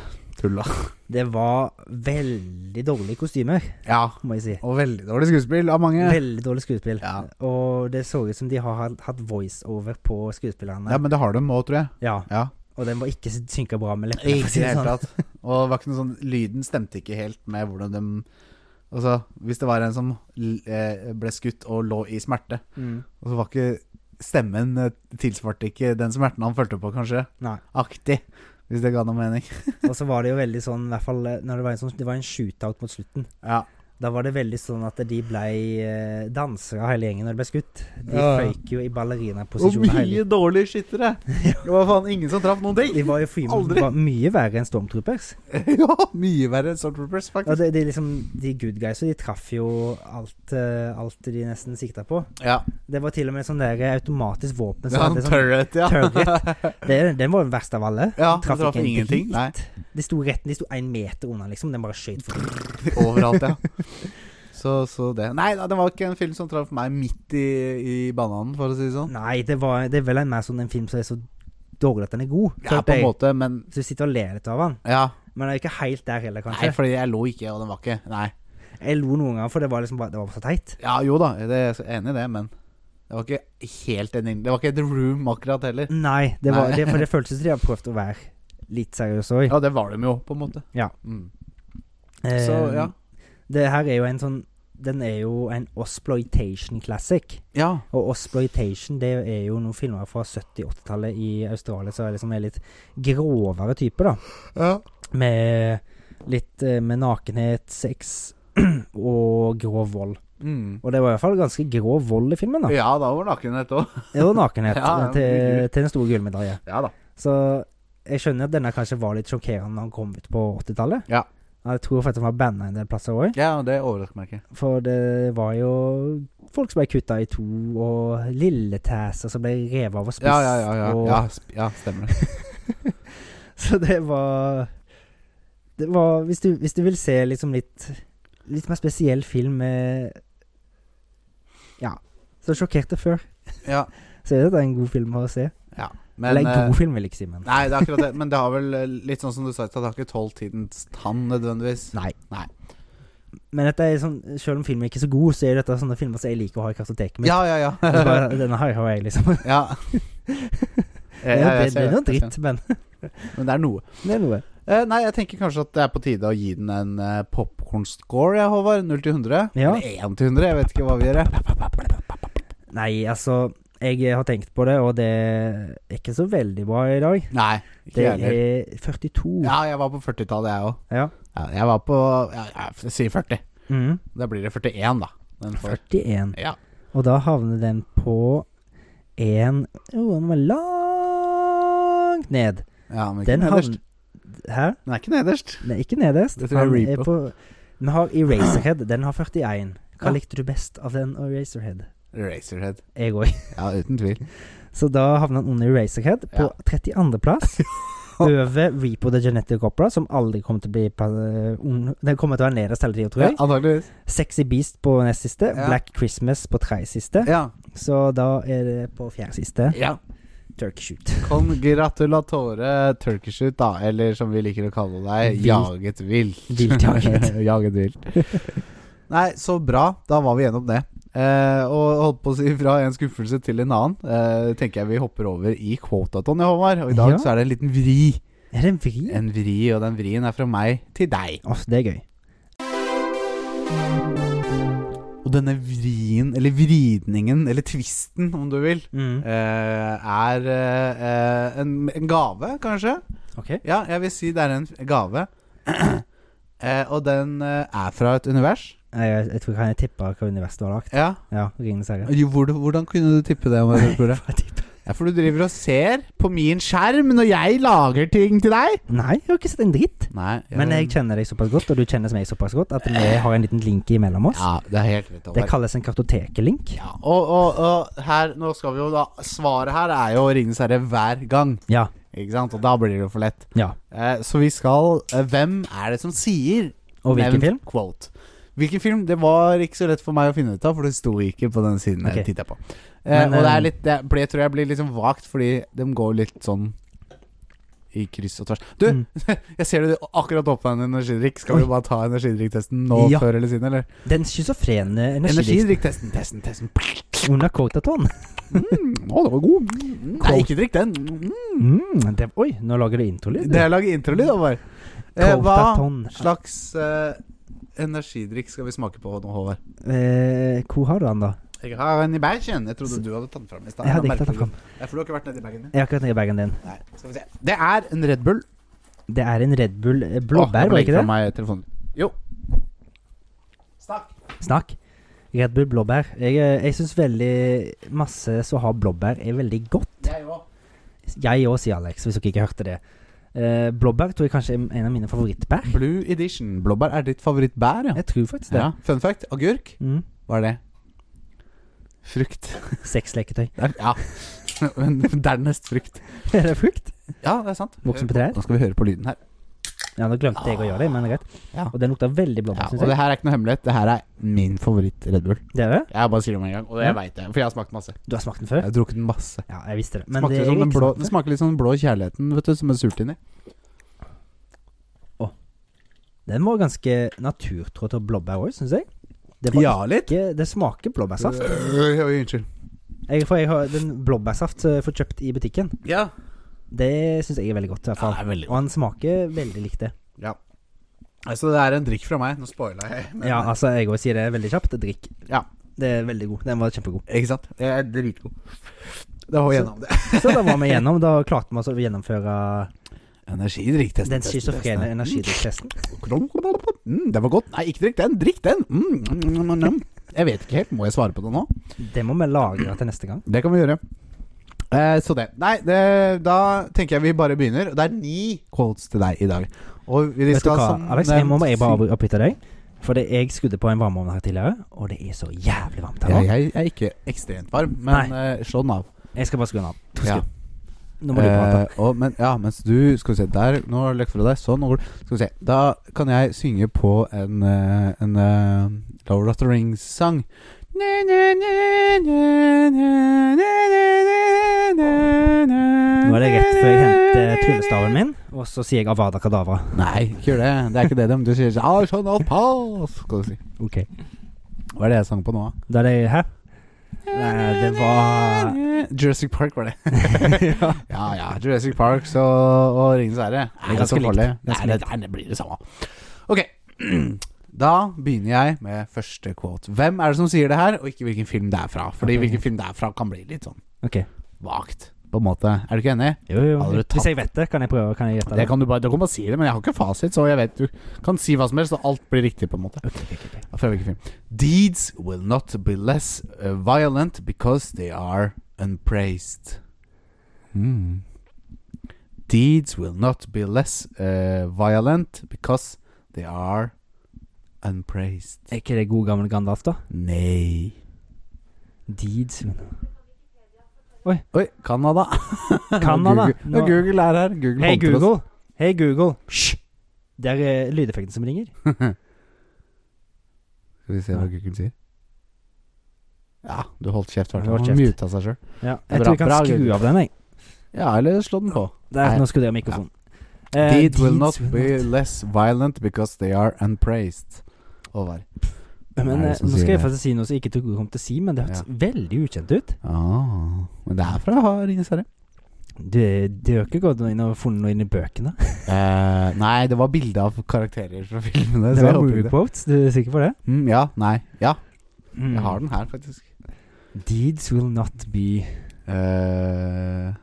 Speaker 1: tull, da.
Speaker 2: Det var veldig dårlige kostymer,
Speaker 1: Ja.
Speaker 2: må jeg si.
Speaker 1: Og veldig dårlig skuespill av mange.
Speaker 2: Veldig dårlig skuespill.
Speaker 1: Ja.
Speaker 2: Og det så ut som de har hatt- hatt voiceover på skuespillerne.
Speaker 1: Ja, men det har de òg, tror jeg.
Speaker 2: Ja,
Speaker 1: Ja.
Speaker 2: Og den var ikke synka bra med leppene. for å
Speaker 1: Ikke
Speaker 2: si
Speaker 1: i det
Speaker 2: det
Speaker 1: hele
Speaker 2: sånn.
Speaker 1: tatt. Og det var ikke noe sånn Lyden stemte ikke helt med hvordan de Altså, hvis det var en som l- eh, ble skutt og lå i smerte,
Speaker 2: Mm.
Speaker 1: og så var ikke stemmen eh, Tilsvarte ikke den smerten han følte på, kanskje.
Speaker 2: Nei.
Speaker 1: Aktig. Hvis det ga noe mening.
Speaker 2: Og så var det jo veldig sånn, i hvert fall eh, når det var en, sånn, det var en shootout mot slutten.
Speaker 1: Ja.
Speaker 2: Da var det veldig sånn at de blei eh, dansere hele gjengen når de ble skutt. De
Speaker 1: Ja, ja.
Speaker 2: føyk jo i
Speaker 1: Og
Speaker 2: ballerinaposisjon. hele-
Speaker 1: mye dårlige skyttere! Det var faen ingen som traff noen
Speaker 2: De
Speaker 1: ting!
Speaker 2: var jo fy-
Speaker 1: Aldri.
Speaker 2: var mye verre enn Stormtroopers.
Speaker 1: ja, mye verre enn Stormtroopers,
Speaker 2: Og
Speaker 1: faktisk.
Speaker 2: det, det er liksom, de good guys de traff jo alt, eh, alt de nesten sikta på.
Speaker 1: Ja,
Speaker 2: Det var til og med sånn der automatisk våpen.
Speaker 1: det
Speaker 2: som
Speaker 1: var
Speaker 2: hadde
Speaker 1: en
Speaker 2: sånn,
Speaker 1: turret, ja.
Speaker 2: Turret. Det, den var den verste av alle.
Speaker 1: ja
Speaker 2: Traff
Speaker 1: det traff
Speaker 2: ikke en
Speaker 1: ingenting.
Speaker 2: drit.
Speaker 1: Nei.
Speaker 2: De sto rett De sto én meter unna, liksom. Den bare skjøt forbi.
Speaker 1: Overalt, ja. Så, så det Nei da, det var ikke en film som traff meg midt i, i bananen, for å si det sånn.
Speaker 2: Nei, det, var, det er vel en mer sånn en film som er så dårlig at den er god.
Speaker 1: Ja,
Speaker 2: følte
Speaker 1: på en
Speaker 2: jeg.
Speaker 1: måte, men
Speaker 2: Så du sitter og ler litt av den.
Speaker 1: Ja.
Speaker 2: Men det er ikke helt der heller,
Speaker 1: Nei,
Speaker 2: kanskje.
Speaker 1: fordi jeg lo ikke, og den var ikke Nei.
Speaker 2: Jeg lo noen ganger, for det var liksom bare Det var så teit.
Speaker 1: Ja, jo da, det jeg er enig i det, men det var ikke helt en inn- Det var ikke The Room akkurat heller.
Speaker 2: Nei, det var,
Speaker 1: Nei.
Speaker 2: Det, for det føltes som de hadde prøvd å være litt seriøse òg.
Speaker 1: Ja, det var de jo, på en måte.
Speaker 2: Ja.
Speaker 1: Mm. Så
Speaker 2: Eh,
Speaker 1: ja.
Speaker 2: Det her er jo en sånn Den er jo en Osploitation classic.
Speaker 1: Ja.
Speaker 2: Og Osploitation det er jo noen filmer fra 70-80-tallet i Australia som er liksom er litt grovere type, da.
Speaker 1: ja.
Speaker 2: Med litt eh, med nakenhet, sex og grov vold.
Speaker 1: Mm.
Speaker 2: Og det var i hvert fall ganske grov vold i filmen, da.
Speaker 1: ja, da var nakenhet òg.
Speaker 2: Det var nakenhet
Speaker 1: Ja,
Speaker 2: eh, til,
Speaker 1: herregud.
Speaker 2: til den store gullmedalje.
Speaker 1: Ja da.
Speaker 2: Så jeg skjønner at denne kanskje var litt sjokkerende da han kom ut på 80-tallet.
Speaker 1: Ja.
Speaker 2: Jeg tror faktisk han var banna en del plasser òg.
Speaker 1: Ja, det overrasker meg ikke.
Speaker 2: For det var jo folk som ble kutta i to, og lilletæser som ble revet av og spist.
Speaker 1: Ja, ja, ja. ja.
Speaker 2: Og,
Speaker 1: Ja, sp ja stemmer det.
Speaker 2: Så det var Det var Hvis du, hvis du vil se liksom litt Litt mer spesiell film med Ja. Så sjokkerte før,
Speaker 1: Ja.
Speaker 2: så er dette en god film å se.
Speaker 1: ja.
Speaker 2: Eller en
Speaker 1: eh,
Speaker 2: god film, vil jeg ikke si, men
Speaker 1: Nei, det er akkurat det. Men det har vel eh, litt sånn som du sa, det har ikke tålt tidens tann nødvendigvis.
Speaker 2: Nei.
Speaker 1: Nei.
Speaker 2: Men dette er sånn, selv om filmen er ikke så god, så er dette sånne filmer som jeg liker å ha i kartoteket mitt.
Speaker 1: Ja, ja, ja.
Speaker 2: Så bare, denne her har jeg, liksom.
Speaker 1: ja.
Speaker 2: Det,
Speaker 1: Ja, jeg
Speaker 2: det,
Speaker 1: ser
Speaker 2: det er noe
Speaker 1: jeg ser
Speaker 2: dritt, men
Speaker 1: Men det er noe.
Speaker 2: det er noe.
Speaker 1: Eh, nei, jeg tenker kanskje at det er på tide å gi den en uh, popkorn-score, ja, Håvard. 0 til 100.
Speaker 2: Ja.
Speaker 1: Eller 1 til 100, jeg vet ikke hva vi gjør. jeg.
Speaker 2: Nei, altså Jeg har tenkt på det, og det er ikke så veldig bra i dag.
Speaker 1: Nei, ikke
Speaker 2: Det
Speaker 1: jeg heller.
Speaker 2: er 42.
Speaker 1: Ja, jeg var på 40-tallet, jeg òg.
Speaker 2: Ja.
Speaker 1: Ja, jeg var på ja, Jeg sier 40.
Speaker 2: Mhm.
Speaker 1: Da blir det 41, da. Den får.
Speaker 2: 41.
Speaker 1: Ja.
Speaker 2: Og da havner den på en Jo, den var langt ned.
Speaker 1: ja, men ikke
Speaker 2: Den
Speaker 1: nederst.
Speaker 2: havn... Hæ?
Speaker 1: Den er ikke nederst.
Speaker 2: Den er ikke nederst.
Speaker 1: Det tror jeg
Speaker 2: Den
Speaker 1: er
Speaker 2: er på Vi har Eraserhead. Den har 41. Hva
Speaker 1: Ja.
Speaker 2: likte du best av den og Eraserhead?
Speaker 1: Razorhead.
Speaker 2: Jeg òg.
Speaker 1: Ja, uten tvil.
Speaker 2: Så da havner den under Eraserhead på
Speaker 1: Ja.
Speaker 2: 32.-plass. Over Repo the Genetic Opera, som aldri kommer til å bli pla- un- Den kommer til å være nederst hele tida, tror
Speaker 1: Ja,
Speaker 2: jeg.
Speaker 1: antakeligvis.
Speaker 2: Sexy Beast på nest siste.
Speaker 1: Ja.
Speaker 2: Black Christmas på tredje siste.
Speaker 1: Ja.
Speaker 2: Så da er det på fjerde siste.
Speaker 1: Ja.
Speaker 2: Turkey shoot.
Speaker 1: Congratulatore turkish ut, da. Eller som vi liker å kalle deg,
Speaker 2: Vilt.
Speaker 1: jaget vilt.
Speaker 2: Viltjaget.
Speaker 1: jaget vilt. Nei, så bra. Da var vi gjennom det. Eh, og holdt på å si fra en skuffelse til en annen. Eh, tenker jeg vi hopper over i quotaton, ja, Håvard. Og i dag
Speaker 2: Ja.
Speaker 1: så er det en liten vri.
Speaker 2: Er det en vri? Åh,
Speaker 1: En vri, og den vrien er fra meg til deg.
Speaker 2: det er gøy.
Speaker 1: Og denne vrien, eller vridningen, eller tvisten, om du vil,
Speaker 2: Mm.
Speaker 1: eh, er eh, eh, en, en gave, kanskje?
Speaker 2: Ok.
Speaker 1: Ja, jeg vil si det er en gave. eh, og den eh, er fra et univers.
Speaker 2: Nei, Jeg, jeg tror kan jeg tippe hva universet du har lagd.
Speaker 1: Ja.
Speaker 2: Ja, Ringenes herre.
Speaker 1: Jo, hvor, hvordan kunne du tippe det? om jeg tror det?
Speaker 2: Hva tippe?
Speaker 1: Ja, For du driver og ser på min skjerm når jeg lager ting til deg.
Speaker 2: Nei, jeg har ikke sett en dritt.
Speaker 1: Nei,
Speaker 2: Men jeg kjenner deg såpass godt, og du kjenner meg såpass godt, at vi har en liten link imellom oss.
Speaker 1: Ja, det er helt rett.
Speaker 2: Det
Speaker 1: Håvard.
Speaker 2: kalles en kartotekelink.
Speaker 1: Ja, og, og, og her, nå skal vi jo da Svaret her er jo Ringenes herre hver gang.
Speaker 2: Ja.
Speaker 1: Ikke sant? Og da blir det jo for lett.
Speaker 2: ja.
Speaker 1: Eh, så vi skal eh, Hvem er det som sier
Speaker 2: Og hvilken
Speaker 1: Nevnt
Speaker 2: film?
Speaker 1: Quote. Hvilken film? Det var ikke så lett for meg å finne ut av, for det sto ikke på den siden
Speaker 2: Ok.
Speaker 1: jeg tittet på. Eh,
Speaker 2: Men,
Speaker 1: og det
Speaker 2: eh,
Speaker 1: er litt Det ble, tror jeg blir litt sånn vagt, fordi de går litt sånn i kryss og tvers. Du,
Speaker 2: Mm.
Speaker 1: jeg ser du akkurat åpna en energidrikk. Skal vi
Speaker 2: Oi.
Speaker 1: bare ta energidrikktesten nå
Speaker 2: Ja.
Speaker 1: før eller siden, eller?
Speaker 2: Den schizofrene energidrikk
Speaker 1: Energidrikktesten, testen, testen.
Speaker 2: under Quotaton.
Speaker 1: Mm, å, det var god. Mm, Nei,
Speaker 2: Quote.
Speaker 1: ikke drikk den. Mm.
Speaker 2: Mm, det, oi, nå lager du introlyd.
Speaker 1: Det er laget introlyd, Håvard. Eh, hva
Speaker 2: Quotaton.
Speaker 1: slags eh, energidrikk skal vi smake på nå, Håvard?
Speaker 2: Eh, hvor har du den, da?
Speaker 1: Jeg har en i bagen. Jeg trodde du hadde tatt den fram i stad.
Speaker 2: Jeg hadde
Speaker 1: Da
Speaker 2: ikke tatt den
Speaker 1: merker
Speaker 2: fram.
Speaker 1: du- Nei, for du har ikke vært nedi bagen min.
Speaker 2: Jeg har ikke vært nede i bagen din.
Speaker 1: Nei, skal vi se. Det er en Red Bull.
Speaker 2: Det er en Red Bull eh,
Speaker 1: Åh, jeg
Speaker 2: blåbær,
Speaker 1: ble
Speaker 2: var det ikke
Speaker 1: fra
Speaker 2: det?
Speaker 1: Meg telefonen. Jo. Snakk.
Speaker 2: Snakk. Red Bull blåbær. Jeg, eh, jeg syns veldig masse som har blåbær, er veldig godt.
Speaker 1: Jeg òg.
Speaker 2: Jeg òg, sier Alex, hvis dere ikke hørte det. Eh, blåbær tror jeg kanskje er en av mine favorittbær.
Speaker 1: Blue Edition. Blåbær er ditt favorittbær, ja.
Speaker 2: Jeg tror faktisk det.
Speaker 1: ja. Fun fact. Agurk.
Speaker 2: Mm.
Speaker 1: Hva er det? Frukt.
Speaker 2: Sexleketøy.
Speaker 1: Der- Ja. Men Dernest frukt.
Speaker 2: Er det frukt?
Speaker 1: Ja, det er sant.
Speaker 2: Voksen på trær?
Speaker 1: Nå skal vi høre på lyden her.
Speaker 2: Ja, nå glemte jeg å gjøre det, men greit.
Speaker 1: Ja.
Speaker 2: Og den lukter veldig
Speaker 1: Ja,
Speaker 2: blåbær,
Speaker 1: og
Speaker 2: syns
Speaker 1: det
Speaker 2: jeg.
Speaker 1: her er ikke noe hemmelighet. Det her er min favoritt-Red Bull.
Speaker 2: Det er det?
Speaker 1: Jeg bare sier det med en gang, og
Speaker 2: Ja.
Speaker 1: jeg veit det. For jeg har smakt masse.
Speaker 2: Du har smakt den
Speaker 1: Jeg
Speaker 2: før?
Speaker 1: har drukket masse.
Speaker 2: Ja, jeg visste det. Men
Speaker 1: Smakte
Speaker 2: det
Speaker 1: det,
Speaker 2: er
Speaker 1: som den
Speaker 2: ikke
Speaker 1: blå,
Speaker 2: smakt
Speaker 1: det
Speaker 2: før.
Speaker 1: smaker litt som den blå kjærligheten, vet du, som er surt inni.
Speaker 2: Den var ganske naturtro til blåbær òg, syns jeg. Det, var
Speaker 1: litt.
Speaker 2: ikke, det smaker blåbærsaft.
Speaker 1: Øh, oi, unnskyld.
Speaker 2: Jeg, for jeg har den blåbærsaft som jeg får kjøpt i butikken.
Speaker 1: Ja.
Speaker 2: Det syns jeg er veldig godt, i hvert fall.
Speaker 1: det er veldig
Speaker 2: Og han smaker veldig likt det.
Speaker 1: Ja. Altså, det er en drikk fra meg. Nå spoila jeg. men-
Speaker 2: Ja, altså, jeg òg sier det veldig kjapt. Drikk.
Speaker 1: Ja.
Speaker 2: Det er veldig god. Den var kjempegod.
Speaker 1: Ikke sant? Jeg er dritgod. Da var vi gjennom det.
Speaker 2: Så da var vi igjennom. Da klarte vi oss å gjennomføre
Speaker 1: Energidrikktesten.
Speaker 2: den schizofrene energidrikktesten.
Speaker 1: Mm, det var godt. Nei, ikke drikk den. Drikk den. Mm, mm, mm, mm, mm. Jeg vet ikke helt. Må jeg svare på det nå?
Speaker 2: Det må vi lagre til neste gang.
Speaker 1: Det kan vi gjøre. Eh, så det. Nei, det, da tenker jeg vi bare begynner. Det er ni quotes til deg i dag. Og vi
Speaker 2: Vet du
Speaker 1: skal
Speaker 2: hva,
Speaker 1: som
Speaker 2: Alex? Jeg må
Speaker 1: nevnt
Speaker 2: jeg bare
Speaker 1: si-
Speaker 2: avbry- avbryte deg. For det, jeg skudde på en varmeovn her tidligere, og det er så jævlig varmt her
Speaker 1: Jeg,
Speaker 2: nå.
Speaker 1: jeg er ikke ekstremt varm, men eh, slå den av.
Speaker 2: Jeg skal bare skru den av. To
Speaker 1: Ja.
Speaker 2: sekunder. Nå må du prate.
Speaker 1: Eh, og, men, ja, mens du Skal vi se der Nå har det løkt fra deg. Sånn. nå går det. Skal vi se. Da kan jeg synge på en, eh, en eh, Lord of the Rings-sang. Nå
Speaker 2: Nå er det rett før jeg henter tryllestaven min, og så sier jeg Avada Kadavra.
Speaker 1: Nei, ikke gjør det. Det er ikke det de Du sier ah, sånn, alt pass, skal du si.
Speaker 2: Ok.
Speaker 1: Hva er det jeg sang på nå, da?
Speaker 2: Da er det Hæ? Nei, det var-
Speaker 1: Jurassic Park, var det. ja. ja Jurassic Park så, og Ringens herre.
Speaker 2: Det er ganske
Speaker 1: så farlig?
Speaker 2: likt. Ganske
Speaker 1: Nei, det, nei, det blir det samme. Ok. Da begynner jeg med første quote. Hvem er det som sier det her, og ikke hvilken film det er fra? Fordi
Speaker 2: Ok.
Speaker 1: hvilken film det er fra, kan bli litt sånn
Speaker 2: Ok.
Speaker 1: vagt, på en måte. Er du ikke enig?
Speaker 2: Jo, jo.
Speaker 1: Hadde du tatt-
Speaker 2: Hvis jeg vet det, kan jeg prøve? Kan jeg gjette
Speaker 1: Det kan du bare, du kan bare si det, men jeg har ikke fasit, så jeg vet du kan si hva som helst, og alt blir riktig, på en måte.
Speaker 2: Ok, ok, ok.
Speaker 1: Fra hvilken film? Deeds will not be less uh, violent because they are unpraised. Mm. Deeds will not be less uh, violent because they are unpraised.
Speaker 2: Er ikke det god gammel Gandalf, da?
Speaker 1: Nei.
Speaker 2: Deeds
Speaker 1: Oi, Canada.
Speaker 2: Canada.
Speaker 1: Google, ja, Google er her. Google
Speaker 2: Hei,
Speaker 1: håndter oss.
Speaker 2: Google. Hei, Google. Hysj! Det er eh, lydeffekten som ringer.
Speaker 1: Skal vi se hva Google sier. Ja, du holdt kjeft, hvertfall.
Speaker 2: Holdt
Speaker 1: Han
Speaker 2: kjeft.
Speaker 1: muta seg sjøl.
Speaker 2: Ja,
Speaker 1: Det er bra.
Speaker 2: jeg tror jeg kan
Speaker 1: Bra,
Speaker 2: skru
Speaker 1: Gud.
Speaker 2: av den, jeg.
Speaker 1: Ja, eller slå den på.
Speaker 2: Der,
Speaker 1: Nei.
Speaker 2: nå skrudde jeg av mikrofonen. Eh,
Speaker 1: Deeds will not
Speaker 2: will
Speaker 1: be
Speaker 2: not-
Speaker 1: less violent because they are unpraised. Håvard.
Speaker 2: Men
Speaker 1: Nei,
Speaker 2: eh,
Speaker 1: det som
Speaker 2: nå
Speaker 1: sier
Speaker 2: skal jeg
Speaker 1: det.
Speaker 2: faktisk si noe som jeg ikke trodde jeg kom til å si, men det hørtes veldig ukjent ut.
Speaker 1: Ah, men det er fra Ringenes herre.
Speaker 2: Det det har ikke gått inn og funnet noe inn i bøkene.
Speaker 1: Eh, nei, det var bilde av karakterer fra filmene.
Speaker 2: Det
Speaker 1: så jeg
Speaker 2: var
Speaker 1: håper
Speaker 2: movie
Speaker 1: ikke det.
Speaker 2: quotes, du er sikker på det? Mm.
Speaker 1: Mm, ja, nei. Ja, jeg har den her, faktisk.
Speaker 2: Deeds will not be
Speaker 1: Eh,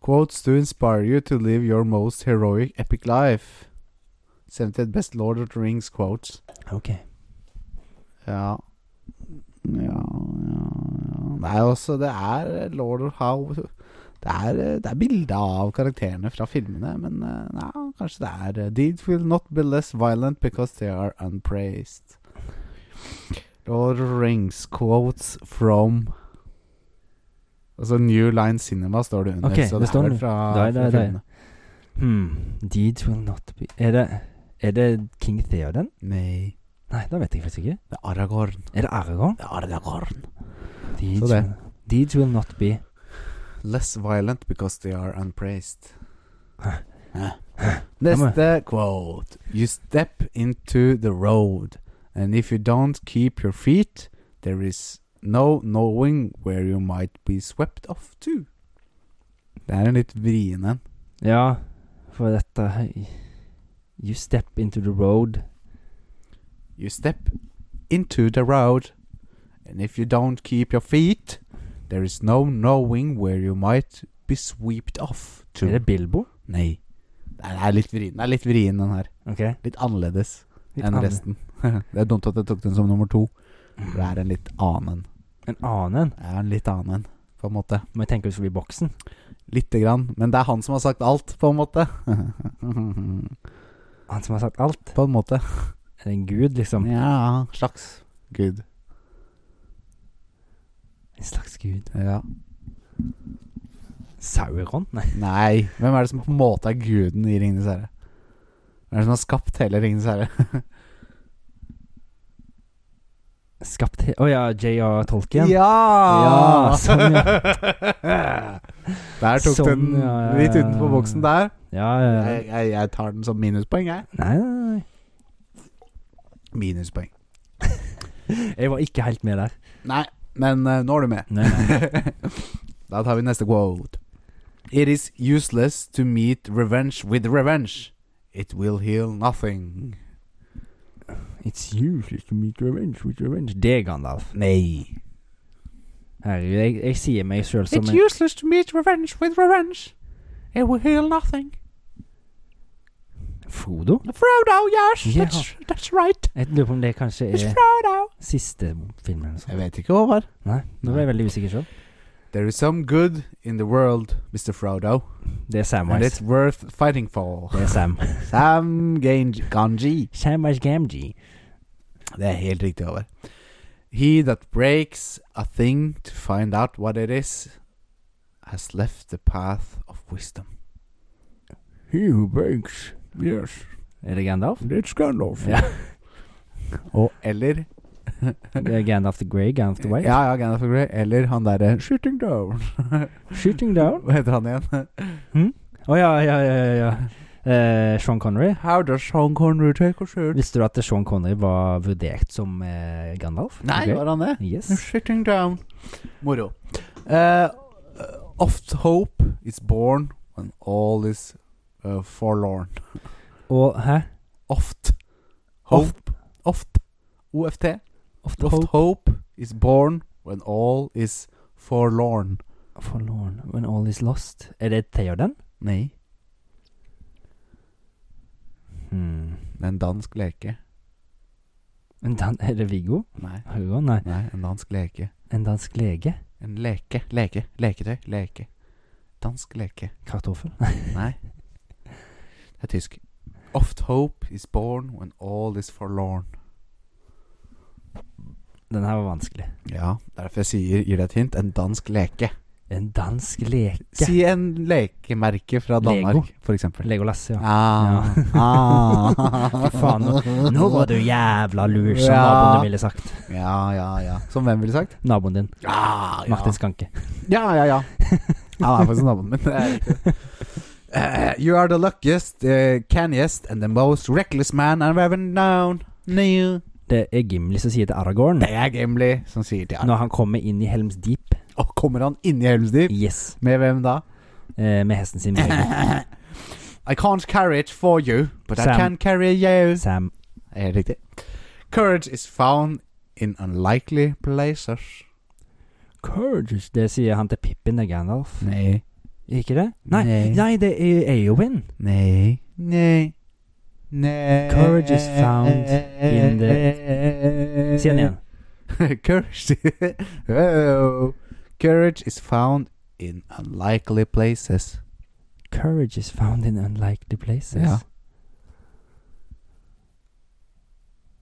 Speaker 1: quotes to inspire you to live your most heroic epic life. 70 best Lord of the Rings quotes.
Speaker 2: Ok.
Speaker 1: Ja Ja, ja, ja. Nei, altså, det er Lord of How Det er, eh, det er bilde av karakterene fra filmene, men eh, nei, kanskje det er eh, Deeds will not be less violent because they are unpraised. Lord of the Rings quotes from Altså New Line Cinema står det under,
Speaker 2: Ok,
Speaker 1: så
Speaker 2: det
Speaker 1: det,
Speaker 2: står
Speaker 1: er vel
Speaker 2: den.
Speaker 1: fra,
Speaker 2: Der,
Speaker 1: fra
Speaker 2: der, der.
Speaker 1: filmene.
Speaker 2: Hmm. Deeds will not be Er det, er det King Theoden?
Speaker 1: Nei,
Speaker 2: Nei, da vet jeg faktisk ikke.
Speaker 1: det er Aragorn.
Speaker 2: Er det Aragorn?
Speaker 1: Det er Aragorn.
Speaker 2: Deeds,
Speaker 1: Så det.
Speaker 2: Will, deeds will not be
Speaker 1: Less violent because they are unpraised.
Speaker 2: Hæ?
Speaker 1: Hæ?
Speaker 2: Ja, men-
Speaker 1: Neste quote. You step into the road, and if you don't keep your feet, there is no knowing where you might be swept off to. Det er en litt vrien en.
Speaker 2: Ja, for dette You step into the road.
Speaker 1: You step into the road, and if you don't keep your feet, there is no knowing where you might be swept off to.
Speaker 2: Er det Bilbo?
Speaker 1: Nei. Det er litt vrien, det er litt vrien den her.
Speaker 2: Ok.
Speaker 1: Litt annerledes.
Speaker 2: Litt
Speaker 1: enn
Speaker 2: annen-
Speaker 1: resten. det er dumt at jeg tok den som nummer to. For det
Speaker 2: Mm.
Speaker 1: er en litt annen en.
Speaker 2: En annen en.
Speaker 1: Det er en litt annen en, på en måte.
Speaker 2: Må jeg tenke ut forbi boksen.
Speaker 1: Lite grann. Men det er han som har sagt alt, på en måte.
Speaker 2: Han som har sagt alt.
Speaker 1: på en måte.
Speaker 2: Er det en gud, liksom?
Speaker 1: Ja, slags gud.
Speaker 2: En slags gud.
Speaker 1: Ja.
Speaker 2: Sauron? Nei.
Speaker 1: Nei, hvem er det som på en måte er guden i Ringenes herre? Hvem er det som har skapt hele Ringenes herre?
Speaker 2: Skapt he... Å ja, J.R. Tolkien.
Speaker 1: Ja!
Speaker 2: Ja, sånn,
Speaker 1: Der tok
Speaker 2: Sånn,
Speaker 1: den
Speaker 2: ja, ja,
Speaker 1: litt
Speaker 2: ja.
Speaker 1: utenfor boksen der.
Speaker 2: ja, ja, ja.
Speaker 1: Jeg, jeg, jeg tar den som minuspoeng, jeg.
Speaker 2: Nei, nei,
Speaker 1: Minuspoeng.
Speaker 2: nei. Jeg var ikke helt med der.
Speaker 1: Nei, men eh, nå er du med.
Speaker 2: Nei, nei.
Speaker 1: da tar vi neste quote. It is useless to meet revenge with revenge. It will heal nothing.
Speaker 2: It's useless to meet revenge with revenge. Det er Gandalf.
Speaker 1: Nei.
Speaker 2: Herregud, jeg, jeg sier meg sjøl som
Speaker 1: It's
Speaker 2: en
Speaker 1: useless to meet revenge with revenge. It will heal nothing.
Speaker 2: Frodo.
Speaker 1: Frodo, yes.
Speaker 2: Ja.
Speaker 1: That's, that's right.
Speaker 2: Jeg lurer på om det kanskje
Speaker 1: It's
Speaker 2: er
Speaker 1: Frodo.
Speaker 2: siste filmen
Speaker 1: Eh,
Speaker 2: eller noe
Speaker 1: Jeg
Speaker 2: sånt.
Speaker 1: vet ikke, Håvard.
Speaker 2: Nei, nå ble jeg veldig usikker sjøl.
Speaker 1: There is some good in the world, Mr. Frodo.
Speaker 2: Det er
Speaker 1: And
Speaker 2: Samwise.
Speaker 1: it's worth fighting for.
Speaker 2: Det er Sam.
Speaker 1: Sam Gange Ganji.
Speaker 2: Samwise Gamgee.
Speaker 1: Det er helt riktig over. He that breaks a thing to find out what it is, has left the path of wisdom.
Speaker 2: He who breaks.
Speaker 1: Yes,
Speaker 2: Er det Gandalf?
Speaker 1: it's Gandalf.
Speaker 2: Ja.
Speaker 1: Og eller
Speaker 2: Det er Gandalf the Grey, Gandalf the White.
Speaker 1: Ja, ja, Gandalf the Grey. Eller han derre Shooting Down.
Speaker 2: Shooting down.
Speaker 1: Hva heter han igjen?
Speaker 2: Å ja, ja, ja. ja, ja. Eh, Sean Connery.
Speaker 1: How does Sean Connery take a shoot?
Speaker 2: Visste du at Sean Connery var vurdert som eh, Gandalf?
Speaker 1: Nei,
Speaker 2: Ok.
Speaker 1: var han det?
Speaker 2: Yes.
Speaker 1: Shooting Down. Moro. Eh, oft hope is born when all is eh, forlorn.
Speaker 2: Og hæ?
Speaker 1: Oft. Hope. Oft. OFT.
Speaker 2: Ofte
Speaker 1: Oft hope. is born when all is forlorn.
Speaker 2: Forlorn when all is lost. Er det Theoden?
Speaker 1: Nei.
Speaker 2: Hmm.
Speaker 1: Det er en dansk leke.
Speaker 2: En dan er det Viggo?
Speaker 1: Nei.
Speaker 2: Høyre? Nei.
Speaker 1: Nei, en dansk leke.
Speaker 2: En dansk lege?
Speaker 1: En leke. Leke. Leketøy. Leke. Dansk leke.
Speaker 2: Kartoffel?
Speaker 1: Nei. Det er tysk. Oft hope is born when all is forlorn.
Speaker 2: Den her var vanskelig.
Speaker 1: Ja, derfor jeg sier, gir det et hint. En dansk leke.
Speaker 2: En dansk leke.
Speaker 1: Si en lekemerke fra
Speaker 2: Lego.
Speaker 1: Danmark, for eksempel.
Speaker 2: Legolas, ja.
Speaker 1: Ah, ah.
Speaker 2: Fy faen, nå- Nå var du jævla lur, som
Speaker 1: Ja.
Speaker 2: naboen din ville sagt.
Speaker 1: Ja, ja, ja. Som hvem ville sagt?
Speaker 2: Naboen din,
Speaker 1: Ah, ja.
Speaker 2: Martin Skanke.
Speaker 1: Ja, ja, ja. Han er faktisk naboen min. Det er riktig. Eh, you are the luckiest, uh, canniest and the most reckless man I've ever known. Neil.
Speaker 2: Det er Gimli som sier til Aragorn
Speaker 1: Det er Gimli som sier til ham.
Speaker 2: når han kommer inn i Helms Deep
Speaker 1: Og kommer han inn i Helms Deep?
Speaker 2: Yes,
Speaker 1: Med hvem da?
Speaker 2: eh, med hesten sin. Mjølby.
Speaker 1: I can't carry it for you, but I
Speaker 2: Sam.
Speaker 1: can carry you.
Speaker 2: Sam.
Speaker 1: Helt riktig. Er Courage is found in unlikely places.
Speaker 2: Courage. Det sier han til Pippin og Gandalf.
Speaker 1: Nei.
Speaker 2: Ikke det? Nei,
Speaker 1: Nei.
Speaker 2: nei det er Eowyn.
Speaker 1: Nei. Nei. Nei.
Speaker 2: Courage is found in
Speaker 1: the
Speaker 2: Si den igjen.
Speaker 1: Courage oh. Courage is found in unlikely places.
Speaker 2: Courage is found in unlikely places.
Speaker 1: Ja.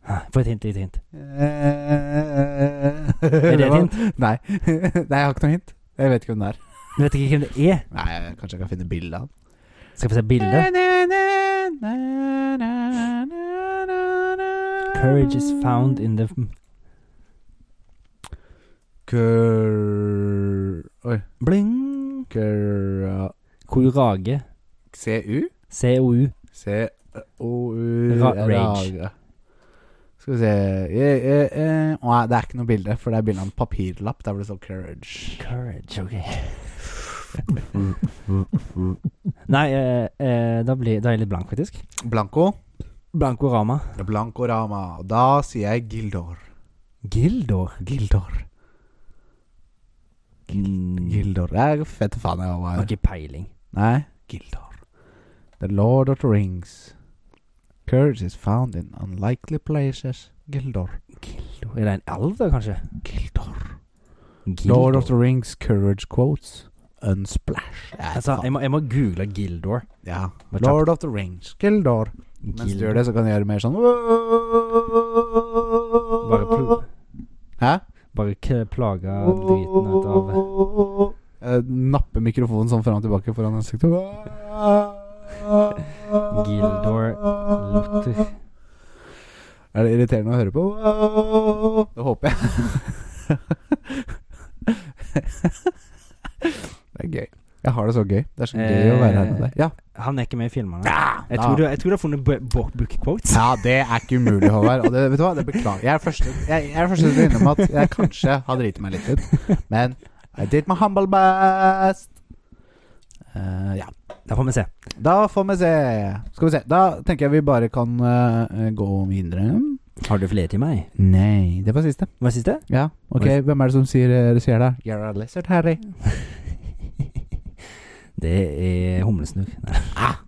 Speaker 2: Ah, Få et hint, litt hint.
Speaker 1: Er
Speaker 2: det et hint?
Speaker 1: Nei. Nei, jeg har ikke noe hint. Jeg vet ikke hvem det er.
Speaker 2: Men vet ikke hvem det er.
Speaker 1: Nei, jeg- Kanskje jeg kan finne bilde av
Speaker 2: Skal vi se bildet? Courage is found in the
Speaker 1: Cur... Oi.
Speaker 2: Bling!
Speaker 1: Cur...
Speaker 2: Kourage.
Speaker 1: CU?
Speaker 2: COU.
Speaker 1: C-O-U
Speaker 2: Ra- rage.
Speaker 1: Skal vi se eh, eh, eh. Nei, det er ikke noe bilde, for det er bilde av en papirlapp. Der hvor det står 'courage'.
Speaker 2: Courage, ok. Nei, eh, eh, da, blir, da er jeg litt blank, faktisk.
Speaker 1: Blanco.
Speaker 2: Blankorama.
Speaker 1: Blanco Rama. Og da sier jeg Gildor.
Speaker 2: Gildor.
Speaker 1: Gildor.
Speaker 2: Gildor.
Speaker 1: Gildor. Jeg er fett faen jeg var.
Speaker 2: Har ikke peiling.
Speaker 1: Nei, Gildor. The Lord of the Rings. Courage is found in unlikely places. Gildor.
Speaker 2: Gildor. Er det en elv, da, kanskje?
Speaker 1: Gildor. Lord
Speaker 2: Gildor.
Speaker 1: of the Rings courage quotes. Unsplash. Ja,
Speaker 2: Altså,
Speaker 1: faen.
Speaker 2: jeg må, jeg må google Gildor.
Speaker 1: ja.
Speaker 2: Bare kjapt.
Speaker 1: Lord of the Rings. Gildor. Mens du gjør det, så kan du gjøre mer sånn
Speaker 2: Bare, pl
Speaker 1: Hæ?
Speaker 2: bare k- plage driten ut av
Speaker 1: Eh, Nappe mikrofonen sånn fram og tilbake foran ansiktet.
Speaker 2: Gildor Luther.
Speaker 1: Er det irriterende å høre på? Det håper jeg. det er gøy. Jeg har det så gøy. Det er så gøy å være her med deg. Ja.
Speaker 2: Han er ikke med i filmene.
Speaker 1: da.
Speaker 2: Jeg tror, du, jeg tror du har funnet bu- bu- book quotes.
Speaker 1: ja, det er ikke umulig, Håvard. Og det, vet du hva, det beklager jeg. er første- Jeg jeg er første til å innrømme at jeg kanskje har driti meg litt ut. Men I did my humble best. Eh, ja.
Speaker 2: Da får vi se.
Speaker 1: Da får vi se. Skal vi se. Da tenker jeg vi bare kan eh, gå videre.
Speaker 2: Har du flere til meg?
Speaker 1: Nei, det var siste.
Speaker 2: Hva er siste?
Speaker 1: Ja, ok,
Speaker 2: Oi.
Speaker 1: hvem er det som sier eh, det sier det? You're a lizard, Harry.
Speaker 2: Det er humlesnurr. Nei.
Speaker 1: Ah.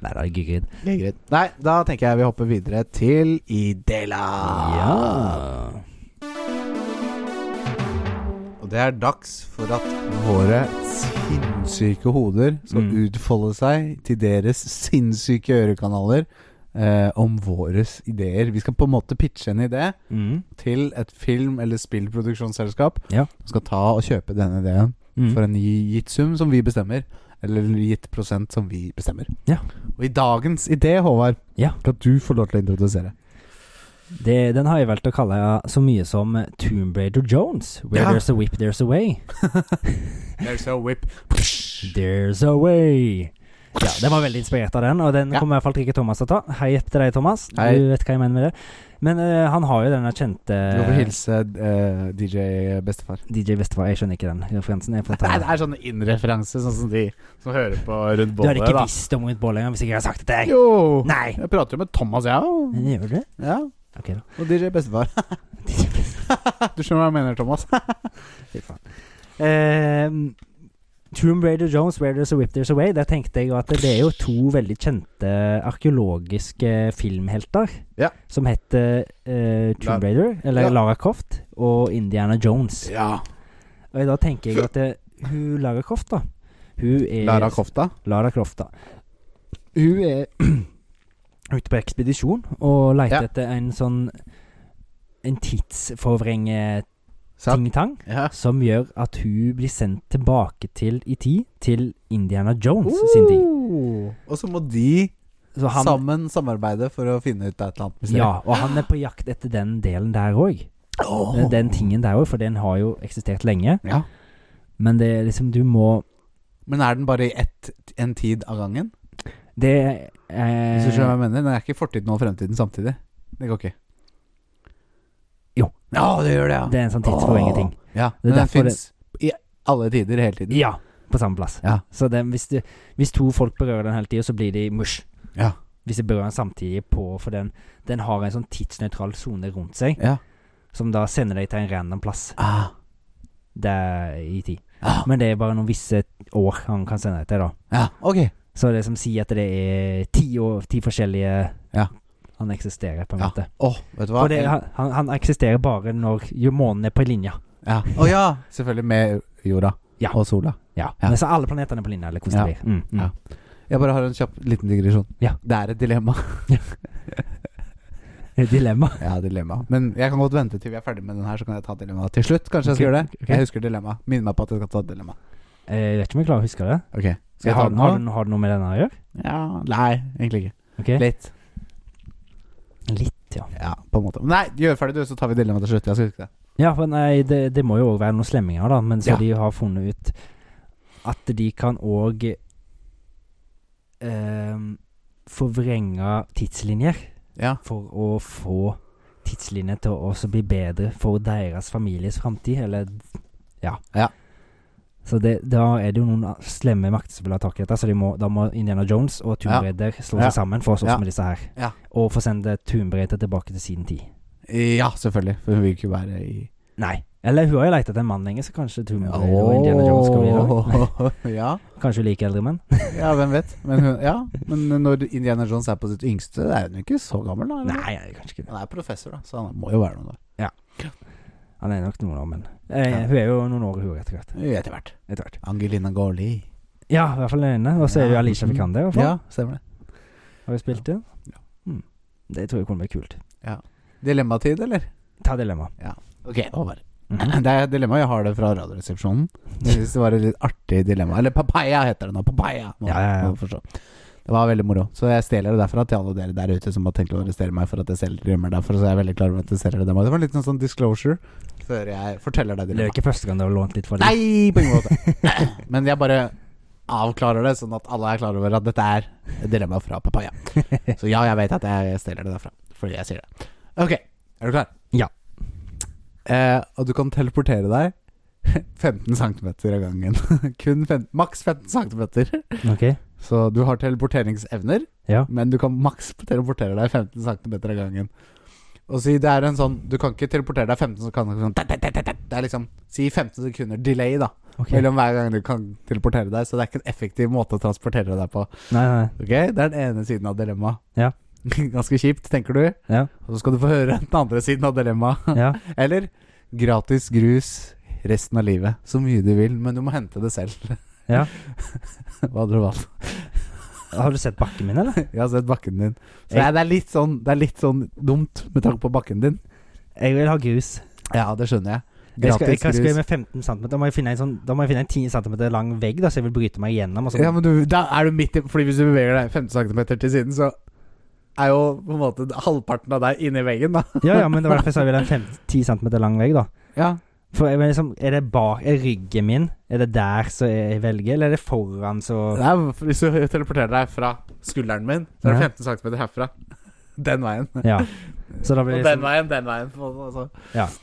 Speaker 2: Nei, det er gygrid.
Speaker 1: Det er greit. Nei, da tenker jeg vi hopper videre til Idela.
Speaker 2: Ja.
Speaker 1: Og det er dags for at våre sinnssyke hoder skal
Speaker 2: Mm.
Speaker 1: utfolde seg til deres sinnssyke ørekanaler eh, om våres ideer. Vi skal på en måte pitche en idé
Speaker 2: Mm.
Speaker 1: til et film- eller spillproduksjonsselskap
Speaker 2: Ja.
Speaker 1: som skal ta og kjøpe denne ideen
Speaker 2: Mm.
Speaker 1: for en gi- gitt sum som vi bestemmer. Eller en gitt prosent som vi bestemmer.
Speaker 2: Ja.
Speaker 1: Og i dagens idé, Håvard,
Speaker 2: Ja.
Speaker 1: skal du få lov til å introdusere.
Speaker 2: Det, den har jeg valgt å kalle så mye som Tomb Raider Jones. Where
Speaker 1: Ja.
Speaker 2: there's a whip, there's a way.
Speaker 1: There's a whip.
Speaker 2: There's a way. Ja, den var veldig inspirert av den, og den
Speaker 1: Ja.
Speaker 2: kommer i hvert fall ikke Thomas til å ta. Hei til deg, Thomas.
Speaker 1: Hei.
Speaker 2: Du vet hva jeg mener med det. Men eh, han har jo denne kjente
Speaker 1: Du får hilse eh, DJ Bestefar.
Speaker 2: DJ Vestfold. Jeg skjønner ikke den referansen. Jeg får ta
Speaker 1: Nei,
Speaker 2: den.
Speaker 1: det er sånn innreferanse, sånn som de som hører på rundt
Speaker 2: Du hadde
Speaker 1: bålet.
Speaker 2: ikke
Speaker 1: da.
Speaker 2: visst om Ruth Bolle engang hvis ikke jeg hadde sagt det til deg.
Speaker 1: Jo!
Speaker 2: Nei.
Speaker 1: Jeg prater jo med Thomas, jeg
Speaker 2: Men
Speaker 1: òg.
Speaker 2: Gjør du det?
Speaker 1: Ja.
Speaker 2: Ok, da.
Speaker 1: Og DJ Bestefar. du skjønner hva jeg mener, Thomas?
Speaker 2: Fy faen. Ehm, Tomb Raider Jones, Where There's a Whip There's a Way. Der tenkte jeg jo at det er jo to veldig kjente arkeologiske filmhelter.
Speaker 1: Ja.
Speaker 2: Som heter eh, Tomb
Speaker 1: La-
Speaker 2: Raider, eller
Speaker 1: Ja.
Speaker 2: Lara Croft, og Indiana Jones.
Speaker 1: ja.
Speaker 2: Og da tenker jeg at det, hun Lara Croft, da Hun er
Speaker 1: Lara Kofta.
Speaker 2: Lara Croft, da. Hun er ute på ekspedisjon og leter
Speaker 1: Ja.
Speaker 2: etter en sånn En tidsforvrenge
Speaker 1: Sant?
Speaker 2: ting-tang
Speaker 1: Ja.
Speaker 2: som gjør at hun blir sendt tilbake til i tid, til Indiana Jones sin tid.
Speaker 1: Oh, Og så må de
Speaker 2: Så han,
Speaker 1: sammen samarbeide for å finne ut et eller annet mysterium.
Speaker 2: ja, og han er på jakt etter den delen der òg.
Speaker 1: Åh.
Speaker 2: Eh, Den tingen der òg, for den har jo eksistert lenge.
Speaker 1: Ja.
Speaker 2: Men det er liksom, du må
Speaker 1: Men er den bare i ett, en tid av gangen?
Speaker 2: Det er eh,
Speaker 1: Hvis du skjønner hva jeg mener? Den er ikke fortiden og fremtiden samtidig. Det går ikke.
Speaker 2: Jo.
Speaker 1: Ja, det gjør det, ja.
Speaker 2: Det er en sånn tidsforvrengeting.
Speaker 1: Ja,
Speaker 2: Det er
Speaker 1: men den
Speaker 2: derfor
Speaker 1: fins i alle tider hele tiden.
Speaker 2: Ja, på samme plass.
Speaker 1: Ja.
Speaker 2: Så det, hvis, du, hvis to folk berører den hele tida, så blir de mush.
Speaker 1: Ja.
Speaker 2: Hvis de berører den samtidig på For den, den har en sånn tidsnøytral sone rundt seg,
Speaker 1: Ja.
Speaker 2: som da sender deg til en random plass
Speaker 1: Ah.
Speaker 2: der i tid.
Speaker 1: Ah.
Speaker 2: Men det er bare noen visse år han kan sende deg til, da.
Speaker 1: ja, ok.
Speaker 2: Så det som sier at det er ti, år, ti forskjellige
Speaker 1: Ja.
Speaker 2: Han eksisterer, på en
Speaker 1: Ja.
Speaker 2: måte.
Speaker 1: Åh, vet du hva?
Speaker 2: For det, han, han- han eksisterer bare når jo månen er på linje.
Speaker 1: ja. Å ja! Selvfølgelig med jorda
Speaker 2: Ja.
Speaker 1: og sola.
Speaker 2: Ja.
Speaker 1: Ja.
Speaker 2: Men så alle planetene er på linje, eller hvordan
Speaker 1: Ja.
Speaker 2: det blir. Mm, mm.
Speaker 1: Ja. Jeg bare har en kjapp liten digresjon.
Speaker 2: Ja.
Speaker 1: Det er et dilemma.
Speaker 2: Dilemma.
Speaker 1: Ja, dilemma. Men jeg kan godt vente til vi er ferdig med den her, så kan jeg ta dilemmaet til slutt. Kanskje jeg skal gjøre det?
Speaker 2: Ok.
Speaker 1: Jeg husker dilemma. Minn meg på at jeg skal ta dilemma.
Speaker 2: Eh, Jeg vet ikke om jeg klarer å huske det.
Speaker 1: Ok, Skal jeg ta
Speaker 2: har,
Speaker 1: den nå?
Speaker 2: har, du, har du noe med denne å gjøre?
Speaker 1: Ja, Nei, egentlig ikke.
Speaker 2: Ok.
Speaker 1: Litt.
Speaker 2: Litt, ja.
Speaker 1: Ja, på en måte. Nei, gjør ferdig du, så tar vi dilemmaet til slutt. Jeg skal huske det.
Speaker 2: Ja, for nei, det, det må jo òg være noen slemminger, da. Men så
Speaker 1: Ja.
Speaker 2: de har funnet ut at de kan òg eh, forvrenge tidslinjer
Speaker 1: Ja.
Speaker 2: for å få tidslinjer til å også bli bedre for deres families framtid, eller Ja.
Speaker 1: Ja.
Speaker 2: Så det, da er det jo noen slemme makter som vil ha tak i dette, så de må, da må Indiana Jones
Speaker 1: Ja.
Speaker 2: og Tomb Raider slå
Speaker 1: Ja.
Speaker 2: seg sammen for å slåss
Speaker 1: Ja.
Speaker 2: med disse her.
Speaker 1: Ja.
Speaker 2: Og få sende Tomb Raider tilbake til sin tid.
Speaker 1: ja, selvfølgelig. For hun vil ikke være i
Speaker 2: Nei. Eller hun har jo leit etter en mann lenge, så kanskje Tomb Raider og Indiana Jones skal bli det.
Speaker 1: Åh, ja.
Speaker 2: Kanskje hun liker eldre menn.
Speaker 1: ja, hvem vet. Men, hun, ja. Men når Indiana Jones er på sitt yngste, er hun ikke så gammel, da? eller?
Speaker 2: Nei, jeg er kanskje ikke det.
Speaker 1: Han er professor, da, så han må jo være noe, da.
Speaker 2: Han er nok noen år, men eh,
Speaker 1: Ja.
Speaker 2: Hun er jo noen år, hun, etter hvert.
Speaker 1: Etter hvert.
Speaker 2: Etter hvert.
Speaker 1: Angelina Gaarli.
Speaker 2: Ja, i hvert fall den ene. Og så er det jo
Speaker 1: Ja.
Speaker 2: Alicia Vikander, i hvert fall.
Speaker 1: Ja, stemmer det.
Speaker 2: Har vi spilt det? Mm. Det tror jeg kunne bli kult.
Speaker 1: Dilemmatid, eller?
Speaker 2: Ta dilemma.
Speaker 1: Ok, over.
Speaker 2: Mhm.
Speaker 1: Det er et dilemma. Jeg har det fra Radioresepsjonen. Jeg synes det var et litt artig dilemma. Eller Papaya heter det nå. Papaya! Må,
Speaker 2: Ja, ja, ja.
Speaker 1: må du forstå. Det var veldig moro. Så jeg stjeler det derfra til alle dere der ute som har tenkt å arrestere meg for at jeg selv rømmer derfra. Så jeg er veldig klar over at jeg selger det dem. Det var en liten sånn disclosure før jeg forteller deg
Speaker 2: Det er jo
Speaker 1: dilemmaet.
Speaker 2: ikke første gang du har lånt litt fra dem.
Speaker 1: Nei, på ingen måte. Men jeg bare avklarer det, sånn at alle er klar over at dette er et dilemma fra Papaya. Så ja, jeg vet at jeg stjeler det derfra, fordi jeg sier det. Ok, er du klar?
Speaker 2: Ja.
Speaker 1: Eh, og du kan teleportere deg 15 cm av gangen. Kun fem, maks 15 cm.
Speaker 2: Ok.
Speaker 1: Så du har teleporteringsevner,
Speaker 2: Ja.
Speaker 1: men du kan maks teleportere deg 15 cm av gangen. Og si det er en sånn Du kan ikke teleportere deg 15 sekunder sånn, tett, tett, tett, tett, tett. Det er liksom Si 15 sekunder delay, da
Speaker 2: ok
Speaker 1: mellom hver gang du kan teleportere deg, så det er ikke en effektiv måte å transportere deg på.
Speaker 2: Nei, nei.
Speaker 1: Ok, Det er den ene siden av dilemmaet.
Speaker 2: Ja.
Speaker 1: Ganske kjipt, tenker du.
Speaker 2: Ja.
Speaker 1: Og så skal du få høre den andre siden av dilemmaet.
Speaker 2: Ja.
Speaker 1: Eller gratis grus resten av livet. Så mye du vil, men du må hente det selv.
Speaker 2: Ja.
Speaker 1: Hva hadde du valgt?
Speaker 2: Har du sett bakken min, eller?
Speaker 1: Jeg har sett bakken din. Så det
Speaker 2: Jeg-
Speaker 1: er, det er litt sånn, det er litt sånn dumt med tanke på bakken din.
Speaker 2: Jeg vil ha grus.
Speaker 1: Ja, det skjønner jeg.
Speaker 2: Jeg skal, jeg
Speaker 1: Gratis
Speaker 2: skal skrive
Speaker 1: grus.
Speaker 2: med 15 cm. Da må jeg finne en, sånn, da må jeg finne en 10 cm lang vegg da, så jeg vil bryte meg igjennom. Og sånn. så,
Speaker 1: Ja, men du, da er du midt i Fordi hvis du beveger deg 15 cm til siden, så er jo på en måte halvparten av deg inni veggen, da.
Speaker 2: ja, ja, men det var derfor jeg sa jeg ville ha en 5 10 cm lang vegg, da.
Speaker 1: Ja.
Speaker 2: For jeg vil liksom, Er det bak Er ryggen min? Er det der så jeg velger, eller er det foran så
Speaker 1: Nei, for hvis du teleporterer deg fra skulderen min, så er det
Speaker 2: Ja.
Speaker 1: 15 cm herfra. Den veien.
Speaker 2: Ja. Så da
Speaker 1: Og
Speaker 2: blir det
Speaker 1: den
Speaker 2: liksom,
Speaker 1: veien, den veien. på en måte, altså.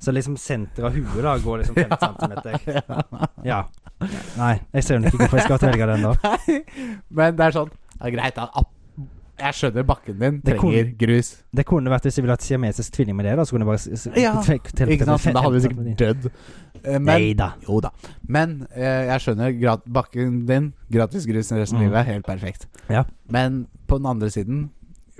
Speaker 2: så liksom senteret av huet da går liksom 15 cm. Ja. Nei, jeg ser jo ikke hvorfor jeg skal velge den, da.
Speaker 1: Nei, men det er sånn ja, Greit, da. app- Jeg skjønner bakken din
Speaker 2: Det er cool.
Speaker 1: trenger grus.
Speaker 2: Det kunne vært hvis jeg ville hatt siamesisk tvilling med det, da, så kunne jeg bare s- s-
Speaker 1: Ja,
Speaker 2: tre- telle
Speaker 1: Ikke
Speaker 2: til
Speaker 1: sant? Da hadde vi
Speaker 2: 15
Speaker 1: sikkert
Speaker 2: centimeter.
Speaker 1: dødd. Eh, Men
Speaker 2: Nei da.
Speaker 1: Jo da. Men eh, jeg skjønner grat bakken din. Gratis grus i resten av
Speaker 2: Mm.
Speaker 1: livet. Helt perfekt.
Speaker 2: Ja.
Speaker 1: Men på den andre siden,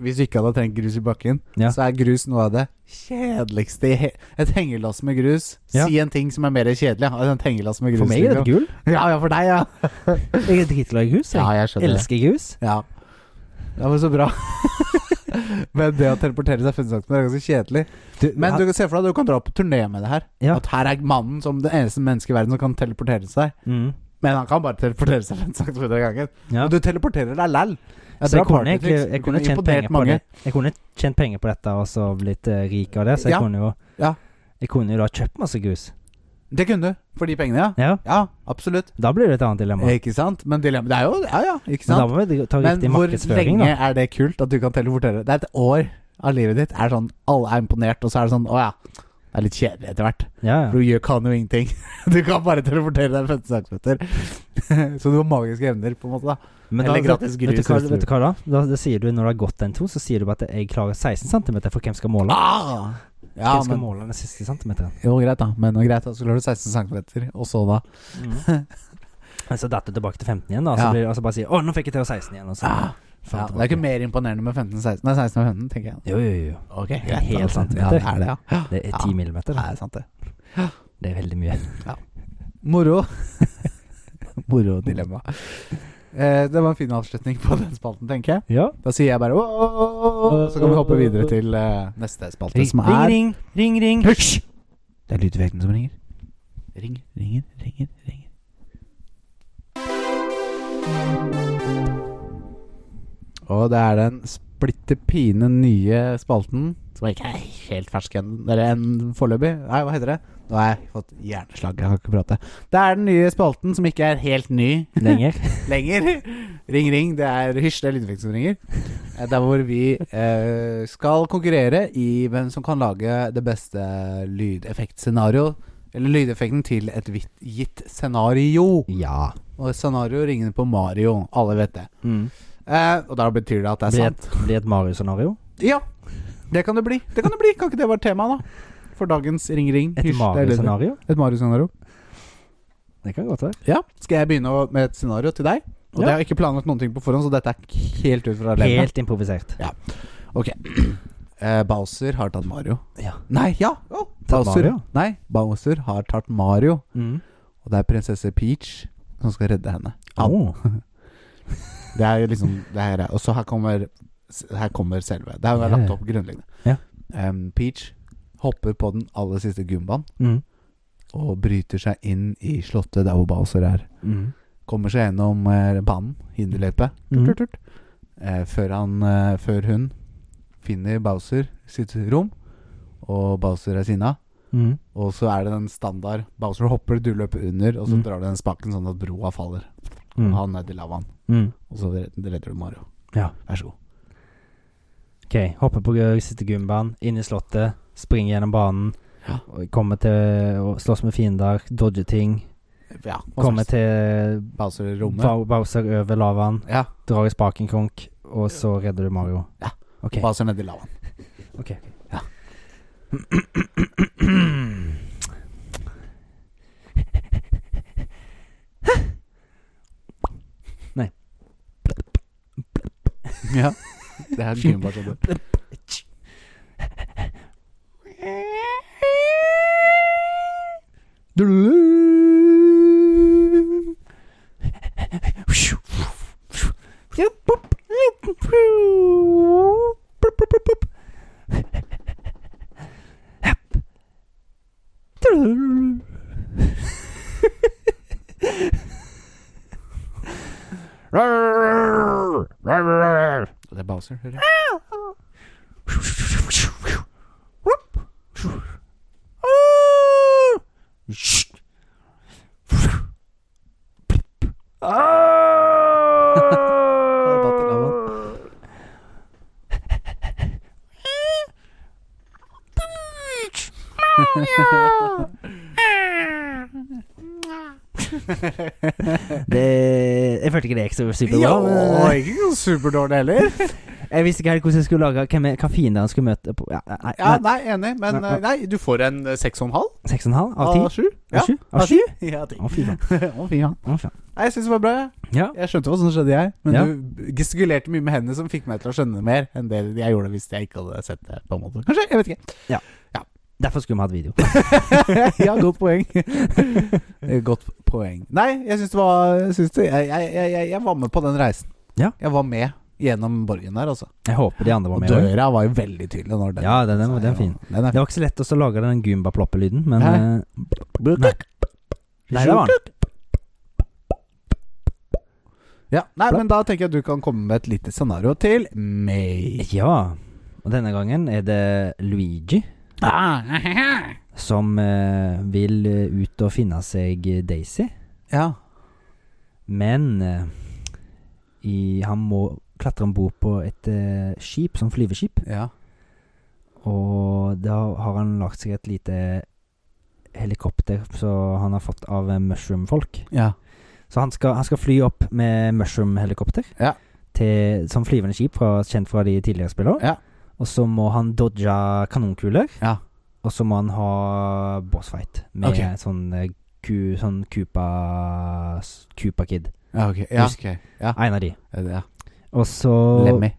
Speaker 1: hvis du ikke hadde trengt grus i bakken,
Speaker 2: Ja.
Speaker 1: så er grus noe av det kjedeligste i he Et hengelass med grus.
Speaker 2: Ja.
Speaker 1: Si en ting som er mer kjedelig. ja. Et hengelass med grus.
Speaker 2: For meg er det gull.
Speaker 1: Ja, ja, for deg, ja.
Speaker 2: Jeg er dritglad i grus. Jeg
Speaker 1: Ja, jeg skjønner det.
Speaker 2: elsker grus.
Speaker 1: Ja. Det var så bra. Men det å teleportere seg 50 cm er ganske kjedelig. Men du kan se for deg at du kan dra på turné med det her.
Speaker 3: Ja.
Speaker 1: At her er mannen som det eneste mennesket i verden som kan teleportere seg.
Speaker 2: Mm.
Speaker 1: Men han kan bare teleportere seg 50 cm av gangen.
Speaker 2: Ja.
Speaker 1: Og du teleporterer deg læll. Det er
Speaker 2: Så jeg
Speaker 1: bra
Speaker 2: kunne, egentlig,
Speaker 1: partytriks.
Speaker 2: jeg
Speaker 1: Du
Speaker 2: kunne
Speaker 1: kunne
Speaker 2: tjent
Speaker 1: imponert
Speaker 2: penger på
Speaker 1: mange.
Speaker 2: det Jeg kunne tjent penger på dette og så blitt eh, rik av det, så jeg
Speaker 1: Ja.
Speaker 2: kunne jo
Speaker 1: Ja.
Speaker 2: Jeg kunne jo da kjøpt masse grus.
Speaker 1: Det kunne du. For de pengene, ja.
Speaker 2: Ja,
Speaker 1: Ja, absolutt.
Speaker 2: da blir det et annet dilemma.
Speaker 1: Ikke sant? Men dilemmaet er jo Ja, ja, ikke
Speaker 2: Men da
Speaker 1: sant?
Speaker 2: må vi ta
Speaker 1: Men
Speaker 2: riktig
Speaker 1: hvor
Speaker 2: markedsføring,
Speaker 1: lenge
Speaker 2: da.
Speaker 1: er det kult at du kan teleportere? Det er et år av livet ditt. Er sånn, Alle er imponert, og så er det sånn Å ja. Det er litt kjedelig etter hvert.
Speaker 2: Ja,
Speaker 1: For
Speaker 2: ja.
Speaker 1: Du gjør- kan jo ingenting. Du kan bare teleportere deg 50 cm. Så du har magiske evner, på en måte. da
Speaker 2: Men da,
Speaker 1: Eller gratis grus.
Speaker 3: vet du hva-
Speaker 1: hvis du
Speaker 3: vet du hva da? da? Det sier du når det har gått en to, så sier du bare at jeg klarer 16 cm, for hvem skal måle?
Speaker 1: Ah! Ja,
Speaker 2: hvem skal
Speaker 1: men,
Speaker 2: måle den siste centimeteren?
Speaker 1: jo, greit, da. Men og greit, da. Så klarer du 16 cm, og så da
Speaker 2: Så datt du tilbake til 15 igjen, da. Så
Speaker 1: Mm. Ja.
Speaker 2: blir det altså bare si 'Å, nå fikk jeg til 16 igjen', og så
Speaker 1: Ah, ja,
Speaker 2: faller
Speaker 1: Det er ikke
Speaker 2: tilbake.
Speaker 1: mer imponerende med 15 16, nei, 16 og 15, tenker jeg.
Speaker 2: Jo, jo, jo.
Speaker 1: Ok,
Speaker 2: er
Speaker 1: greit,
Speaker 2: helt
Speaker 1: da.
Speaker 2: sant,
Speaker 1: Ja, det er det, ja.
Speaker 2: Det er 10 millimeter.
Speaker 1: Det
Speaker 2: Da.
Speaker 1: er sant, det.
Speaker 2: Det er veldig mye.
Speaker 1: Moro. Moro dilemma. Eh, det var en fin avslutning på den spalten, tenker jeg.
Speaker 2: Ja.
Speaker 1: Da sier jeg bare «Åh, åh, åh, åh», Så kan vi hoppe videre til eh, neste spalte,
Speaker 2: Ring,
Speaker 1: som er
Speaker 2: ring, ring, ring.
Speaker 1: Hysj! Det er lydvekten som ringer. Ring, ringer, ringer, ringer. Og det er den splitter pine nye spalten, som ikke er helt fersk enn Eller enn foreløpig. Nei, hva heter det? Nå har jeg fått hjerneslag. Jeg kan ikke prate. Det er den nye spalten som ikke er helt ny
Speaker 2: Lenger.
Speaker 1: lenger. Ring, ring. Det er hysj, det er lydeffekt som ringer. Eh, Der hvor vi eh, skal konkurrere i hvem som kan lage det beste lydeffektscenario. Eller lydeffekten til et vitt, gitt scenario.
Speaker 2: Ja.
Speaker 1: Og scenario ringer på Mario. Alle vet det.
Speaker 2: Mm.
Speaker 1: Eh, og da betyr det at det er
Speaker 2: Blir
Speaker 1: sant.
Speaker 2: et, blir et Mario-scenario.
Speaker 1: Ja, det kan det bli. Det Kan det bli Kan ikke det være tema, da? For dagens ring, ring.
Speaker 2: Et
Speaker 1: hysj, det er lydeffekt.
Speaker 2: Mario-scenario.
Speaker 1: Et Mario-scenario.
Speaker 2: Det kan godt være.
Speaker 1: Ja. Skal jeg begynne å- med et scenario til deg? Og
Speaker 2: Ja.
Speaker 1: det har jeg ikke planlagt noen ting på forhånd, så dette er helt ut fra levra.
Speaker 2: Helt improvisert.
Speaker 1: Eh, Bowser har tatt Mario.
Speaker 2: Ja.
Speaker 1: Nei, ja! Å,
Speaker 2: Tatt Mario?
Speaker 1: Nei, Bowser har tatt Mario.
Speaker 2: Mm.
Speaker 1: Og det er prinsesse Peach som skal redde henne. Ja.
Speaker 2: Au.
Speaker 1: Det er jo liksom det her er- Og så her kommer Her kommer selve. Det har
Speaker 2: Ja,
Speaker 1: jeg
Speaker 2: ja.
Speaker 1: lagt opp grunnleggende.
Speaker 2: Ja.
Speaker 1: Em, Peach hopper på den aller siste gumbaen
Speaker 2: Mm.
Speaker 1: og bryter seg inn i slottet der hvor Bowser er.
Speaker 2: Mm.
Speaker 1: Kommer seg gjennom eh, banen, hinderløypet,
Speaker 2: Mm.
Speaker 1: tut, tut, tut. Eh, før, han, eh, før hun finner Bowser sitt rom, og Bowser er sinna.
Speaker 2: Mm.
Speaker 1: Og så er det den standard Bowser hopper, du løper under, og så
Speaker 2: Mm.
Speaker 1: drar du den spaken sånn at broa faller.
Speaker 2: Mm.
Speaker 1: Og han ned i lavaen.
Speaker 2: Mm.
Speaker 1: Og så red- redder du Mario.
Speaker 2: Ja.
Speaker 1: Vær så god.
Speaker 2: Ok, hopper på gøy, sitter gumbaen, inn i slottet, springer gjennom banen,
Speaker 1: Ja.
Speaker 2: og kommer til å slåss med fiender, dodge ting,
Speaker 1: Ja, hva
Speaker 2: kommer
Speaker 1: slags
Speaker 2: til
Speaker 1: Bowser i rommet.
Speaker 2: Bau- Bowser over lavaen,
Speaker 1: ja,
Speaker 2: drar i spaken konk, og så redder du Mario.
Speaker 1: Ja.
Speaker 2: Ok.
Speaker 1: Bowser ned i lavaen.
Speaker 2: ok.
Speaker 1: Ja.
Speaker 2: Nei.
Speaker 1: ja. Det er gumba som dør. Det er Bowser. hører jeg. Har datt i lavaen.
Speaker 2: Det, jeg følte ikke det gikk så superbra.
Speaker 1: Jo,
Speaker 2: men- eh,
Speaker 1: ikke noe superdårlig heller.
Speaker 2: Jeg visste ikke helt hvordan jeg skulle lage hvem, jeg- hva fiender han skulle møte på ja, nei,
Speaker 1: Ja,
Speaker 2: nei,
Speaker 1: nei, enig, men
Speaker 2: Nei, nei.
Speaker 1: eh, nei, du får en eh, seks og en halv
Speaker 2: Seks og en halv? Av
Speaker 1: av
Speaker 2: ti?
Speaker 1: sju.
Speaker 2: Av
Speaker 1: Ja,
Speaker 2: sju?
Speaker 1: av
Speaker 2: Av sju?
Speaker 1: sju? Ja, ti.
Speaker 2: Å, fy faen.
Speaker 1: Å, fy faen.
Speaker 2: Å, faen.
Speaker 1: Nei, jeg syns det var bra. jeg.
Speaker 2: Ja.
Speaker 1: Jeg skjønte hva som skjedde, jeg. Men
Speaker 2: Ja.
Speaker 1: du gestikulerte mye med hendene som fikk meg til å skjønne mer enn det jeg gjorde hvis jeg ikke hadde sett det. på en måte Kanskje, jeg vet
Speaker 2: Derfor skulle vi hatt video.
Speaker 1: ikke. ja, godt poeng. Eh, godt poeng. Nei, jeg syns det var jeg, syns det, jeg, jeg, jeg, jeg var med på den reisen.
Speaker 2: Ja.
Speaker 1: Jeg var med gjennom borgen der, altså.
Speaker 2: Jeg håper de andre var
Speaker 1: Og
Speaker 2: med. også.
Speaker 1: døra var jo veldig tydelig når den
Speaker 2: Ja, den- den- den er fin.
Speaker 1: Den
Speaker 2: Det
Speaker 1: er
Speaker 2: var ikke så lett også å lage den Goomba-ploppelyden, men
Speaker 1: Hæ?
Speaker 2: eh, Nei. Nei, det var den.
Speaker 1: Ja, nei, men da tenker jeg du kan komme med et lite scenario til meg.
Speaker 2: Ja. Og denne gangen er det Luigi som eh, vil eh, ut og finne seg Daisy,
Speaker 1: Ja.
Speaker 2: men eh, i, han må klatre om bord på et eh, skip, som flyveskip,
Speaker 1: ja.
Speaker 2: og da har han lagt seg et lite helikopter som han har fått av eh, mushroom-folk.
Speaker 1: Ja.
Speaker 2: Så han skal, han skal fly opp med mushroom-helikopter
Speaker 1: Ja.
Speaker 2: til, som flyvende skip, fra, kjent fra de tidligere spillene.
Speaker 1: Ja.
Speaker 2: Og så må han dodge kanonkuler,
Speaker 1: Ja.
Speaker 2: og så må han ha bossfight med
Speaker 1: Ok.
Speaker 2: sånn eh, ku, sånn Koopa Koopa Kid.
Speaker 1: Ja, ok. Ja.
Speaker 2: Husk-
Speaker 1: ok. ja.
Speaker 2: En av de.
Speaker 1: Er det- ja.
Speaker 2: Og så
Speaker 1: Lemmy.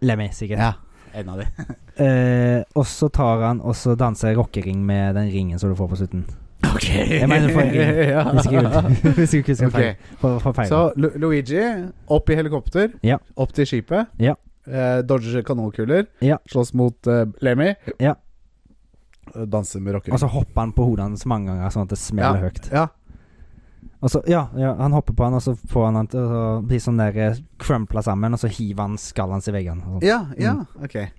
Speaker 2: Lemmy, sikkert.
Speaker 1: Ja. En av de.
Speaker 2: Eh, og så tar han og så danser jeg rockering med den ringen som du får på slutten.
Speaker 1: Ok.
Speaker 2: Jeg mener for en ring.
Speaker 1: Ja.
Speaker 2: Hvis ikke jeg- hvis ikke jeg husker
Speaker 1: Ok.
Speaker 2: feil. For, for feil.
Speaker 1: Så Lu Luigi, opp i helikopter,
Speaker 2: Ja.
Speaker 1: opp til skipet.
Speaker 2: Ja.
Speaker 1: Eh, Dodger kanonkuler,
Speaker 2: Ja.
Speaker 1: slåss mot eh, Lemmy.
Speaker 2: Ja. Altså-
Speaker 1: Eh, Danser med rocker.
Speaker 2: og så hopper han på hodet hans mange ganger, sånn at det smeller høyt.
Speaker 1: Ja.
Speaker 2: Og så, ja, ja, han hopper på han, og så får han han til å bli sånn der eh, crumpla sammen, og så hiver han skallet hans i veggen. Og, sånn.
Speaker 1: ja, ja, ok.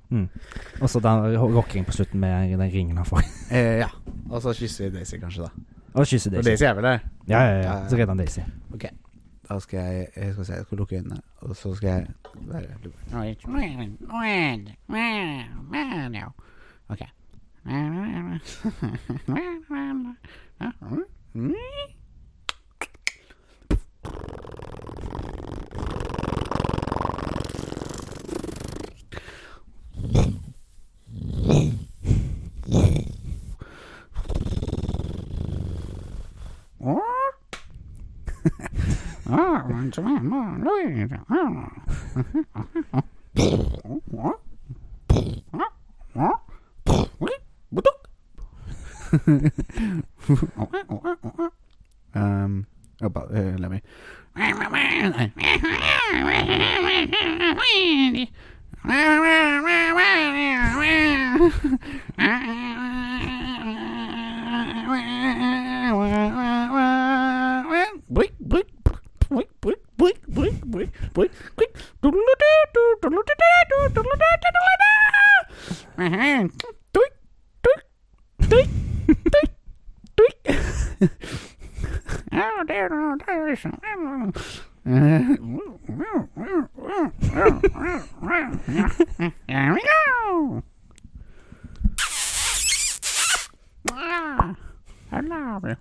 Speaker 2: og så den ro- rockering på slutten med den ringen han får.
Speaker 1: Eh, ja. Og så kysser vi Daisy, kanskje, da.
Speaker 2: Og kysser
Speaker 1: For
Speaker 2: Daisy.
Speaker 1: Daisy er vel der?
Speaker 2: Ja, ja, ja. Så redder han Daisy.
Speaker 1: Da skal jeg Jeg skal, se, jeg skal lukke øynene, og så skal jeg være Ok. Um, oh, but, uh, let me. Boink, boink, boink, boink, boink, boink, boink, boink, boink. Doodle-doo, doodle-doo, doodle-doo, doodle-doo. Doink, doink, doink, doink, doink. Oh, dear, oh, dear, it's- There we go. Ah, I love you.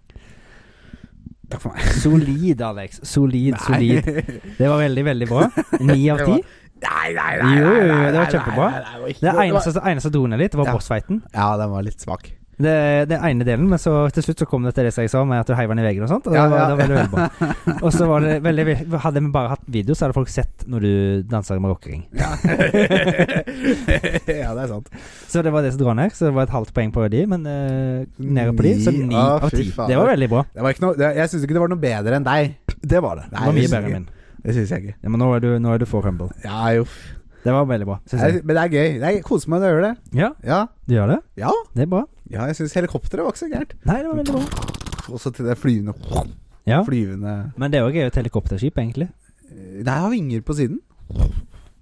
Speaker 1: Takk for meg.
Speaker 2: Solid, Alex. Solid, solid. Det var veldig, veldig bra. Ni
Speaker 1: Det
Speaker 2: av ti.
Speaker 1: var- Nei, nei,
Speaker 2: Jo, jo, jo, det var
Speaker 1: nei, nei,
Speaker 2: kjempebra.
Speaker 1: nei, nei, det var ikke-
Speaker 2: Det
Speaker 1: det var-
Speaker 2: eneste, det eneste som dro ned litt, var
Speaker 1: Ja.
Speaker 2: bossfighten.
Speaker 1: Ja, den var litt svak.
Speaker 2: Det, den ene delen, men så til slutt så kom det til det som jeg sa, med at du heiv den i veggen og sånt. Og
Speaker 1: Ja,
Speaker 2: det, var,
Speaker 1: ja.
Speaker 2: det var veldig, veldig bra. Og så var det veldig Hadde vi bare hatt video, så hadde folk sett når du danser med rockering.
Speaker 1: Ja. ja, det er sant.
Speaker 2: Så det var det som drar ned. Så det var et halvt poeng på de, men uh, nede på de, så
Speaker 1: Ni.
Speaker 2: ni
Speaker 1: Å,
Speaker 2: av
Speaker 1: fy
Speaker 2: ti.
Speaker 1: faen.
Speaker 2: Det var veldig bra.
Speaker 1: Det var ikke noe, det, jeg syns ikke det var noe bedre enn deg.
Speaker 2: Det var det.
Speaker 1: Nei,
Speaker 2: Det var
Speaker 1: jeg
Speaker 2: mye
Speaker 1: synes
Speaker 2: bedre
Speaker 1: ikke-
Speaker 2: enn min.
Speaker 1: Det syns jeg ikke.
Speaker 2: Ja, men nå er, du, nå er du for Humble.
Speaker 1: Ja, jo. f-
Speaker 2: Det var veldig bra. Synes jeg.
Speaker 1: Jeg, men det er gøy. Det er, jeg koser meg når jeg gjør det.
Speaker 2: Ja,
Speaker 1: Ja,
Speaker 2: du gjør det?
Speaker 1: ja.
Speaker 2: Det er bra.
Speaker 1: ja jeg syns helikopteret var ikke så gærent.
Speaker 2: Nei, det var veldig bra.
Speaker 1: Også til det flyvende
Speaker 2: Ja.
Speaker 1: Flyvende
Speaker 2: Men det òg er jo et helikopterskip, egentlig.
Speaker 1: Nei, jeg har vinger på siden.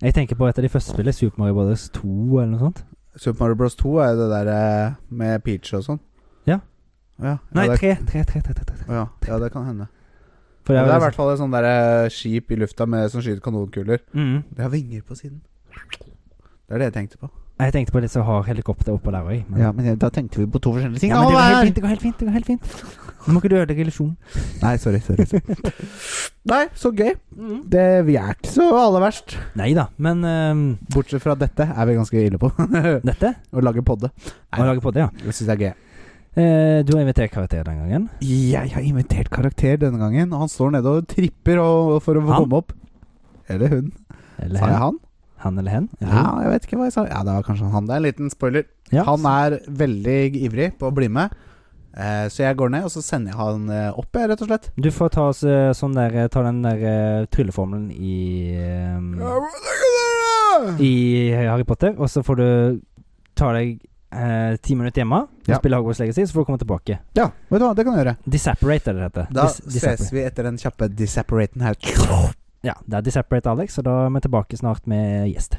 Speaker 2: Jeg tenker på et av de første spillene, Super Mario Brothers 2 eller noe sånt.
Speaker 1: Super Mario Bros. 2 er jo det der eh, med Peach og sånn.
Speaker 2: Ja.
Speaker 1: Ja,
Speaker 2: Nei,
Speaker 1: ja, det,
Speaker 2: tre. tre, tre, tre, tre, tre.
Speaker 1: ja, ja, det kan hende.
Speaker 2: For
Speaker 1: Ja,
Speaker 2: det
Speaker 1: det er i
Speaker 2: er
Speaker 1: hvert fall et sånt der eh, skip i lufta med, som skyter kanonkuler.
Speaker 2: mm.
Speaker 1: Det har vinger på siden. Det er det jeg tenkte på.
Speaker 2: Jeg tenkte på det som har helikopter oppå der òg. Men,
Speaker 1: men da tenkte vi på to forskjellige
Speaker 2: Ja, men det går helt fint. Det går helt fint. det går helt fint Nå må ikke du ødelegge illusjonen.
Speaker 1: Nei, sorry. sorry, sorry. Nei, så gøy. Det, vi er ikke så aller verst.
Speaker 2: Nei da, men ehm,
Speaker 1: Bortsett fra dette er vi ganske ille på.
Speaker 2: dette
Speaker 1: Å lage podde. Nei.
Speaker 2: Å lage podde, ja.
Speaker 1: Det syns jeg er gøy.
Speaker 2: Eh, du har invitert karakter den gangen.
Speaker 1: Jeg har invitert karakter denne gangen, og han står nede og tripper og, for å få
Speaker 2: Han?
Speaker 1: komme opp. Eller hun.
Speaker 2: Eller
Speaker 1: Sa jeg
Speaker 2: hen.
Speaker 1: han?
Speaker 2: Han eller hen. Eller
Speaker 1: Ja,
Speaker 2: hun.
Speaker 1: jeg vet ikke hva jeg sa. Ja, det var kanskje han. Det er en liten spoiler.
Speaker 2: Ja.
Speaker 1: Han er veldig ivrig på å bli med, eh, så jeg går ned og så sender jeg han eh, opp, jeg, rett og slett.
Speaker 2: Du
Speaker 1: Mm.
Speaker 2: får ta, oss, eh, sånn der, eh, ta den der eh, trylleformelen i ehm, i Harry Potter, og så får du ta deg eh, ti minutter hjemme og
Speaker 1: Ja.
Speaker 2: spille Hogwarts Legacy, så får du komme tilbake.
Speaker 1: Ja, vet du hva, det kan jeg gjøre.
Speaker 2: Disapparate er det det heter.
Speaker 1: Da
Speaker 2: Dis-
Speaker 1: ses
Speaker 2: disapparate.
Speaker 1: vi etter den kjappe disapparaten her.
Speaker 2: Ja, det er Disapparate Alex, og da er vi tilbake snart med gjest.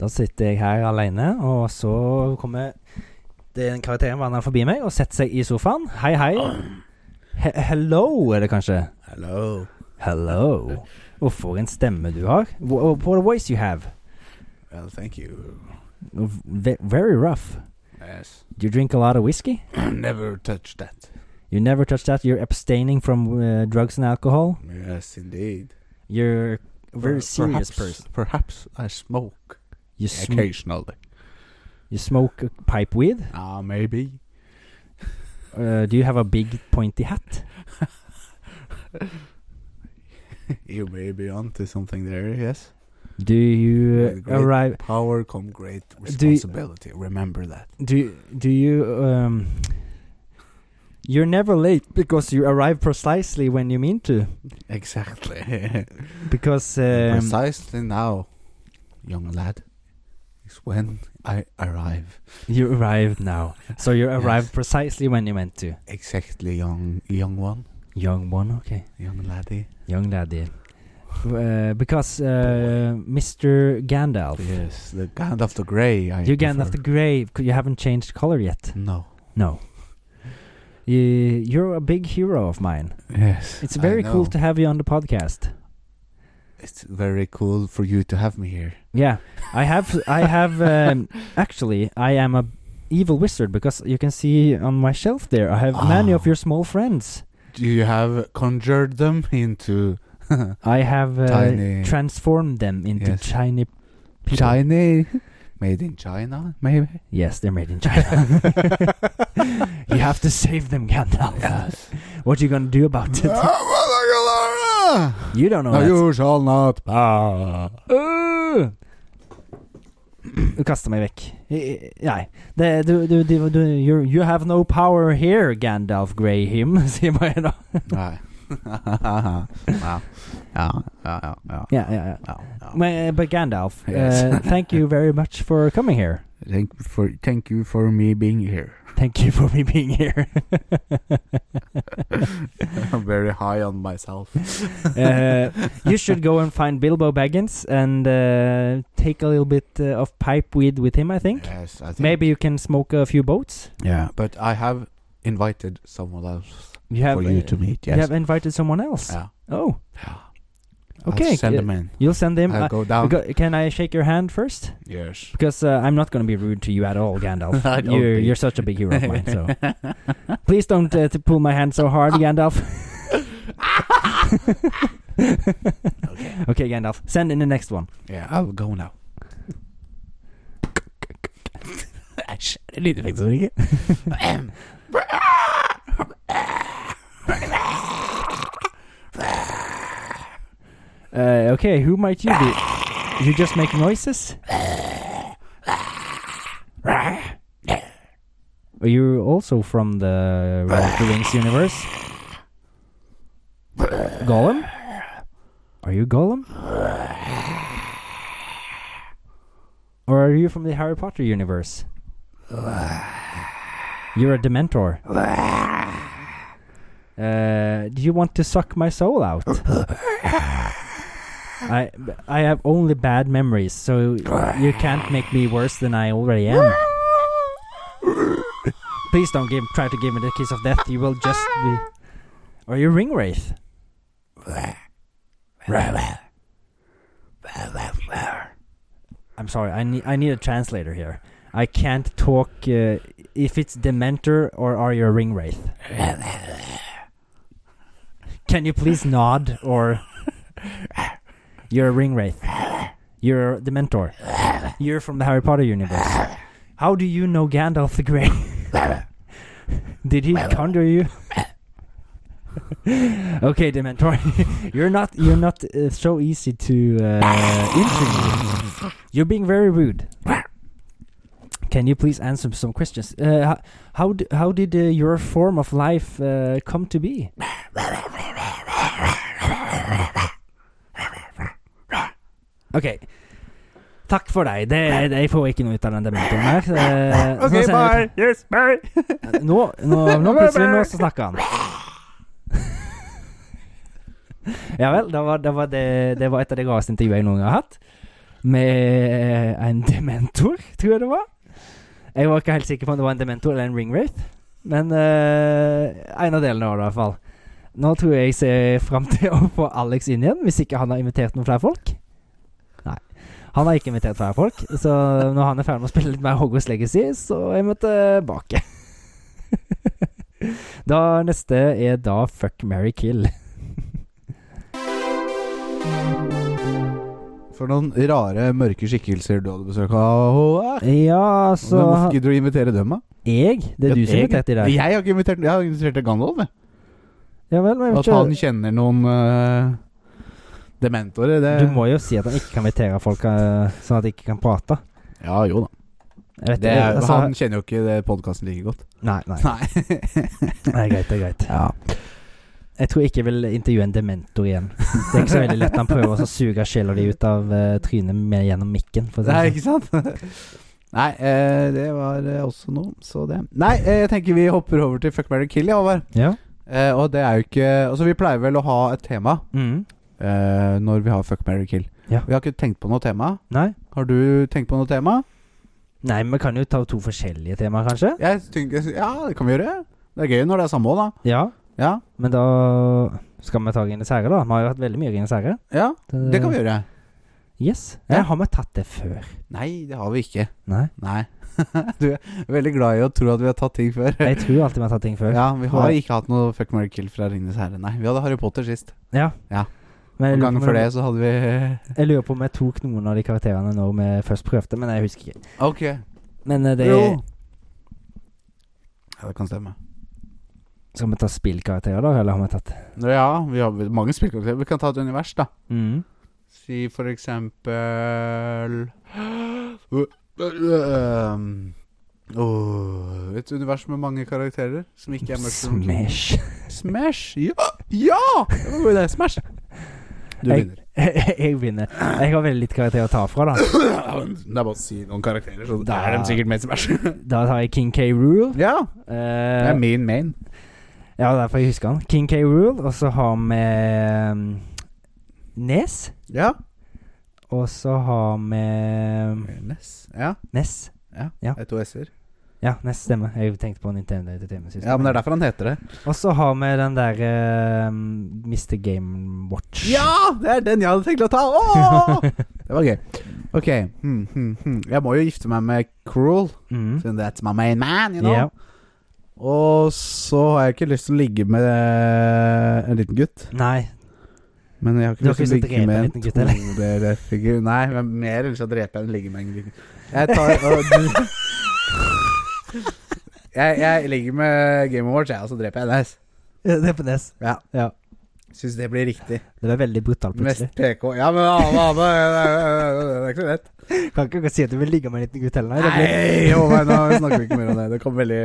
Speaker 2: Da sitter jeg her alene, og så kommer den karakteren vandrende forbi meg og setter seg i sofaen. Hei, hei. He hello, er det kanskje?
Speaker 1: Hello.
Speaker 2: Hello. Og for en stemme du har. Wh- oh, What a voice you have.
Speaker 1: Well, thank you.
Speaker 2: Ve- Very rough.
Speaker 1: Yes.
Speaker 2: Do you drink a lot of whiskey?
Speaker 1: Never touch that.
Speaker 2: You never touch that. You're abstaining from uh, drugs and alcohol.
Speaker 1: Yes, indeed.
Speaker 2: You're a very
Speaker 1: perhaps,
Speaker 2: serious person.
Speaker 1: Perhaps I smoke
Speaker 2: You, sm-
Speaker 1: occasionally.
Speaker 2: you smoke a pipe weed.
Speaker 1: Ah, maybe.
Speaker 2: Uh, do you have a big pointy hat?
Speaker 1: You may be onto something there, yes.
Speaker 2: Do you
Speaker 1: Great.
Speaker 2: arrive?
Speaker 1: Power come great
Speaker 2: Do you-
Speaker 1: responsibility. Remember that.
Speaker 2: Do you- do you um? You're never late because you arrive precisely when you mean to.
Speaker 1: Exactly.
Speaker 2: Because um,
Speaker 1: Precisely now, young lad, is when I arrive.
Speaker 2: you arrived now, so you
Speaker 1: Yes.
Speaker 2: arrived precisely when you meant to.
Speaker 1: Exactly, young young one,
Speaker 2: Young one, okay.
Speaker 1: young laddie.
Speaker 2: Young laddie. Uh, because uh, Mr. Gandalf,
Speaker 1: Yes, the Gandalf the Grey. I
Speaker 2: you're Gandalf the
Speaker 1: prefer.
Speaker 2: Grey. c- You haven't changed color yet.
Speaker 1: No.
Speaker 2: No. You, you're a big hero of mine.
Speaker 1: Yes.
Speaker 2: It's
Speaker 1: I
Speaker 2: very cool
Speaker 1: know.
Speaker 2: to have you on the podcast.
Speaker 1: It's very cool for you to have me here.
Speaker 2: Yeah, I have. I have. Um, actually, I am a evil wizard because you can see on my shelf there. I have many of
Speaker 1: Ah.
Speaker 2: your small friends.
Speaker 1: Do you have conjured them into
Speaker 2: I have uh,
Speaker 1: Tiny-
Speaker 2: transformed them into
Speaker 1: Yes.
Speaker 2: tiny people.
Speaker 1: China? Made in China, maybe?
Speaker 2: Yes, they're made in China. you have to save them, Gandalf. What are you going to do
Speaker 1: Ah,
Speaker 2: about it? You don't know.
Speaker 1: No,
Speaker 2: that.
Speaker 1: you shall not pass.
Speaker 2: Øh! Du kaster meg vekk. I- i- Nei. Det, du, du, du, du, you, you have no power here, Gandalf Greyhim, sier bare da.
Speaker 1: Nei. ja, ja, ja, ja,
Speaker 2: Ja, ja, ja.
Speaker 1: ja, ja.
Speaker 2: Men, but Gandalf,
Speaker 1: Yes.
Speaker 2: uh, thank you very much for coming here.
Speaker 1: Thank, for, thank you for me being here.
Speaker 2: Thank you for me being here.
Speaker 1: I'm very high on myself.
Speaker 2: Uh, you should go and find Bilbo Baggins and uh, take a little bit uh, of pipe weed with him, I think.
Speaker 1: Yes, I think.
Speaker 2: Maybe you can smoke a few boats.
Speaker 1: Yeah, but I have invited someone else
Speaker 2: You have,
Speaker 1: for you
Speaker 2: uh,
Speaker 1: to meet.
Speaker 2: you
Speaker 1: Yes. Uh,
Speaker 2: have invited someone else.
Speaker 1: yeah.
Speaker 2: Oh,
Speaker 1: I'll
Speaker 2: Okay,
Speaker 1: send
Speaker 2: uh,
Speaker 1: them in.
Speaker 2: you'll send him. uh,
Speaker 1: I'll
Speaker 2: I-
Speaker 1: go down.
Speaker 2: Go- Can I shake your hand first?
Speaker 1: yes.
Speaker 2: Because uh, I'm not going to be rude to you at all, Gandalf.
Speaker 1: I don't
Speaker 2: you're,
Speaker 1: think.
Speaker 2: you're such a big hero of mine. So please don't uh, to pull my hand so hard, Gandalf. okay. Gandalf. Send in the next one.
Speaker 1: Yeah, I'll go now. Æsj, det lyder faktisk ikke.
Speaker 2: Uh, okay, who might you be? You just make noises. Are you also from the Lord of the Rings universe? Golem? Are you Golem? Or are you from the Harry Potter universe? You're a Dementor. Uh, do you want to suck my soul out? I I have only bad memories, so you can't make me worse than I already am. Please don't give try to give me the kiss of death. You will just be. Are you ring wraith? I'm sorry. I need I need a translator here. I can't talk. Uh, if it's Dementor or are you a ring wraith? Can you please nod or? You're a ring wraith. You're the mentor. You're from the Harry Potter universe. How do you know Gandalf the Grey? Did he conjure you? uh, okay, Dementor, you're not you're not uh, so easy to uh, interview. You're being very rude. Can you please answer some questions? Uh, how how, d- how did uh, your form of life uh, come to be? OK. Takk for deg. Det, det, jeg får ikke noe ut av den dementoren her. så- så Eh, nå sender jeg
Speaker 1: Yes, bye!
Speaker 2: ut- Nå, nå, nå plutselig nå så snakker han. ja vel. Det var, det, var det, det var et av de rareste intervjuene jeg noen gang har hatt. Med en dementor, tror jeg det var. Jeg var ikke helt sikker på om det var en dementor eller en ringwraith. Men eh, en av delene var det i hvert fall. Nå tror jeg jeg ser fram til å få Alex inn igjen, hvis ikke han har invitert noen flere folk. Nei. Han har ikke invitert flere folk, så når han er ferdig med å spille litt mer Hogwarts Legacy, så er vi tilbake. da neste er da Fuck, marry, kill.
Speaker 1: For noen rare, mørke skikkelser du hadde besøk av. Åh,
Speaker 2: Ja, så
Speaker 1: Men hvorfor gidder du å invitere dem, da?
Speaker 2: Jeg? Det er du som
Speaker 1: Jeg-
Speaker 2: inviterte i dag?
Speaker 1: Jeg har ikke invitert Jeg har invitert Gandalf. jeg.
Speaker 2: Ja vel, men jeg
Speaker 1: At
Speaker 2: vet
Speaker 1: han kjenner noen eh, dementorer, det
Speaker 2: ikke Du må jo si at han ikke kan invitere folk, eh, sånn at de ikke kan prate.
Speaker 1: Ja, jo da.
Speaker 2: Jeg vet
Speaker 1: Det,
Speaker 2: ikke, altså,
Speaker 1: han kjenner jo ikke podkasten like godt.
Speaker 2: Nei, nei.
Speaker 1: Nei.
Speaker 2: Det er greit, det er greit.
Speaker 1: Ja.
Speaker 2: Jeg tror ikke jeg vil intervjue en dementor igjen. Det er ikke så veldig lett. Han prøver også å suge sjela di ut av eh, trynet med gjennom mikken. For å si det
Speaker 1: Nei,
Speaker 2: sånn.
Speaker 1: ikke sant? Nei, eh, det var eh, også noe, så det Nei, eh, jeg tenker vi hopper over til Fuck, marry, kill, ja, Håvard.
Speaker 2: sånn. Ja.
Speaker 1: Eh, og det er jo ikke Altså, vi pleier vel å ha et tema
Speaker 2: Mm.
Speaker 1: eh, når vi har Fuck, marry, kill.
Speaker 2: Ja.
Speaker 1: Vi har ikke tenkt på noe tema.
Speaker 2: Nei.
Speaker 1: Har du tenkt på noe tema?
Speaker 2: Nei, men vi kan jo ta to forskjellige temaer, kanskje?
Speaker 1: Jeg tenker, Ja, det kan vi gjøre. Det er gøy når det er samme òg, da.
Speaker 2: Ja.
Speaker 1: Ja,
Speaker 2: Men da skal vi ta Ringenes herre, da. Vi har jo hatt veldig mye Ringenes herre.
Speaker 1: ja, det kan vi
Speaker 2: Mm.
Speaker 1: gjøre.
Speaker 2: Yes.
Speaker 1: Ja.
Speaker 2: Eller har vi tatt det før?
Speaker 1: Nei, det har vi ikke.
Speaker 2: Nei.
Speaker 1: Nei. du er veldig glad i å tro at vi har tatt ting før.
Speaker 2: Jeg tror alltid vi har tatt ting før.
Speaker 1: Ja, vi har ikke hatt noe Fuck, marry, kill fra Ringenes herre, nei. Vi hadde Harry Potter sist.
Speaker 2: Ja.
Speaker 1: Ja.
Speaker 2: Men jeg lurer,
Speaker 1: Gangen
Speaker 2: på
Speaker 1: før
Speaker 2: om,
Speaker 1: det så hadde vi
Speaker 2: jeg lurer på om jeg tok noen av de karakterene når vi først prøvde, men jeg husker ikke.
Speaker 1: Ok.
Speaker 2: Men eh, det
Speaker 1: Jo. Ja, det kan stemme.
Speaker 2: Skal vi ta spillkarakterer, da, eller har vi tatt
Speaker 1: Nå, Ja, vi har mange spillkarakterer. Vi kan ta et univers, da.
Speaker 2: mm.
Speaker 1: Si for eksempel Um, åh, Et univers med mange karakterer som ikke er mørkt. og mørkt.
Speaker 2: Smash.
Speaker 1: Smash! Ja! ja! Det var en god idé. Smash! Du
Speaker 2: Jeg-
Speaker 1: begynner.
Speaker 2: jeg vinner. Jeg har veldig litt karakter å ta fra, da.
Speaker 1: Det er bare å si noen karakterer, så
Speaker 2: Da-
Speaker 1: er de sikkert med i Smash.
Speaker 2: Da tar jeg King K. Rule.
Speaker 1: ja. Det
Speaker 2: Eh,
Speaker 1: er min main.
Speaker 2: ja, derfor jeg husker han. King K. Rule, og så har vi mm, Nes.
Speaker 1: Ja.
Speaker 2: Og så har vi mm,
Speaker 1: Ness. Ja.
Speaker 2: Nes. Ja.
Speaker 1: Det er to s-er.
Speaker 2: Ja, Nes stemmer. Jeg tenkte på Nintendo DTM sist.
Speaker 1: Ja, men det er derfor han heter det.
Speaker 2: Og så har vi den der eh, Mr. Game Watch.
Speaker 1: Ja! Det er den jeg hadde tenkt å ta. Åh! det var gøy. Ok. Hmm, hmm, hmm. Jeg må jo gifte meg med Cruel,
Speaker 2: Mm.
Speaker 1: siden that's my main man, you know.
Speaker 2: Ja.
Speaker 1: Og så har jeg ikke lyst til å ligge med eh, en liten gutt.
Speaker 2: Nei.
Speaker 1: Men jeg har ikke
Speaker 2: Du har
Speaker 1: lyst til å
Speaker 2: ikke lyst til å
Speaker 1: ligge
Speaker 2: drepe en
Speaker 1: med en
Speaker 2: liten gutt, eller?
Speaker 1: todelfigur. Nei, men mer lyst til å drepe enn å ligge med en liten Jeg tar og, du, jeg, jeg ligger med Game Awards, jeg, og så dreper jeg NS.
Speaker 2: Ja, Det er på Nes.
Speaker 1: Ja.
Speaker 2: Ja.
Speaker 1: Syns det blir riktig.
Speaker 2: Det var veldig brutalt,
Speaker 1: Mest
Speaker 2: plutselig.
Speaker 1: PK. Ja, men Ane, Ane Det er ikke så lett.
Speaker 2: Kan ikke si at du vil ligge med en liten gutt heller. nei. Det blir-
Speaker 1: Nei, Håvard, nå snakker vi ikke mer om det. Det kom veldig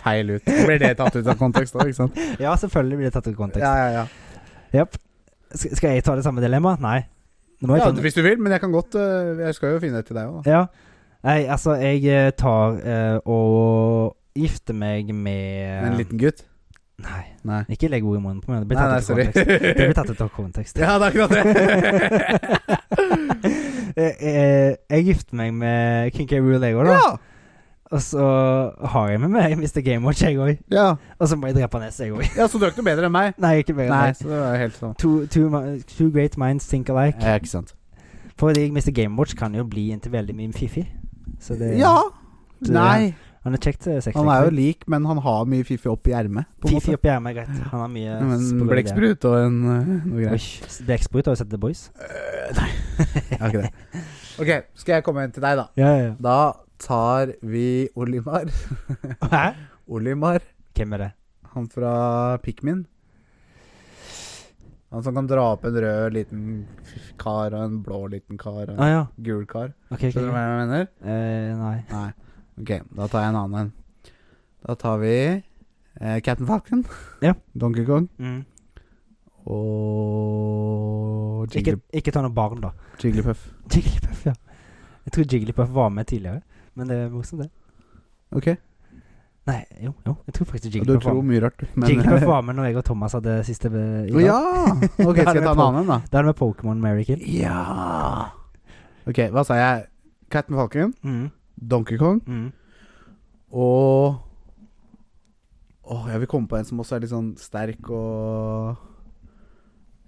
Speaker 1: feil ut. Så blir det tatt ut av kontekst òg, ikke sant?
Speaker 2: Ja, selvfølgelig blir det tatt ut av kontekst.
Speaker 1: Ja, ja, ja.
Speaker 2: Japp. Sk- Skal jeg ta det samme dilemmaet? Nei. Nå må jeg
Speaker 1: ja
Speaker 2: ta det.
Speaker 1: hvis du vil, men jeg kan godt øh, Jeg skal jo finne det til deg òg, da.
Speaker 2: Ja. Nei, altså, jeg eh, tar eh, og gifter meg med
Speaker 1: Med en liten gutt?
Speaker 2: Nei,
Speaker 1: Nei.
Speaker 2: ikke legg ord i munnen på meg. Det blir
Speaker 1: Nei,
Speaker 2: tatt
Speaker 1: nei,
Speaker 2: ut av
Speaker 1: sorry.
Speaker 2: kontekst. Det blir tatt ut av kontekst.
Speaker 1: Ja, det er akkurat det.
Speaker 2: Eh, eh, jeg gifter meg med King K. Rule, jeg òg, da.
Speaker 1: ja.
Speaker 2: Og så har jeg med meg Mr. Gamewatch, jeg òg.
Speaker 1: ja.
Speaker 2: Og så må jeg drepe Nes, jeg òg.
Speaker 1: Ja, så du er ikke noe bedre enn meg?
Speaker 2: Nei, ikke mer enn
Speaker 1: Nei,
Speaker 2: det.
Speaker 1: så det var jo helt sånn.
Speaker 2: Two, two, mi- two great minds think alike.
Speaker 1: Ja, ikke sant.
Speaker 2: Fordi Mr. Gamewatch kan jo bli inntil veldig mye fiffig. Så det
Speaker 1: Ja.
Speaker 2: Det-
Speaker 1: Nei.
Speaker 2: Han er kjekt eh, sexy.
Speaker 1: Han er jo lik, men han har mye fiffi opp i ermet. på en
Speaker 2: Fifi
Speaker 1: måte.
Speaker 2: oppi ermet, greit. Han har mye
Speaker 1: Men
Speaker 2: sprø ideer.
Speaker 1: blekksprut og en øh, noe greier.
Speaker 2: Oi, Blekksprut, har du sett The Boys?
Speaker 1: Øh, Nei, jeg har ikke det. Ok, skal jeg komme inn til deg, da?
Speaker 2: Ja, ja.
Speaker 1: Da tar vi Olimar.
Speaker 2: Hæ?
Speaker 1: Olimar,
Speaker 2: Hvem er det?
Speaker 1: han fra Pikmin. Han som kan dra opp en rød liten kar og en blå liten kar og
Speaker 2: Å
Speaker 1: en
Speaker 2: ja.
Speaker 1: gul kar.
Speaker 2: Ok, ok.
Speaker 1: Skjønner du hva jeg mener?
Speaker 2: Eh, nei.
Speaker 1: Nei. Ok, da tar jeg en annen en. Da tar vi eh,
Speaker 2: Mm.
Speaker 1: Captain Falcon.
Speaker 2: Ja.
Speaker 1: Donkey Kong.
Speaker 2: Mm.
Speaker 1: Og
Speaker 2: Og ikke, ikke ta noe barn, da.
Speaker 1: Jigglypuff.
Speaker 2: Jigglypuff, ja. Jeg tror Jigglypuff var med tidligere, men det er morsomt, det.
Speaker 1: Ok.
Speaker 2: Nei, jo, jo. Jeg tror faktisk
Speaker 1: Du
Speaker 2: Jigglypuff var
Speaker 1: tror
Speaker 2: med.
Speaker 1: mye rart, men
Speaker 2: Jigglypuff var med når jeg og Thomas hadde siste eh,
Speaker 1: Å, Ja! Ok, skal jeg ta en annen en, da?
Speaker 2: Da er det med Pokémon Mary Kill.
Speaker 1: Ja Ok, hva sa jeg? Cat med Falcon,
Speaker 2: Mm,
Speaker 1: Donkey Kong
Speaker 2: mm.
Speaker 1: og Åh, jeg vil komme på en som også er litt sånn sterk og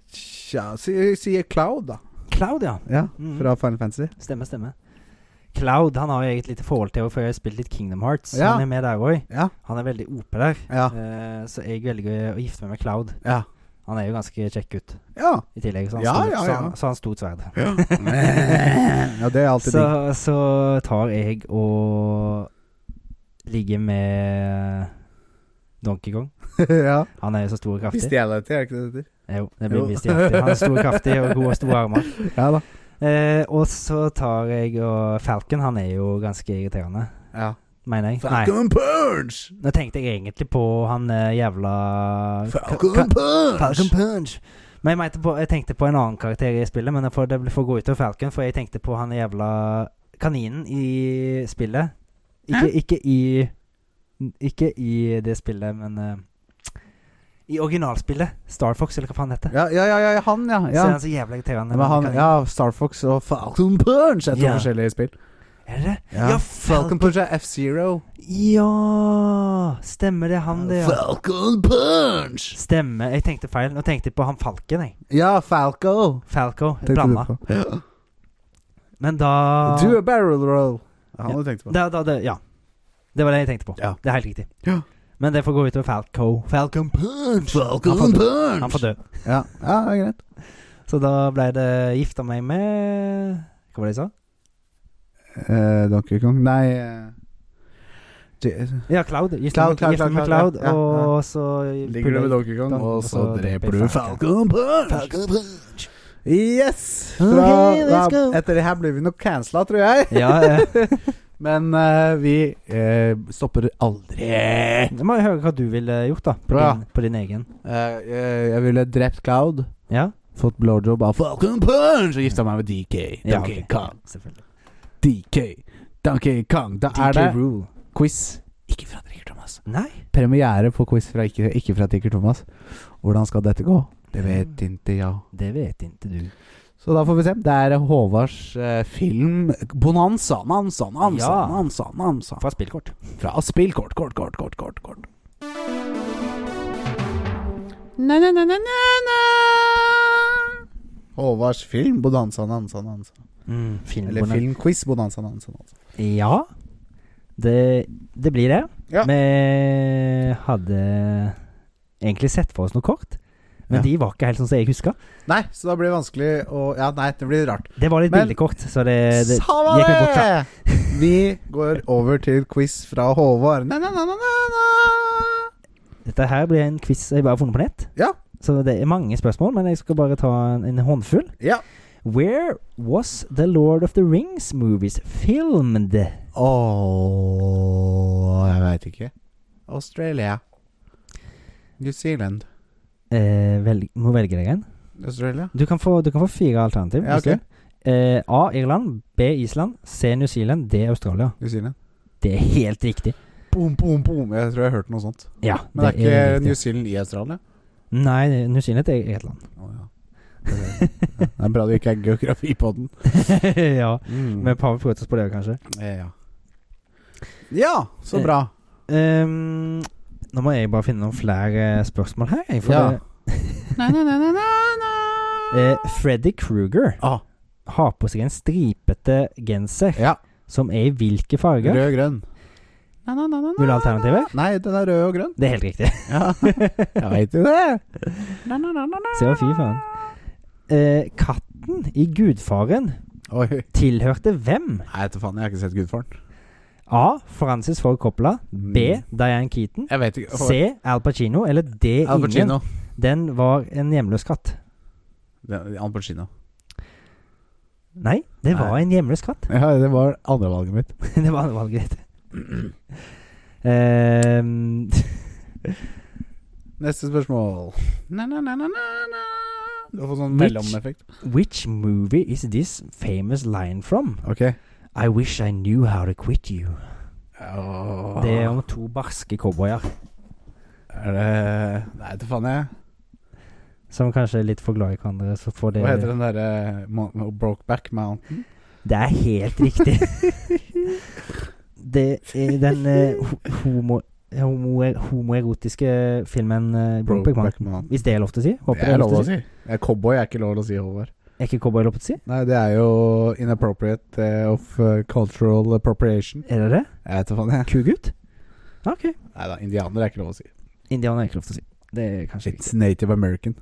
Speaker 1: Tja, sier si Cloud, da.
Speaker 2: Cloud, ja.
Speaker 1: Ja,
Speaker 2: Mm.
Speaker 1: Fra Final Fantasy.
Speaker 2: Stemme, stemme. Cloud han har jo eget lite forhold til før jeg har spilt litt Kingdom Hearts.
Speaker 1: Ja.
Speaker 2: Han er med der òg.
Speaker 1: Ja.
Speaker 2: Han er veldig OP der.
Speaker 1: Ja.
Speaker 2: Eh, så jeg velger å gifte meg med Cloud.
Speaker 1: Ja.
Speaker 2: Han er jo ganske kjekk gutt
Speaker 1: Ja,
Speaker 2: i tillegg, så han
Speaker 1: Ja,
Speaker 2: stort,
Speaker 1: ja,
Speaker 2: Så
Speaker 1: ja.
Speaker 2: han, så han stort sverd.
Speaker 1: ja det er alltid
Speaker 2: Så,
Speaker 1: digg.
Speaker 2: så tar jeg og ligger med Donkey Kong.
Speaker 1: ja.
Speaker 2: Han er jo så stor og kraftig.
Speaker 1: Bestiality, er det ikke det det heter?
Speaker 2: Jo, det
Speaker 1: Jo.
Speaker 2: blir bestiality. Han er stor og kraftig og god og store armer.
Speaker 1: Ja da.
Speaker 2: Eh, og så tar jeg og Falcon. Han er jo ganske irriterende,
Speaker 1: Ja.
Speaker 2: mener jeg. Nei.
Speaker 1: Falcon Punch!
Speaker 2: Nå tenkte jeg egentlig på han eh, jævla Ka-
Speaker 1: Falcon
Speaker 2: ka-
Speaker 1: Punch!
Speaker 2: Falcon Punch. Men jeg, mente på, jeg tenkte på en annen karakter i spillet, men det får, det får gå ut over Falcon, for jeg tenkte på han jævla kaninen i spillet. Ikke, ikke i Ikke i det spillet, men eh, I originalspillet. Star Fox, eller hva faen det heter.
Speaker 1: Ja, ja, ja, ja, han, ja.
Speaker 2: Så
Speaker 1: ja.
Speaker 2: er han så jævla irriterende.
Speaker 1: Men
Speaker 2: med
Speaker 1: han,
Speaker 2: kanin.
Speaker 1: ja, Star Fox og Falcon Punch er to
Speaker 2: Ja.
Speaker 1: forskjellige spill.
Speaker 2: Er det det?
Speaker 1: Ja,
Speaker 2: Ja,
Speaker 1: Falcon
Speaker 2: Falcon
Speaker 1: Punch er F-Zero.
Speaker 2: Ja! Stemmer det, han det, ja.
Speaker 1: Falcon Punch!
Speaker 2: Stemmer. Jeg tenkte feil. Nå tenkte jeg på han Falken, jeg.
Speaker 1: Ja, Falco.
Speaker 2: Falco.
Speaker 1: tenkte
Speaker 2: Blanda.
Speaker 1: du på.
Speaker 2: Men da
Speaker 1: Do a barrel roll. Ja, Han
Speaker 2: Ja.
Speaker 1: hadde du tenkt på.
Speaker 2: Da, da, det, ja. Det var det jeg tenkte på.
Speaker 1: Ja.
Speaker 2: Det er helt riktig.
Speaker 1: Ja.
Speaker 2: Men det får gå utover Falco. Falcon Punch! Han får
Speaker 1: Falcon
Speaker 2: dø.
Speaker 1: Punch!
Speaker 2: Han får dø.
Speaker 1: Ja, ja det er greit.
Speaker 2: Så da ble det gifta meg med Hva var det jeg sa?
Speaker 1: Eh, Donkey Kong Nei eh, Je-
Speaker 2: Ja, Cloud. Gifta
Speaker 1: Cloud,
Speaker 2: meg
Speaker 1: Cloud,
Speaker 2: gifta meg med
Speaker 1: Cloud,
Speaker 2: Cloud.
Speaker 1: ja, ja, ja.
Speaker 2: Og så
Speaker 1: Ligger du med Donkey Kong,
Speaker 2: Donkey-
Speaker 1: og
Speaker 2: og
Speaker 1: så
Speaker 2: så
Speaker 1: dreper
Speaker 2: dreper
Speaker 1: du
Speaker 2: jeg
Speaker 1: Falcon Punch!
Speaker 2: Falcon Punch.
Speaker 1: Yes!
Speaker 2: Ok,
Speaker 1: Fra- da-
Speaker 2: let's go.
Speaker 1: Etter det her blir vi nok cancela, tror jeg.
Speaker 2: Ja, eh,
Speaker 1: Men eh, vi eh, stopper aldri. Eh,
Speaker 2: nå må jeg høre hva du ville gjort, da. På,
Speaker 1: Ja.
Speaker 2: din, på din egen.
Speaker 1: Eh, jeg, jeg ville drept Cloud,
Speaker 2: Ja,
Speaker 1: fått blowjob av Falcon Punch og gifta meg med DK. Donkey
Speaker 2: Ja, ok.
Speaker 1: Kong.
Speaker 2: selvfølgelig.
Speaker 1: DK. Donkey Kong. Da er det
Speaker 2: DK Rule.
Speaker 1: quiz. Ikke fra Tikker Thomas.
Speaker 2: Nei.
Speaker 1: Premiere på quiz fra ikke, ikke fra Tikker Thomas. Hvordan skal dette gå? Det vet ikke jeg.
Speaker 2: Det vet ikke du.
Speaker 1: Så da får vi se. Det er Håvards eh, film Bonanza. Nansa, nansa,
Speaker 2: Ja.
Speaker 1: nansa, nansa.
Speaker 2: Fra spillkort.
Speaker 1: Fra spill kort, kort, kort, kort, kort, kort. Håvards film Bonanza, nansa, nansa.
Speaker 2: Mm,
Speaker 1: Eller filmquiz Bonanza, nansa, nansa.
Speaker 2: Ja. Det, det blir det.
Speaker 1: Ja.
Speaker 2: Vi hadde egentlig sett for oss noe kort, men
Speaker 1: Ja.
Speaker 2: de var ikke helt sånn som jeg huska.
Speaker 1: Nei, så da blir det vanskelig å Ja, nei, det blir rart.
Speaker 2: Det var litt
Speaker 1: Men-
Speaker 2: bildekort, så det,
Speaker 1: Eh,
Speaker 2: det
Speaker 1: Samme
Speaker 2: gikk vi bort fra.
Speaker 1: det! Vi går over til quiz fra Håvard. Na, na, na, na, na, na.
Speaker 2: Dette her blir en quiz jeg bare har funnet på nett.
Speaker 1: Ja.
Speaker 2: Så det er mange spørsmål, men jeg skal bare ta en, en håndfull.
Speaker 1: Ja.
Speaker 2: Where was The Lord of the Rings movies filmed?
Speaker 1: Åh, jeg veit ikke. Australia. New Zealand.
Speaker 2: Eh, velg, må velge deg en.
Speaker 1: Australia?
Speaker 2: Du kan få, du kan få fire alternativ.
Speaker 1: Ja,
Speaker 2: hvis du
Speaker 1: ok.
Speaker 2: vil. eh, A. Irland. B. Island. C. New Zealand. D. Australia.
Speaker 1: New Zealand.
Speaker 2: Det er helt riktig.
Speaker 1: Boom, boom, boom. Jeg tror jeg hørte noe sånt.
Speaker 2: Ja,
Speaker 1: Men det, er ikke
Speaker 2: riktig.
Speaker 1: New Zealand i Australia?
Speaker 2: Nei, det- New Zealand er eget land.
Speaker 1: Å, ja. Det er- det er bra du ikke er geografi på den.
Speaker 2: ja.
Speaker 1: Mm.
Speaker 2: Men Pavel prøvde oss på det, kanskje.
Speaker 1: Eh, ja. ja, så
Speaker 2: Eh,
Speaker 1: bra.
Speaker 2: Ehm, nå må jeg bare finne noen flere eh, spørsmål her. jeg, For
Speaker 1: Ja.
Speaker 2: det, eh, Freddy Kruger
Speaker 1: Ah.
Speaker 2: har på seg en stripete genser
Speaker 1: Ja.
Speaker 2: som er i hvilke farger?
Speaker 1: Rød og grønn.
Speaker 2: Vil du ha alternativer?
Speaker 1: Nei, den er rød og grønn.
Speaker 2: Det er helt riktig.
Speaker 1: Ja, jeg veit jo det.
Speaker 2: Se hva fy faen. Eh, katten i Gudfaren
Speaker 1: Oi.
Speaker 2: tilhørte hvem?
Speaker 1: Nei, vet du faen, jeg har ikke sett Gudfaren.
Speaker 2: A. Francis Ford Coppola. B.
Speaker 1: Mm.
Speaker 2: Diane Keaton.
Speaker 1: Jeg vet ikke.
Speaker 2: C. Al Pacino. Eller D.
Speaker 1: Al
Speaker 2: Ingen.
Speaker 1: Pacino.
Speaker 2: Den var en hjemløs katt.
Speaker 1: Det- Al Pacino.
Speaker 2: Nei, det var
Speaker 1: Nei.
Speaker 2: en hjemløs katt.
Speaker 1: Ja, det var andrevalget mitt.
Speaker 2: det var valget ditt. Ehm,
Speaker 1: Neste spørsmål. Du har fått sånn
Speaker 2: Which-
Speaker 1: mellomeffekt.
Speaker 2: Which movie is this famous line from?
Speaker 1: Ok.
Speaker 2: I wish I knew how to quit you.
Speaker 1: Åh.
Speaker 2: Det er om to barske cowboyer
Speaker 1: Er det Nei, det faen jeg.
Speaker 2: som kanskje er litt for glad i hverandre. Så får det
Speaker 1: Hva heter den derre uh, Brokeback Mountain?
Speaker 2: Det er helt riktig. det er den eh, ho- homo, homo, homoerotiske filmen eh, Brokeback Mountain.
Speaker 1: Mountain.
Speaker 2: Hvis det er lov til å si? Håper
Speaker 1: Det er lov å
Speaker 2: si.
Speaker 1: si. Eh, Cowboy er ikke lov å si, Håvard.
Speaker 2: Er ikke cowboy lov til å si?
Speaker 1: Nei, det er jo inappropriate eh, of eh, cultural appropriation.
Speaker 2: Er det det?
Speaker 1: Jeg vet da faen, jeg.
Speaker 2: Kugutt? Ja, Ok.
Speaker 1: Nei da, indianer er ikke lov å si.
Speaker 2: Indianer er ikke lov til å si. Det er kanskje riktig.
Speaker 1: It's native American.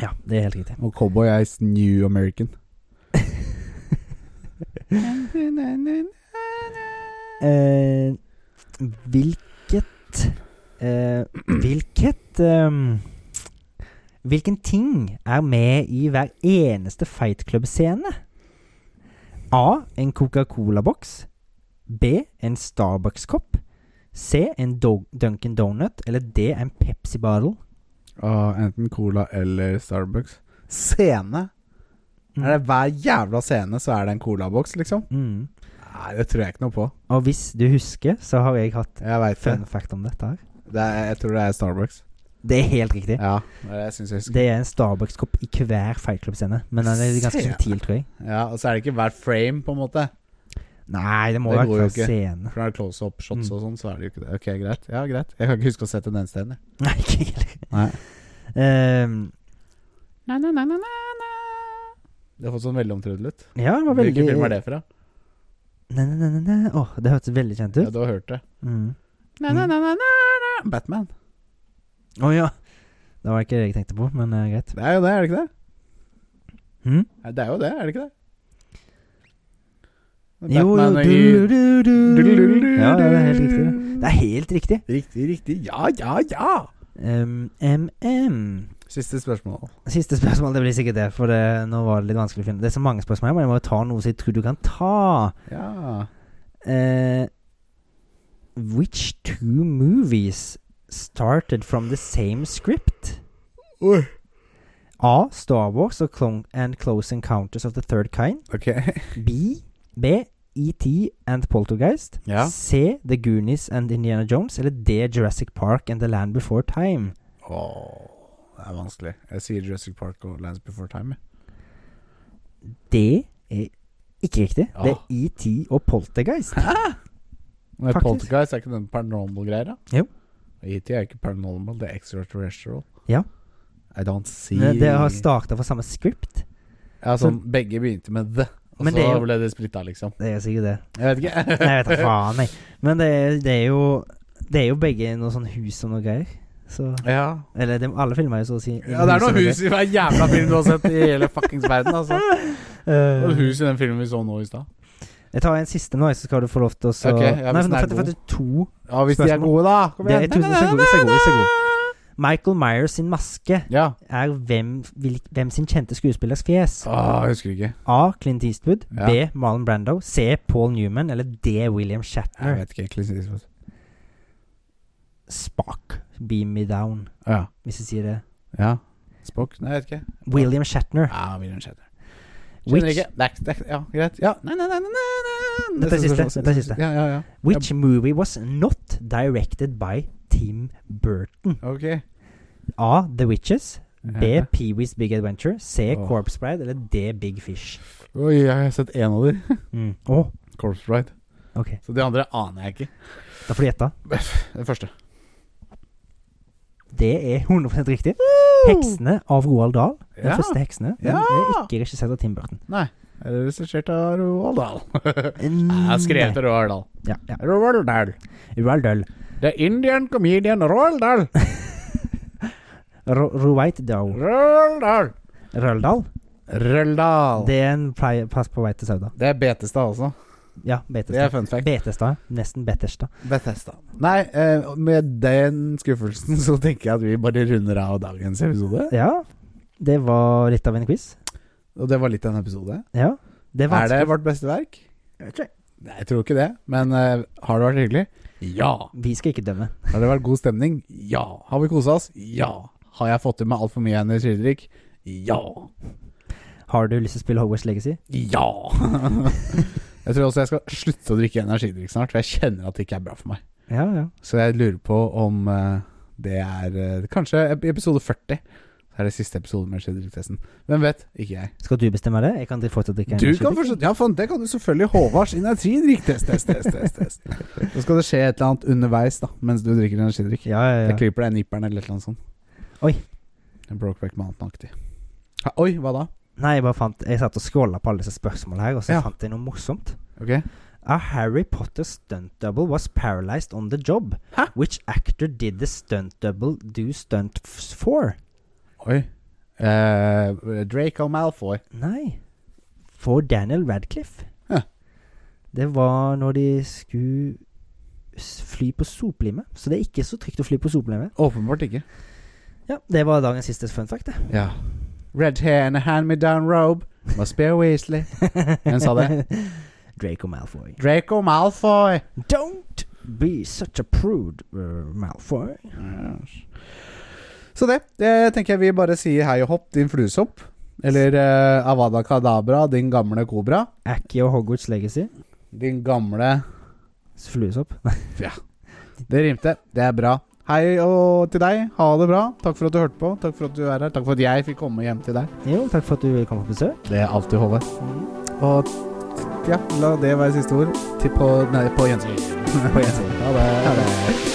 Speaker 2: Ja, det er helt riktig.
Speaker 1: Og cowboy er is new American.
Speaker 2: Eh, hvilket eh, Hvilket ehm, Hvilken ting er med i hver eneste Fight Club-scene? A. En Coca-Cola-boks. B. En Starbucks-kopp. C. En Do Dunkin' Donut. Eller D. En Pepsi-bottle.
Speaker 1: Og Ah, enten cola eller Starbucks. Scene?
Speaker 2: Mm.
Speaker 1: Er det hver jævla scene så er det en colaboks, liksom?
Speaker 2: Mm.
Speaker 1: Nei, det tror jeg ikke noe på.
Speaker 2: Og hvis du husker, så har jeg hatt
Speaker 1: Jeg veit det.
Speaker 2: fun fact om dette her.
Speaker 1: det er, jeg tror det er Starbucks.
Speaker 2: Det er helt riktig.
Speaker 1: Ja, det er det jeg syns jeg husker.
Speaker 2: Det er en Starbucks-kopp i hver Fight Club-scene. Men den er ganske
Speaker 1: Scene.
Speaker 2: subtil, tror jeg.
Speaker 1: Ja, og så er det ikke hver frame, på en måte.
Speaker 2: Nei, det må
Speaker 1: Det
Speaker 2: være
Speaker 1: går jo
Speaker 2: hver
Speaker 1: ikke.
Speaker 2: scene.
Speaker 1: For når det er close up shots
Speaker 2: Mm.
Speaker 1: og sånn, så er det jo ikke det. Ok, greit. Ja, greit. Jeg kan ikke huske å ha sett den eneste en. jeg.
Speaker 2: Nei, ikke heller.
Speaker 1: Nei.
Speaker 2: Ehm,
Speaker 1: Det har fått sånn mellomtrudlet.
Speaker 2: ja, det var veldig
Speaker 1: Hvilken film er det fra?
Speaker 2: Nei, nei, nei, nei, nei. Åh, det hørtes veldig kjent
Speaker 1: Ja,
Speaker 2: ut.
Speaker 1: du har hørt det.
Speaker 2: Mm.
Speaker 1: Na, na, na, na, na, na. Batman.
Speaker 2: Å ja. Det var ikke det jeg tenkte på, men eh, greit.
Speaker 1: Det er jo det, er det ikke det?
Speaker 2: Hm?
Speaker 1: Nei, Det er jo det, er det ikke det?
Speaker 2: Jo, jo
Speaker 1: Batman og
Speaker 2: du,
Speaker 1: i-
Speaker 2: du, du, du. Ja, ja, det er helt riktig. det. Det er helt riktig.
Speaker 1: Riktig, riktig. Ja, ja, ja!
Speaker 2: Ehm, MM.
Speaker 1: Siste spørsmål.
Speaker 2: Siste spørsmål, det blir sikkert det, for det, nå var det litt vanskelig å finne Det er så mange spørsmål, her, men jeg må jo ta noe som jeg tror du kan ta.
Speaker 1: Ja
Speaker 2: Eh, which two movies started from the same script?
Speaker 1: Oi.
Speaker 2: A. Star Wars og Clone and Close Encounters of the Third Kind.
Speaker 1: Ok.
Speaker 2: B. B. ET and Poltergeist.
Speaker 1: Ja.
Speaker 2: C. The Goonies and Indiana Jones. Eller D. Jurassic Park and The Land Before Time.
Speaker 1: Åh, det er vanskelig. Jeg sier Jurassic Park og Lands Before Time. jeg.
Speaker 2: D er ikke riktig. Det
Speaker 1: Ah.
Speaker 2: er ET og Poltergeist.
Speaker 1: Men
Speaker 2: Faktisk.
Speaker 1: Poltergeist er ikke den paranormal-greia? da?
Speaker 2: Jo.
Speaker 1: ET E er ikke paranormal, det er extraterrestrial.
Speaker 2: Ja.
Speaker 1: I don't see
Speaker 2: Det det har starta fra samme script.
Speaker 1: Ja, sånn Begge begynte med the, og
Speaker 2: Men
Speaker 1: så
Speaker 2: det er jo-
Speaker 1: ble det splitta, liksom.
Speaker 2: Det er sikkert det.
Speaker 1: Jeg vet ikke.
Speaker 2: Nei, jeg vet da faen, jeg. Men det, er- det er jo Det er jo begge noe sånn hus og noe greier. Så
Speaker 1: Ja.
Speaker 2: Eller det, alle filmer er jo så å si
Speaker 1: ja, det er noe hus i hver jævla film du har sett i hele fuckings verden, altså. Det var et hus i den filmen vi så nå i stad.
Speaker 2: jeg tar en siste nå, så skal du få lov til å så
Speaker 1: Ok, ja,
Speaker 2: Nei,
Speaker 1: hvis den
Speaker 2: nå
Speaker 1: er
Speaker 2: fikk jeg
Speaker 1: god.
Speaker 2: faktisk to.
Speaker 1: Ja, hvis de er
Speaker 2: Spørsmål?
Speaker 1: gode, da. Kom
Speaker 2: Det-
Speaker 1: igjen.
Speaker 2: tusen, vær så god, vær så god, vær så Michael Myers sin maske
Speaker 1: Ja.
Speaker 2: er hvem, hvil, hvem sin kjente skuespillers fjes?
Speaker 1: Åh, Ah, jeg husker ikke.
Speaker 2: A. Clint Eastwood.
Speaker 1: Ja.
Speaker 2: B. Marlon Brando. C. Paul Newman. Eller D. William
Speaker 1: Jeg
Speaker 2: Shatner.
Speaker 1: vet ikke egentlig. sier det.
Speaker 2: Spak. Beam me down,
Speaker 1: Ja.
Speaker 2: hvis jeg sier det.
Speaker 1: ja. Spock? Nei, jeg vet ikke.
Speaker 2: William Shatner.
Speaker 1: Ja, William Shatner.
Speaker 2: Which-
Speaker 1: Skjønner ikke. Det er, det er, ja, greit. Ja. Nei, nei, nei, nei, nei, nei.
Speaker 2: Dette er siste,
Speaker 1: spørsmål.
Speaker 2: dette er siste.
Speaker 1: Ja, ja, ja.
Speaker 2: Which movie was not directed by Tim Burton?
Speaker 1: Ok.
Speaker 2: A. The Witches. B.
Speaker 1: Ja.
Speaker 2: Pee-wee's Big Adventure. C.
Speaker 1: Åh.
Speaker 2: Corpse Bride. Eller D. Big Fish.
Speaker 1: Oi, jeg har sett én av dem.
Speaker 2: Mm. Åh,
Speaker 1: Corpse Bride.
Speaker 2: ok.
Speaker 1: Så de andre aner jeg ikke.
Speaker 2: Da får du gjette.
Speaker 1: Den første.
Speaker 2: Det er 100 riktig. Heksene av Roald Dahl. Den
Speaker 1: Ja.
Speaker 2: første Heksene. Den
Speaker 1: Ja.
Speaker 2: er ikke regissert av Tim Burton.
Speaker 1: Er det Regissert av Roald Dahl. Jeg
Speaker 2: Nei.
Speaker 1: har skrevet av Roald Dahl.
Speaker 2: Mm. Ja, ja.
Speaker 1: Roald Dahl.
Speaker 2: Roald Dahl.
Speaker 1: The Indian comedian Roald Dahl.
Speaker 2: Ro- Roald Dahl.
Speaker 1: Roald Dahl.
Speaker 2: Roald Dahl.
Speaker 1: Roald Dahl.
Speaker 2: Det er en plei- pass på vei til Sauda.
Speaker 1: Det er Betestad også.
Speaker 2: Ja,
Speaker 1: Det er
Speaker 2: Betestad.
Speaker 1: fun fact.
Speaker 2: Betestad. Nesten Betestad.
Speaker 1: Bethesda. Nei, eh, med den skuffelsen så tenker jeg at vi bare runder av dagens episode.
Speaker 2: Ja. Det var litt av en quiz.
Speaker 1: Og det var litt av en episode.
Speaker 2: Ja. Det er
Speaker 1: er det
Speaker 2: vanskelig.
Speaker 1: vårt beste verk? Nei, jeg tror ikke det. Men eh, har det vært hyggelig? Ja.
Speaker 2: Vi skal ikke dømme.
Speaker 1: Har det vært god stemning? Ja. Har vi kosa oss? Ja. Har jeg fått i meg altfor mye energidrikk?
Speaker 4: Ja.
Speaker 2: Har du lyst til å spille Hogwarts Legacy?
Speaker 4: Ja.
Speaker 1: Jeg tror også jeg skal slutte å drikke energidrikk snart, for jeg kjenner at det ikke er bra for meg.
Speaker 2: Ja, ja.
Speaker 1: Så jeg lurer på om eh, det er eh, Kanskje ep- episode 40. Det er det siste episoden med energidrikktesten. Hvem vet? Ikke jeg.
Speaker 2: Skal du bestemme det? Jeg kan til- fortsatt drikke
Speaker 1: Du kan
Speaker 2: energidrikk.
Speaker 1: forstå, ja, faen, det kan du selvfølgelig. Håvards energidrikktest, test, test, test, test. Så skal det skje et eller annet underveis da, mens du drikker energidrikk.
Speaker 2: Ja, ja,
Speaker 1: Jeg
Speaker 2: ja.
Speaker 1: klipper deg i nipperen eller et eller annet sånt.
Speaker 2: Oi.
Speaker 1: En Brokeback Mountain-aktig. Ha, oi, hva da?
Speaker 2: Nei, jeg bare fant Jeg satt og scrolla på alle disse spørsmålene her, og så
Speaker 1: Ja.
Speaker 2: fant jeg noe morsomt.
Speaker 1: Ok.
Speaker 2: A Harry Potter stunt double was paralyzed on the job.
Speaker 1: Hæ?
Speaker 2: Which actor did the stunt double do stunt f- for?
Speaker 1: Oi. Eh, Draco Malfoy.
Speaker 2: Nei. For Daniel Radcliffe.
Speaker 1: Hæ.
Speaker 2: Det var når de skulle s- fly på soplimet. Så det er ikke så trygt å fly på soplimet.
Speaker 1: Åpenbart ikke.
Speaker 2: Ja, det var dagens siste fun fact, det.
Speaker 1: Ja. Red hair and a hand-me-down robe. Must be a Weasley. Hvem sa det?
Speaker 2: Draco Malfoy.
Speaker 1: Draco Malfoy!
Speaker 2: Don't be such a prude, uh, Malfoy.
Speaker 1: Så det, det tenker jeg vi bare sier hei og hopp, din fluesopp. Eller eh, Avada Kadabra, din gamle kobra.
Speaker 2: Aki og Hogwarts Legacy.
Speaker 1: Din gamle
Speaker 2: Fluesopp.
Speaker 1: Det rimte. Det er bra. Hei og til deg. Ha det bra. Takk for at du hørte på. Takk for at du er her. Takk for at jeg fikk komme hjem til deg.
Speaker 2: Jo, takk for at du ville komme på besøk.
Speaker 1: Det er alltid Håve.
Speaker 2: Mm.
Speaker 1: Og ja, la det være siste ord. Til på, nei, på gjensyn.
Speaker 2: På gjensyn.
Speaker 1: Ha det. Ha det.